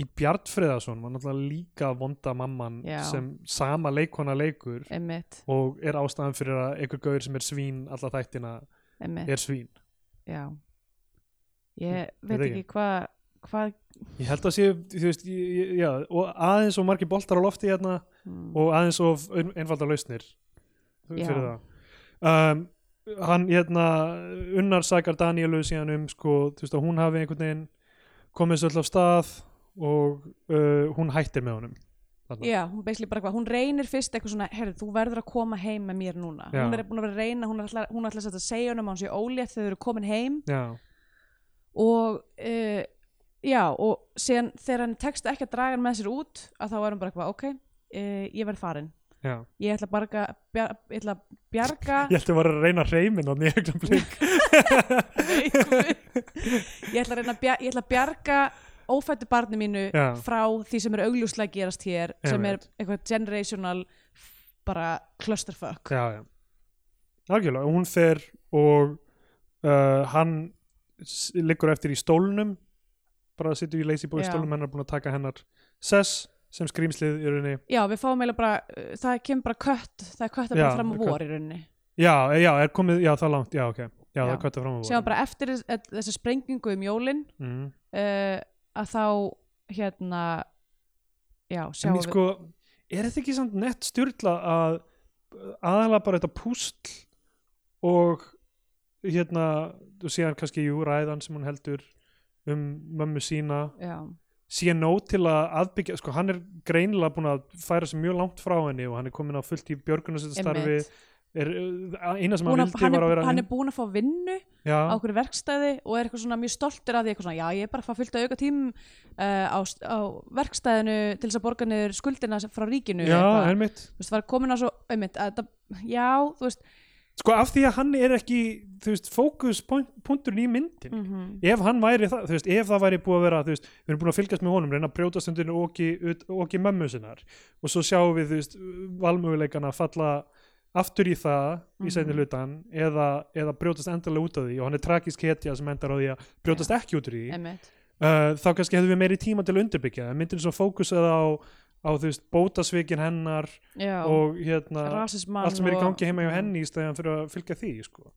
B: í Bjartfriðarsson var náttúrulega líka vonda mamman
A: Já.
B: sem sama leikona leikur
A: Emmitt,
B: og er ástæðan fyrir að einhver gaur sem er svín alla þættina
A: emmitt,
B: er svín
A: já. Ég veit
B: veit
A: ekki hvað, hvað,
B: ég held að sé, þú veist, ég, ég, já og aðeins og margir boltar á lofti hérna
A: mm,
B: og aðeins og einfaldar lausnir
A: Já.
B: fyrir það um, hann hérna unnar sækar Danielu síðan um sko, þú veist að hún hafi einhvern veginn komið svo öll af stað og uh, hún hættir með honum þarna.
A: já, hún beislega bara hvað, hún reynir fyrst eitthvað svona, herrðu, þú verður að koma heim með mér núna.
B: Já.
A: Hún er búin að vera að reyna, hún ætlar, hún ætlar sem sagt að segja honum að hún sé ólétt þegar þau eru komin heim
B: já,
A: og uh, já og síðan þegar hann tekst ekki að draga hann með sér út að þá er hann bara eitthvað ok, uh, ég verð farin
B: já
A: ég ætla að barga, bjar, ég ætla að bjarga
B: ég ætti að vera að reyna reymin á nýjögnum blik
A: ég ætla að reyna að bjarga, ég ætla að bjarga ófættu barni mínu
B: Já.
A: frá því sem er augljóslega að gerast hér sem er
B: Einmitt.
A: eitthvað generational bara clusterfuck
B: já, já algjörlega, hún fer og uh, hann s- liggur eftir í stólnum bara að sitja í lazy boy
A: Já.
B: stólnum hennar búin að taka hennar sess sem skrýmslið í rauninni
A: já, við fáum eiginlega bara, uh, það kemur bara kött það er kött að
B: Já,
A: bara fram á
B: kött.
A: vor í rauninni
B: já, eh, já, er komið, já, það langt, já, ok já, það
A: Já.
B: er kvæta fram á
A: sem bara eftir þess- eh, þessa sprengingu um jólin
B: mm.
A: uh, að þá hérna já, sjáum
B: en sko, er þetta ekki samt nett styrla að aðalega bara þetta púsl og hérna og síðan kannski jú ræðan sem hún heldur um mömmu sína
A: við já,
B: sé nóg til að aðbyggja sko hann er greinilega búin að færa sig mjög langt frá henni og hann er komin á fullt í björgunarstarfi
A: einmitt.
B: er, uh, eina sem hann
A: Búin að,
B: vildi
A: hann,
B: var
A: er,
B: að vera
A: hann er búin að fá vinnu
B: já,
A: á okkur verkstæði og er eitthvað svona mjög stoltur af því eitthvað svona, já ég er bara að fá fullt að auka tím uh, á, st- á verkstæðinu til þess að borga niður skuldina sem- frá ríkinu
B: já,
A: eitthvað.
B: einmitt
A: þú veist, var komin að svo einmitt, að, það- já, þú veist
B: sko af því að hann er ekki þú veist, fókuspunkturinn í myndin
A: mm
B: ef hann væri það, þú veist, ef það væri búið að vera þú veist, við erum búin að fylgjast með honum, reyna að brjóta stundinu oki, oki mömmu sinnar og svo sjáum við, þú veist, valmöguleikana falla aftur í það í seinni
A: Mhm.
B: hlutan eða, eða brjótast endalega út af því og hann er tragisk hetja sem endar á því að brjótast ekki út af því
A: einmitt
B: uh, þá kannski hefðum við meiri tíma til að undirbyggja en myndin svo fókusaði á, á þú veist, bótasvikin hennar
A: já,
B: og hérna,
A: rasismann
B: allt sem er í
A: og-
B: gangi heima hjá henni í stæðan fyrir að fylgja því, sko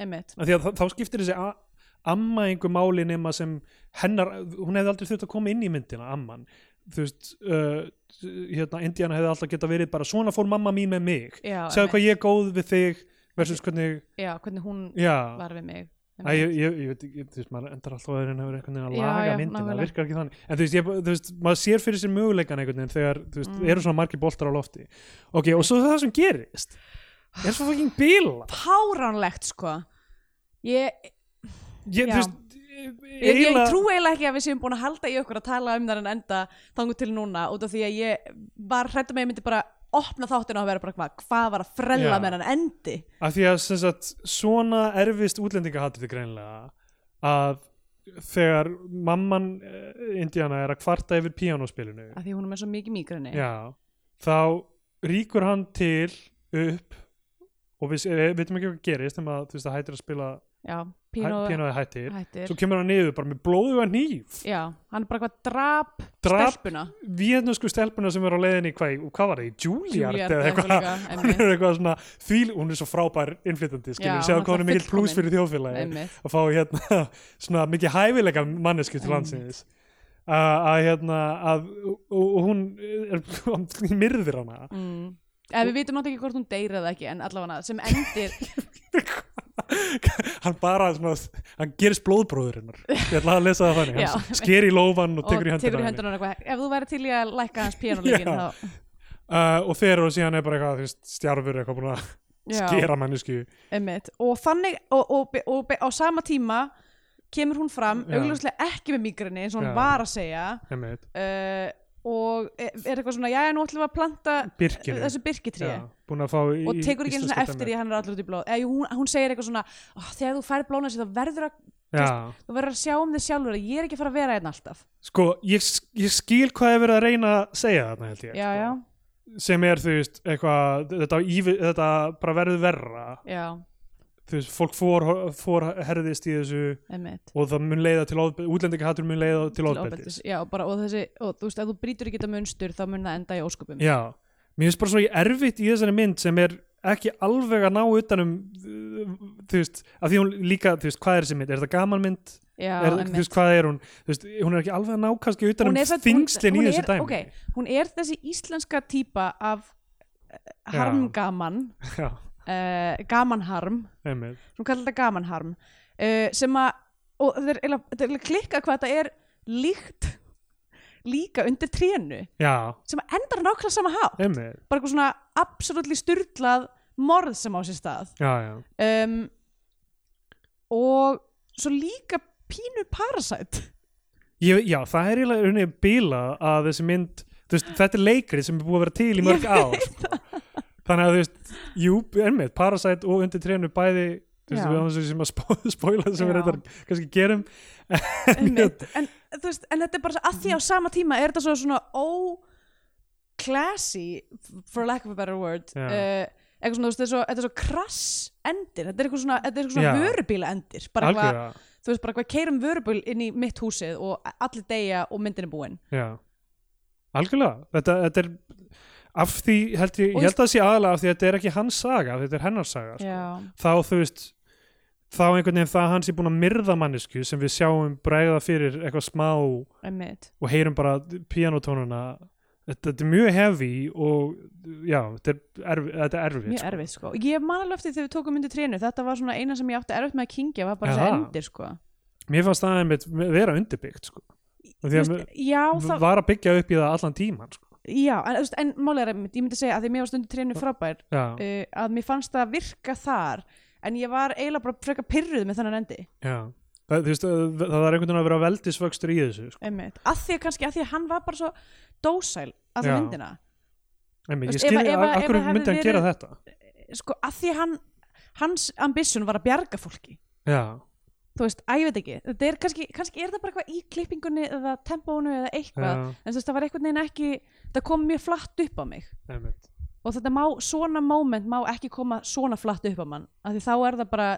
A: einmitt,
B: af því að þá- þá skiptir þessi a- amma einhver máli nema sem hennar, hún hefði aldrei þurft að koma inn í myndina amman, þú veist uh, hérna, Indiana hefði alltaf geta verið bara svona fór mamma mín með mig
A: já, einmitt.
B: segðu hvað ég er góð við þig versus hvernig,
A: já, hvernig hún
B: já
A: var við mig
B: Æ, ég, ég, ég veit ekki, þú veist, maður endar alltaf að reyna að vera einhvern veginn að
A: Já,
B: laga
A: já,
B: myndina, það
A: nákvæmlega.
B: virkar ekki þannig en þú veist, ég, þú veist, maður sér fyrir sér möguleikan einhvern veginn þegar, þú veist,
A: Mm.
B: eru svona margir boltar á lofti ok, og svo það sem gerist er svo fucking bíla
A: páránlegt sko ég,
B: ég,
A: Já.
B: þú veist,
A: ég, ég
B: eiginlega-
A: trú eiginlega ekki að við séum búin að halda í okkur að tala um þar en enda þangu til núna út af því að ég var hrættum að ég myndi bara opna þáttina og vera bara hvað, hvað var að frella
B: Já.
A: með hann endi
B: Af því að sem sagt, svona erfist útlendingahatrið greinlega að þegar mamman eh, Indiana er að kvarta yfir píanóspilinu
A: af því hún er með svo mikið mýgrinni
B: já, þá ríkur hann til upp og við eh, veitum ekki hvað gerist þegar maður þú veist, það hættir að spila
A: já, Pino, Pino
B: píanoði hættir
A: hættir
B: svo kemur hann niður bara með blóðu að nýf
A: já, hann er bara hvað drap,
B: Drap-
A: stelpuna
B: vietnösku stelpuna sem er á leiðinni í hvað, hvað var það, í Juilliard
A: Juilliard
B: eða
A: eða
B: eitthvað,
A: eitthvað líka,
B: hún er eitthvað svona því, hún er svo frábær innflytandi
A: Já,
B: skilur, segja
A: hún er
B: hvað hún er mikill
A: fullkomin.
B: plús fyrir þjóðfélagi
A: Einmitt.
B: að fá hérna svona mikið hæfilega mannesku til landsins að að, hérna að og- og hún er, hún myrðir hana
A: mm. eða við vitum náttúrulega ekki hvort hún deyr eða ekki en allavega sem endir
B: hann bara svona, hann gerist blóðbróður hennar ég ætla að lesa það þannig,
A: Já.
B: hann sker í lófan og
A: og
B: tekur í hendina á henni.
A: hendunar eitthvað ef þú væri til í að lækka hans píanóleikin
B: Já.
A: þá
B: uh, og þeir eru síðan er bara eitthvað þú veist, stjarfur eitthvað búin að
A: Já.
B: skera mannesku
A: Einmitt. og þannig og, og, og, og á sama tíma kemur hún fram
B: Já.
A: augljóslega ekki með migrini eins og hún
B: Já.
A: var að segja
B: einmitt,
A: uh, og er er eitthvað svona já, nú ætlum við að planta
B: Birkinu.
A: þessu birkitrí
B: Já, búin að fá í,
A: og tekur ekki einu
B: íslenska
A: svona eftir því
B: dæmi.
A: að hann er allur út í blóð eða jú, hún, hún segir eitthvað svona "Ó, þegar þú fær blóna sér þá verður að
B: Já.
A: þú verður að sjá um þig sjálfur að ég er ekki að fara að vera einn alltaf
B: sko, ég, ég skil hvað er verið að reyna að segja þarna held ég
A: já, já,
B: sko. sem er þú veist eitthvað, þetta, ívi, þetta bara verður verra
A: já,
B: þú veist, fólk fór, fór herðist í þessu
A: einmitt
B: og það mun leiða til ofbeldis útlendingahatur mun leiða til
A: Til
B: ofbeldis
A: ofbeldis. já, bara, og, þessi, og þú veist, ef þú brýtur ekki þetta munstur þá mun það enda í ósköpum
B: já, mér finnst bara svo erfitt í þessari mynd sem er ekki alveg að ná utanum uh, þú veist, af því hún líka þú veist, hvað er þessi mynd, er þetta gaman mynd
A: já
B: er, þú
A: einmitt.
B: veist, hvað er hún, þú veist, hún er ekki alveg að ná kannski
A: Hún
B: utanum
A: er samt- hún-
B: þingslin í
A: hún
B: þessu
A: er-
B: dæmi
A: ok, hún er þessi íslenska típa af eh,
B: Já.
A: harmgaman
B: já,
A: uh, gamanharm
B: einmitt
A: hún kallar þetta gamanharm uh, sem að og þetta er eiginlega- þetta er eiginlega klikkað hvað þetta er líkt líka undir trénu
B: Já,
A: sem að endar á nákvæmlega sama hátt
B: einmitt,
A: bara eitthvað svona absolutt styrlað morð sem á sér stað
B: já, já,
A: um, og svo líka pínu parasæt
B: ég, já það er eiginlega unni bíla að þessi mynd þú veist, þetta er leikrið sem er búið að vera til í mörg ár sko. þannig að þú veist jú, einmitt, Parasite og undir trénu bæði þú veist,
A: Já.
B: við erum þessu sem að spó- spóla sem við
A: Já.
B: reyndar kannski gerum
A: Einmitt. en, þú veist, en þetta er bara svo- að því á sama tíma er þetta svo svona ó-classy for lack of a better word
B: Já.
A: uh, eitthvað svona, þú veist, þetta er svo, þetta er svo krass endir, þetta er eitthvað svona, þetta er eitthvað svona
B: Já.
A: vörubíla endir, bara eitthvað,
B: algjörða,
A: þú veist, bara eitthvað keirum vörubíl inn í mitt húsið og allir deyja og myndin er búin
B: já algjörlega, þetta, þetta er af því, held ég,
A: Og
B: ég held að sé aðalega af því að þetta er ekki hans saga, þetta er hennar saga sko.
A: Já,
B: þá þú veist þá einhvern veginn það að hann sé búin að myrða mannesku sem við sjáum bregða fyrir eitthvað smá
A: einmitt
B: og heyrum bara píanótónuna þetta, þetta er mjög heavy og já, þetta er erfið, þetta er erfið
A: Mjög erfið sko, ég man alveg eftir þegar við tókum myndi trénu, þetta var svona eina sem ég átti erfitt með að kingja, var bara þessi
B: Jaha.
A: endir sko
B: Sko. mér fannst það einmitt vera undirbyggt sko. og því að
A: Þú veist, Já,
B: það...
A: það,
B: var að byggja upp í það allan tíman sko.
A: já, en, þú veist, en málega er einmitt, ég myndi segja að því mér var stundu trénu frábær
B: já,
A: uh, að mér fannst það virka þar en ég var eiginlega bara frekar pyrruð með þennan endi
B: já Það, þú veist, það það er einhvern veginn að vera veldisvöxtur í þessu sko.
A: einmitt, að því að kannski, að því að hann var bara svo dósæl að því
B: Já.
A: myndina
B: Einmitt,
A: Þú
B: ég
A: veist, ef
B: skil
A: að- ef að- ef
B: af hverju
A: að hefði
B: myndi hann
A: verið-
B: gera þetta
A: sko, að því að hann hans ambisjón var að bjarga fólki
B: já,
A: þú veist, að ég veit ekki, þetta er kannski, kannski er það bara eitthvað í klippingunni eða tempónu eða
B: já,
A: eitthvað, en þú veist, það var eitthvað neina ekki það kom mjög flatt upp á mig
B: einmitt
A: og þetta má, svona moment má ekki koma svona flatt upp á mann, af því þá er það bara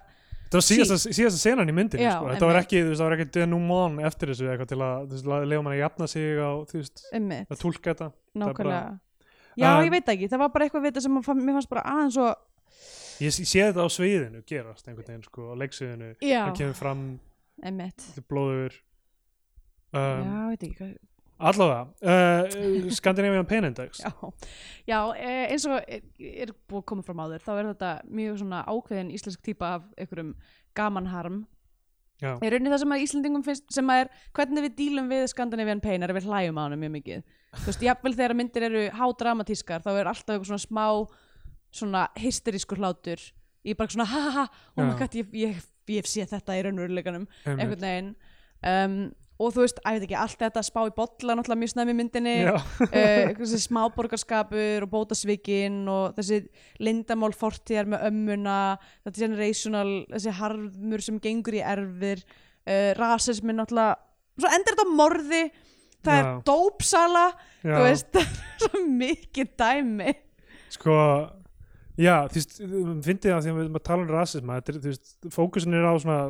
B: þetta var síðasta, síðasta senan í myndinni
A: Já,
B: sko. þetta var
A: einmitt.
B: ekki, þú veist, það var ekki denúmón eftir þessu eitthvað til að, þú veist, lega mann að jafna sig á, þú veist,
A: einmitt
B: að túlka þetta er bara-
A: nákvæmlega já,
B: Um,
A: ég veit það ekki, það var bara eitthvað við þetta sem að fann- mér fannst bara aðeins og
B: Ég sé- sé þetta á sviðinu gerast einhvern veginn sko, á leiksviðinu
A: já,
B: hann kemur fram
A: einmitt
B: til blóður um,
A: já, veit ekki hvað
B: allavega uh, Skandinavian Penindex
A: já, já eh, eins og er, er búið að koma fram áður þá er þetta mjög svona ákveðin íslensk típa af einhverjum gamanharm
B: Já.
A: er raunin það sem að Íslendingum finnst sem að er hvernig við dílum við Skandinavian Pain er að við hlæjum á hana mjög mikið þú veist, jafnvel þegar myndir eru hádramatískar þá er alltaf eitthvað svona smá svona hysterískur hlátur ég er bara svona ha ha ha, oh my
B: Já.
A: god, ég, ég, ég sé þetta í raunveruleikanum
B: Einmitt.
A: einhvern veginn um, og þú veist, að ég veit ekki, allt þetta spá í bolla náttúrulega mjög snæmi myndinni
B: Já,
A: uh, þessi smáborgarskapur og bótasvikin og þessi lindamál fortíðar með ömmuna þetta generational, þessi harmur sem gengur í erfir uh, rasismin náttúrulega, svo endur þetta á morði það er
B: Já.
A: dópsala
B: já.
A: þú veist, það er svo mikið dæmi
B: sko um já, þú veist, fyndið það því að við erum að tala um rasisma þetta er, þú veist, fókusin er á svona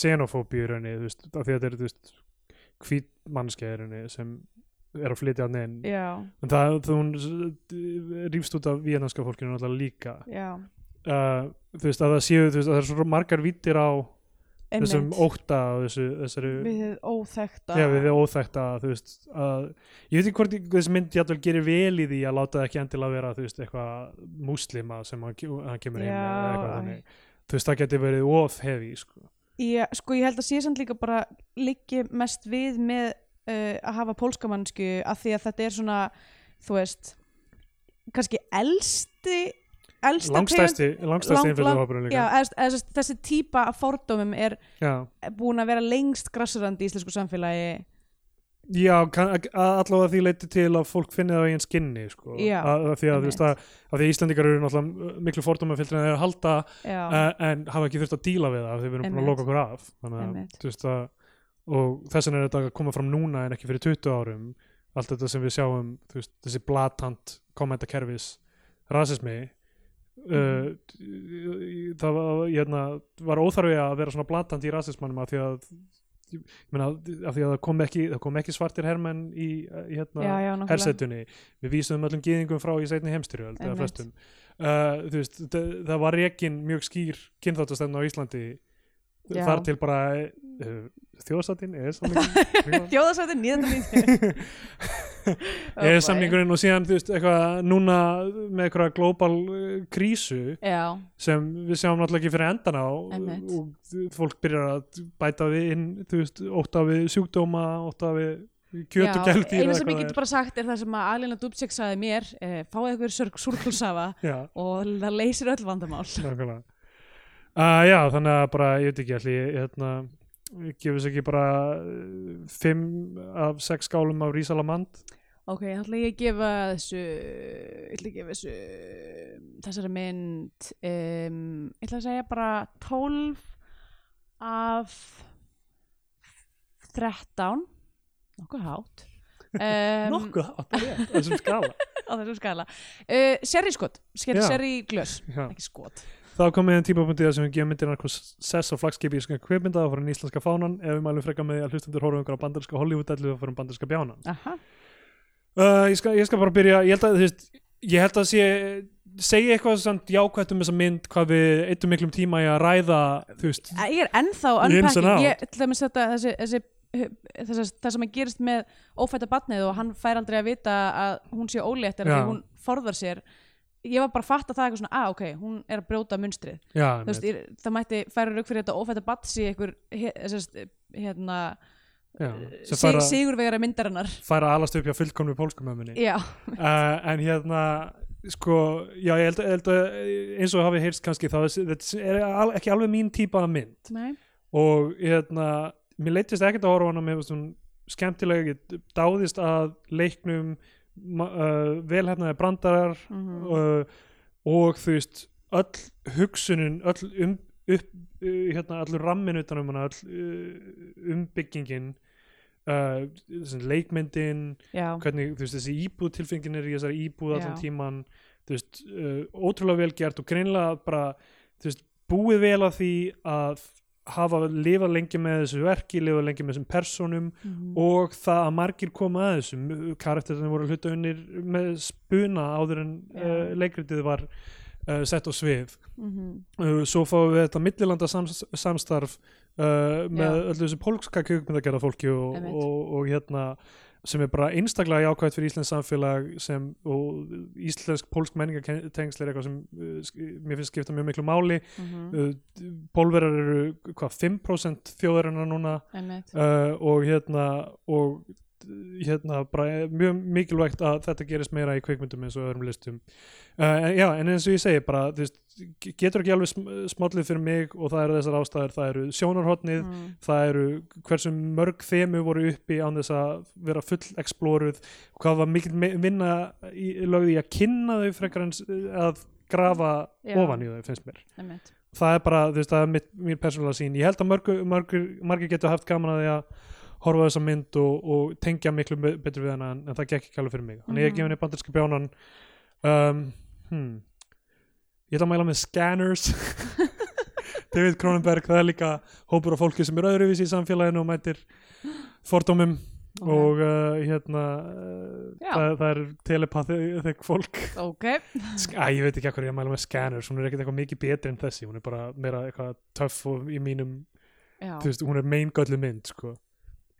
B: xenofóbíu í rauninni, þú veist, af því að þetta eru, þú veist, hvít mannskja í rauninni sem er að flytja að neginn.
A: já,
B: En það, þú, hún rýfst út af vietnamska fólkinu náttúrulega líka.
A: já
B: Uh, þú veist, að það séu, þú veist, að það eru svo margar vítir á þessum
A: einmitt.
B: ókta og þessu, þessari,
A: við þið óþekta
B: já, við þið óþækta, þú veist, að, ég veit ekki hvort í- þessi mynd jafnvel gerir vel í því að láta það ekki endilega vera, þú veist, eitthvað múslima sem hann, ke- hann kemur heim með eða eitthvað
A: Já, æ.
B: þannig. Þú veist, það geti verið of hefi, sko.
A: Ég, sko ég held að sé samt líka bara liggi mest við með uh, að hafa pólska mannsku að því að þetta er svona, þú veist kannski elsti elsta tegund-
B: Langstæsti,
A: lang-
B: langstæsti innfjöldahópurinn
A: já,
B: líka.
A: eða, eða, þessi- þessi típa af fórdómum er
B: Já,
A: búin að vera lengst grassurandi í íslensku samfélagi
B: já kann, að- að allavega því leiti til að fólk finni það á einn skinni, sko.
A: Já,
B: að, að því að, þú veist, að, að því að Íslendingar eru náttúrulega miklu fordómafylltir en þeir eru að halda
A: já,
B: uh, en hafa ekki þurft að díla við það af því við erum búin að
A: Einmitt.
B: loka okkur af þannig að,
A: Einmitt.
B: þú veist að og þess vegna er þetta að koma fram núna en ekki fyrir 20 árum allt þetta sem við sjáum þú veist, þessi blatant kommentakerfis rasismi uh,
A: Mhm.
B: það var, hérna, var óþarfi að vera svona blatant í rasismannum af því að ég meina, af því að það kom ekki, það kom ekki svartir hermenn í, í hérna,
A: já, já, nákvæmlega.
B: hersetunni við vísum öllum gyðingum frá í seinni heimstyrjöld eða
A: Einmitt.
B: flestum uh, þú veist, þa- það var rekin mjög skýr kynþáttastefna á Íslandi
A: Já.
B: þar til bara uh, þjóðsatinn eða samlingurinn
A: Þjóðarsæti 1990 Oh
B: eða
A: boy.
B: samlingurinn og síðan þú veist, eitthvað núna með eitthvað global uh, krísu
A: Já,
B: sem við sjáum náttúrulega ekki fyrir endan á
A: Einmitt.
B: og fólk byrjar að bæta við inn, þú veist, ótta við sjúkdóma, ótta við kjöt og
A: já,
B: gældi
A: eina sem ég getur bara sagt er það sem að Alina Dubček sagði mér eh, fáið eitthvað sörg súrkulsafa
B: Já,
A: og það leysir öll vandamál
B: Nákvæmlega. Uh, já, þannig að bara, ég veit ekki, ætli, ég, hérna, gefur sér ekki bara uh, fimm af sex skálum af Rísalamand.
A: ok, þá ætla ég að gefa þessu ég ætla að gefa þessu þessari mynd um, ég ætla að segja bara 12 af 13 nokkuð hátt um,
B: Nokkuð átt að vera, þessum skala.
A: á þessum skala uh, serískot,
B: Já.
A: seri glös
B: Já.
A: ekki skot
B: Þá komið einn típapunktið þar sem við gefum myndirna hvað sess og flagskipi í sköngu kveipmynda og fyrir en íslenska fánan ef við mælum frekka með því að hlustendur horfum ykkur á bandarinska Hollywood-ellu og fyrir bandarinska bjánan.
A: Aha.
B: Uh, ég, skal, ég skal bara byrja, ég held að, þú veist, ég held að sé, segja eitthvað samt jákvætt um þessa mynd hvað við eittum miklum tíma í að ræða, þú veist,
A: Æ, ég er ennþá
B: Ins and
A: unpacking
B: out.
A: ég, til dæmis þetta, þessi, þessi Þess, það sem að gerist með ófætta batnið og hann fær aldrei að vita að hún sé ólétt er að
B: Já.
A: því hún forðar sér ég var bara að fatta það eitthvað svona að ok, hún er að brjóta munstrið
B: já,
A: Þú veist, ég, það mætti færa rauk fyrir þetta ófætta batn sé einhver he, sest, hérna,
B: já, sem
A: sig,
B: fara-
A: sigurvegara myndarinnar
B: fær að alast upp hjá fullkomnu pólskumömmunni
A: já,
B: uh, en hérna sko, já ég held, held að eins og hafi heyrst kannski þá er- þetta er al, ekki alveg mín típa af mynd
A: nei,
B: og hérna, mér leittist ekkert að horfa á hana mér fannst hún skemmtilega ég dáðist að leiknum ma- uh, velhefnaði brandarar
A: Mhm.
B: uh, og þú veist öll hugsunin öll um, upp, uh, hérna, allur rammin utan um hana öll uh, umbyggingin uh, þessi leikmyndin
A: já,
B: hvernig, þú veist, þessi íbúð tilfengin er í þessari íbúð allan
A: Já.
B: tíman þú veist, uh, ótrúlega vel gert og greinlega bara, þú veist, búið vel að því að hafa lifað lengi með þessu verki, lifað lengi með þessum personum
A: Mhm.
B: og það að margir koma að þessum karakterinu voru hluta unnir með spuna áður en
A: Já.
B: uh, leikritið var uh, sett á svið
A: Mhm.
B: uh, svo fáum við þetta millilanda sams, samstarf uh, með
A: Já.
B: öllu þessu pólska kjökmyndagerða fólki og,
A: Einmitt.
B: og, og hérna sem er bara einstaklega jákvæmt fyrir íslensk samfélag sem, og íslensk pólsk menningatengsl er eitthvað sem uh, sk- mér finnst skipta mjög miklu máli
A: Mhm.
B: uh, pólverjar eru hvað 5% þjóðarinnar núna
A: Einmitt.
B: uh, og hérna og hérna bara mjög mikilvægt að þetta gerist meira í kveikmyndum eins og öðrum listum uh, en, já, en eins og ég segi bara þú veist, getur ekki alveg sm- smállið fyrir mig og það eru þessar ástæður, það eru sjónarhotnið
A: Mhm.
B: það eru hversu mörg þemu voru uppi án þess að vera full exploruð, hvað var mikil me- vinna í, lögði í að kynna þau frekar en s- að grafa
A: Já.
B: ofan í þau finnst mér
A: Einmitt.
B: það er bara, þú veist, það er mitt, mín persónulega sín ég held að mörgu, mörgu, margir getur haft gaman að því að horfa á þessa mynd og, og tengja miklu be- betur við hana en, en það gekk ekki alveg fyrir mig þannig ég
A: Mhm.
B: gef henni bandarinska bjánan um, hmm. ég ætla að mæla með Scanners David Cronenberg, það er líka hópur af fólki sem er öðruvísi í samfélaginu og mætir fordómum og uh, hérna uh,
A: Já.
B: það, það er telepathic fólk
A: ok,
B: Sk- Æ, ég veit ekki hvað ég að mæla með Scanners hún er ekkert eitthvað mikið betri en þessi hún er bara meira eitthvað töff og í mínum
A: já
B: þú veist, hún er meingöllu mynd sko.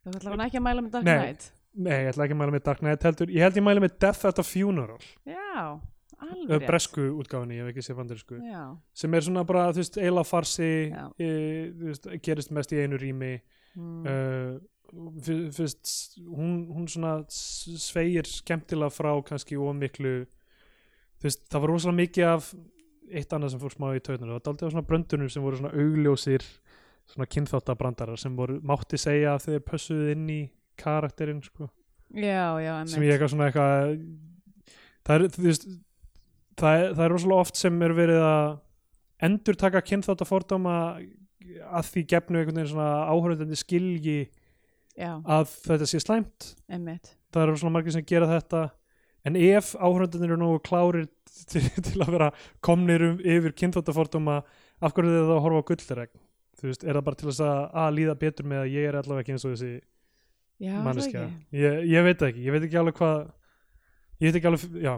A: þú ætlar hann ekki að mæla með Dark
B: Nei.
A: Knight
B: Nei, ég ætla ekki að mæla með Dark Knight heldur ég held ég mæla með Death at a Funeral
A: já, alveg
B: uh,
A: rétt.
B: bresku útgáfinni, ég hef ekki séð vandirsku
A: já,
B: sem er svona bara, þú veist, eila farsi
A: Já.
B: e, þú veist, gerist mest í einu rými
A: mm,
B: uh, fyr- fyrst s- hún, hún svona s- sveigir skemmtilega frá kannski ómiklu þú veist, það var rosalega mikið af eitt annað sem fór smá í tautunum það var daldið á svona bröndunum sem voru svona augljósir svona kynþáttabrandarar sem voru mátti segja að þeir pössuðu inn í karakterinn sko
A: já, já,
B: sem ég
A: emmitt
B: eitthvað svona eitthvað það er, þú veist það er, það er rosalega oft sem er verið að endur taka kynþátt að fordóma að því gefnu einhvern veginn svona áhörðandi skilji
A: já,
B: að þetta sé slæmt
A: emmitt
B: það eru svona margir sem gera þetta en ef áhörðandunir eru nógu klárir til, til að vera komnir um, yfir kynþáttafordóma af hverju þau þá að horfa á gullregn þú veist, er það bara til þess að, að líða betur með að ég er allavega ekki eins og þessi
A: já, er það
B: manneskja
A: ekki?
B: ég, ég veit það ekki, ég veit ekki alveg hvað ég veit ekki alveg, já,
A: já,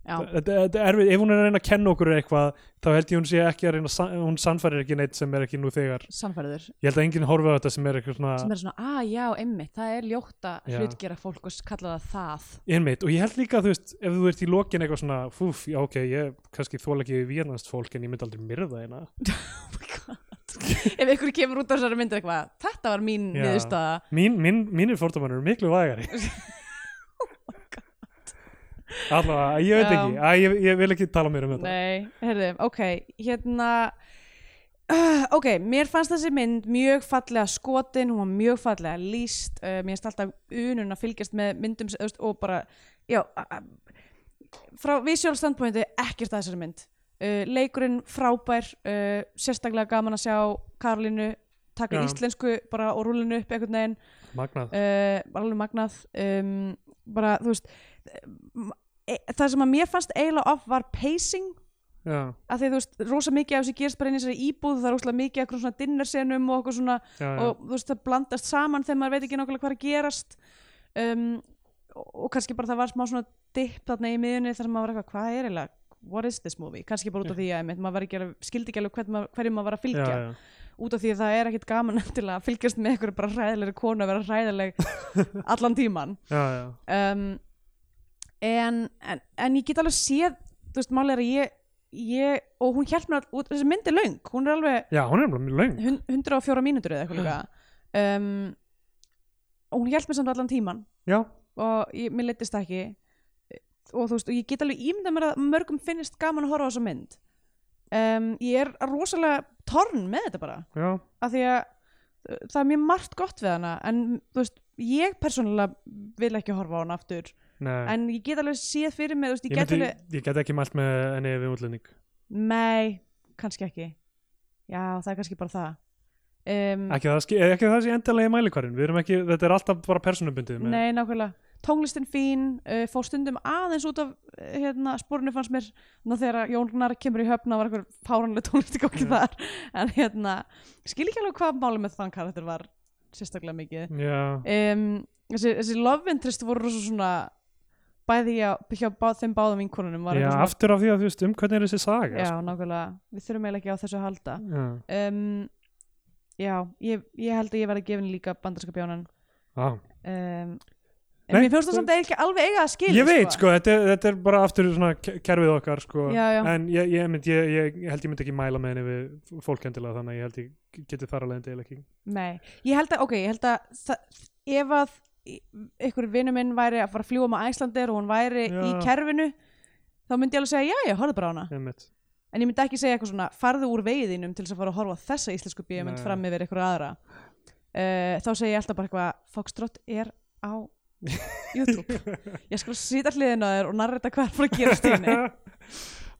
B: Þetta, þetta er erfið, ef hún er að reyna að kenna okkur eitthvað, þá held ég hún sé ekki að reyna að san- hún sannfærir ekki neitt sem er ekki nú þegar
A: samfæriður
B: ég held að enginn horfi á þetta sem er eitthvað
A: sem
B: svona
A: er svona, að já, emmitt, það er ljótt að
B: Ah. Já.
A: hlutgera fólk og s- kalla það það
B: innmitt og ég held líka, þú veist, ef þú ert í lokin eitthvað svona, fúf, já ok, ég kannski þóla ekki vénast fólk en ég myndi aldrei myrða hérna
A: ef ykkur kemur út á þessari myndu eitthvað þetta var mín
B: Já.
A: niðurstaða
B: mín, mín, mínir fordómar eru miklu vægari allavega, ég
A: Oh
B: veit
A: Já.
B: ekki að, ég, ég vil ekki tala mér um þetta
A: Nei, heyrðu, ok, hérna uh, ok, mér fannst þessi mynd mjög fallega skotin, hún var mjög fallega líst, uh, mér finnst alltaf unun að fylgjast með myndum sem- þú veist, og bara, já a- a- frá visual standpointi ekkert að þessari mynd uh, leikurinn frábær uh, sérstaklega gaman að sjá Karolínu taka
B: Já.
A: íslensku bara og rúlinu upp einhvern veginn
B: magnað,
A: uh, alveg magnað um, bara þú veist um, e, það sem að mér fannst eiginlega off var pacing
B: já,
A: að því þú veist, rosa mikið af þessu gerst bara inn í þessari íbúð, það er rosalega mikið af einhverjum svona dinnersenum og okkur svona
B: já, já.
A: og þú veist, það blandast saman þegar maður veit ekki nákvæmlega hvað er að gerast um, og, og kannski bara það var smá svona dipp þarna í miðunni þar sem maður var eitthvað, hvað er eiginlega what is this movie, kannski bara út af því að einmitt, maður var ekki alveg, skildi ekki alveg hvern maður- hverju maður var að fylgja
B: Mm. já, já.
A: út af því að það er ekkit gaman til að fylgjast með einhverju bara hræðilegri konu að vera hræðileg allan tíman
B: já, já.
A: um, en, en, en ég get alveg séð þú veist, máli er að ég, ég og hún hjælt mér all, út, þessi mynd er löng hún er alveg
B: Já, hún er alveg mjög löng.
A: hun- 104 mínútur eða eitthvað líka um, og hún hjælt mér samt allan tíman
B: Já,
A: og ég, mér leittist það ekki og þú veist, og ég get alveg ímynda mér að mörgum finnist gaman að horfa á þessa mynd um, ég er rosalega torn með þetta bara
B: já,
A: af því að uh, það er mjög margt gott við hana en þú veist, ég persónulega vil ekki horfa á hana aftur
B: nei.
A: en ég get alveg séð fyrir mig þú veist,
B: ég,
A: ég, get
B: myndi,
A: alveg,
B: ég get ekki mælt með henni við útlending.
A: nei, kannski ekki já, það er kannski bara það um,
B: Ekki það, ski- eh, ekki það sé endalega í mælikvarinn. Við erum ekki, þetta er alltaf bara personubundið. Með,
A: nei, nákvæmlega tónlistin fín, uh, fór stundum aðeins út af uh, hérna, spórinu fannst mér ná, þegar að Jón Gnar kemur í höfna var eitthvað fáranlega tónlist í gangi
B: Já.
A: þar en hérna, skil ekki alveg hvað máli með þann karakter var sérstaklega mikið
B: Já,
A: um, þessi, þessi love interest voru rosa svona bæði hjá, hjá bá, þeim báðum vinkonunum var
B: já
A: eitthvað
B: aftur af því að þú veist um hvernig er þessi saga.
A: já, nákvæmlega, við þurfum eiginlega ekki á þessu að halda
B: sko. já.
A: um, já, ég, ég held að ég verði að gefa henni líka bandarska bjánan
B: Ah.
A: um, en
B: Nei,
A: mér finnst
B: þú-
A: það samt eiginlega ekki alveg eiga að skilja
B: Ég veit, sko, þetta, er- þetta er bara aftur svona ke- kerfið okkar, sko.
A: já, já,
B: En ég, ég, mynd, ég, ég held ég myndi ekki mæla með henni við fólkendilega þannig að ég held ég geti þar alveg endilega ekki.
A: nei ég held að, ok, ég held að það, ef að í- einhver vinnu minn væri að fara að fljúa með Æslandir og hún væri í
B: Já.
A: kerfinu þá myndi ég alveg segja, já, já, horfðu bara á hana
B: Einmitt.
A: En ég myndi ekki segja eitthvað svona, farðu úr veiðinum til þess að fara að horfa á þessa íslensku bíómynd
B: Nei.
A: fram yfir eitthvað aðra. Uh, þá segi ég alltaf bara eitthvað, Foxtrot er á YouTube. ég skal sýta hliðin á þér og narrita hvað er fyrir að gera stíni.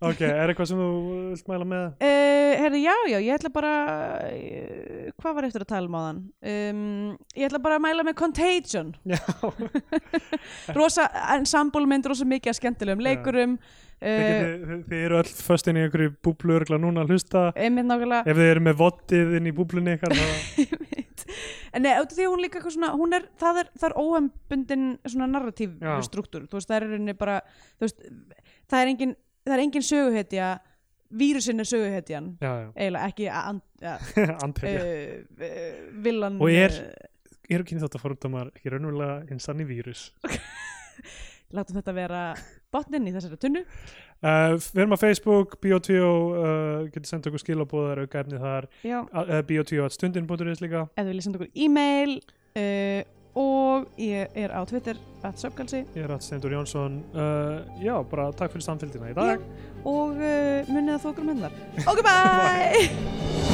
B: ok, er eitthvað sem þú vilt mæla með?
A: Uh, herri, já, já, ég ætla bara, uh, hvað var eftir að tala um á þann? Um, ég ætla bara að mæla með Contagion.
B: Já.
A: Rosa, ensemble mynd, rosa mikið að skemmtilegum leikurum,
B: Þið,
A: uh,
B: getið, þið eru öll föstin í einhverju búblu örgla núna að hlusta
A: Eh, einmitt nákvæmlega
B: ef þið eru með vottið inn í búblunni ykkar þá
A: Einmitt. en nei, út af því að hún líka eitthvað svona, hún er, það er, það er óhembundin svona narratív
B: Já.
A: struktúr þú veist, það er í rauninni bara þú veist, það er engin, það er engin söguhetja vírusin er söguhetjan
B: já,
A: eiginlega ekki að and, ja,
B: já, andherja
A: uh, uh, villan
B: Og er-
A: eh,
B: eru kynni þátt að fórumdómar ekki raunverulega hinn sann í vírus
A: látum þetta vera botnin í þessari tunnu
B: uh, við erum á Facebook, Bio2 uh, getur sendt okkur skilabóðar auka efni þar
A: Já.
B: uh, Bio2 að stundin.is líka
A: ef þú viljið senda okkur e-mail uh, og ég er á Twitter at söpkalsi
B: ég er að Stendur Jónsson uh, já, bara takk fyrir samfélgina í dag
A: og uh, munið að þú okkur um hennar ok bye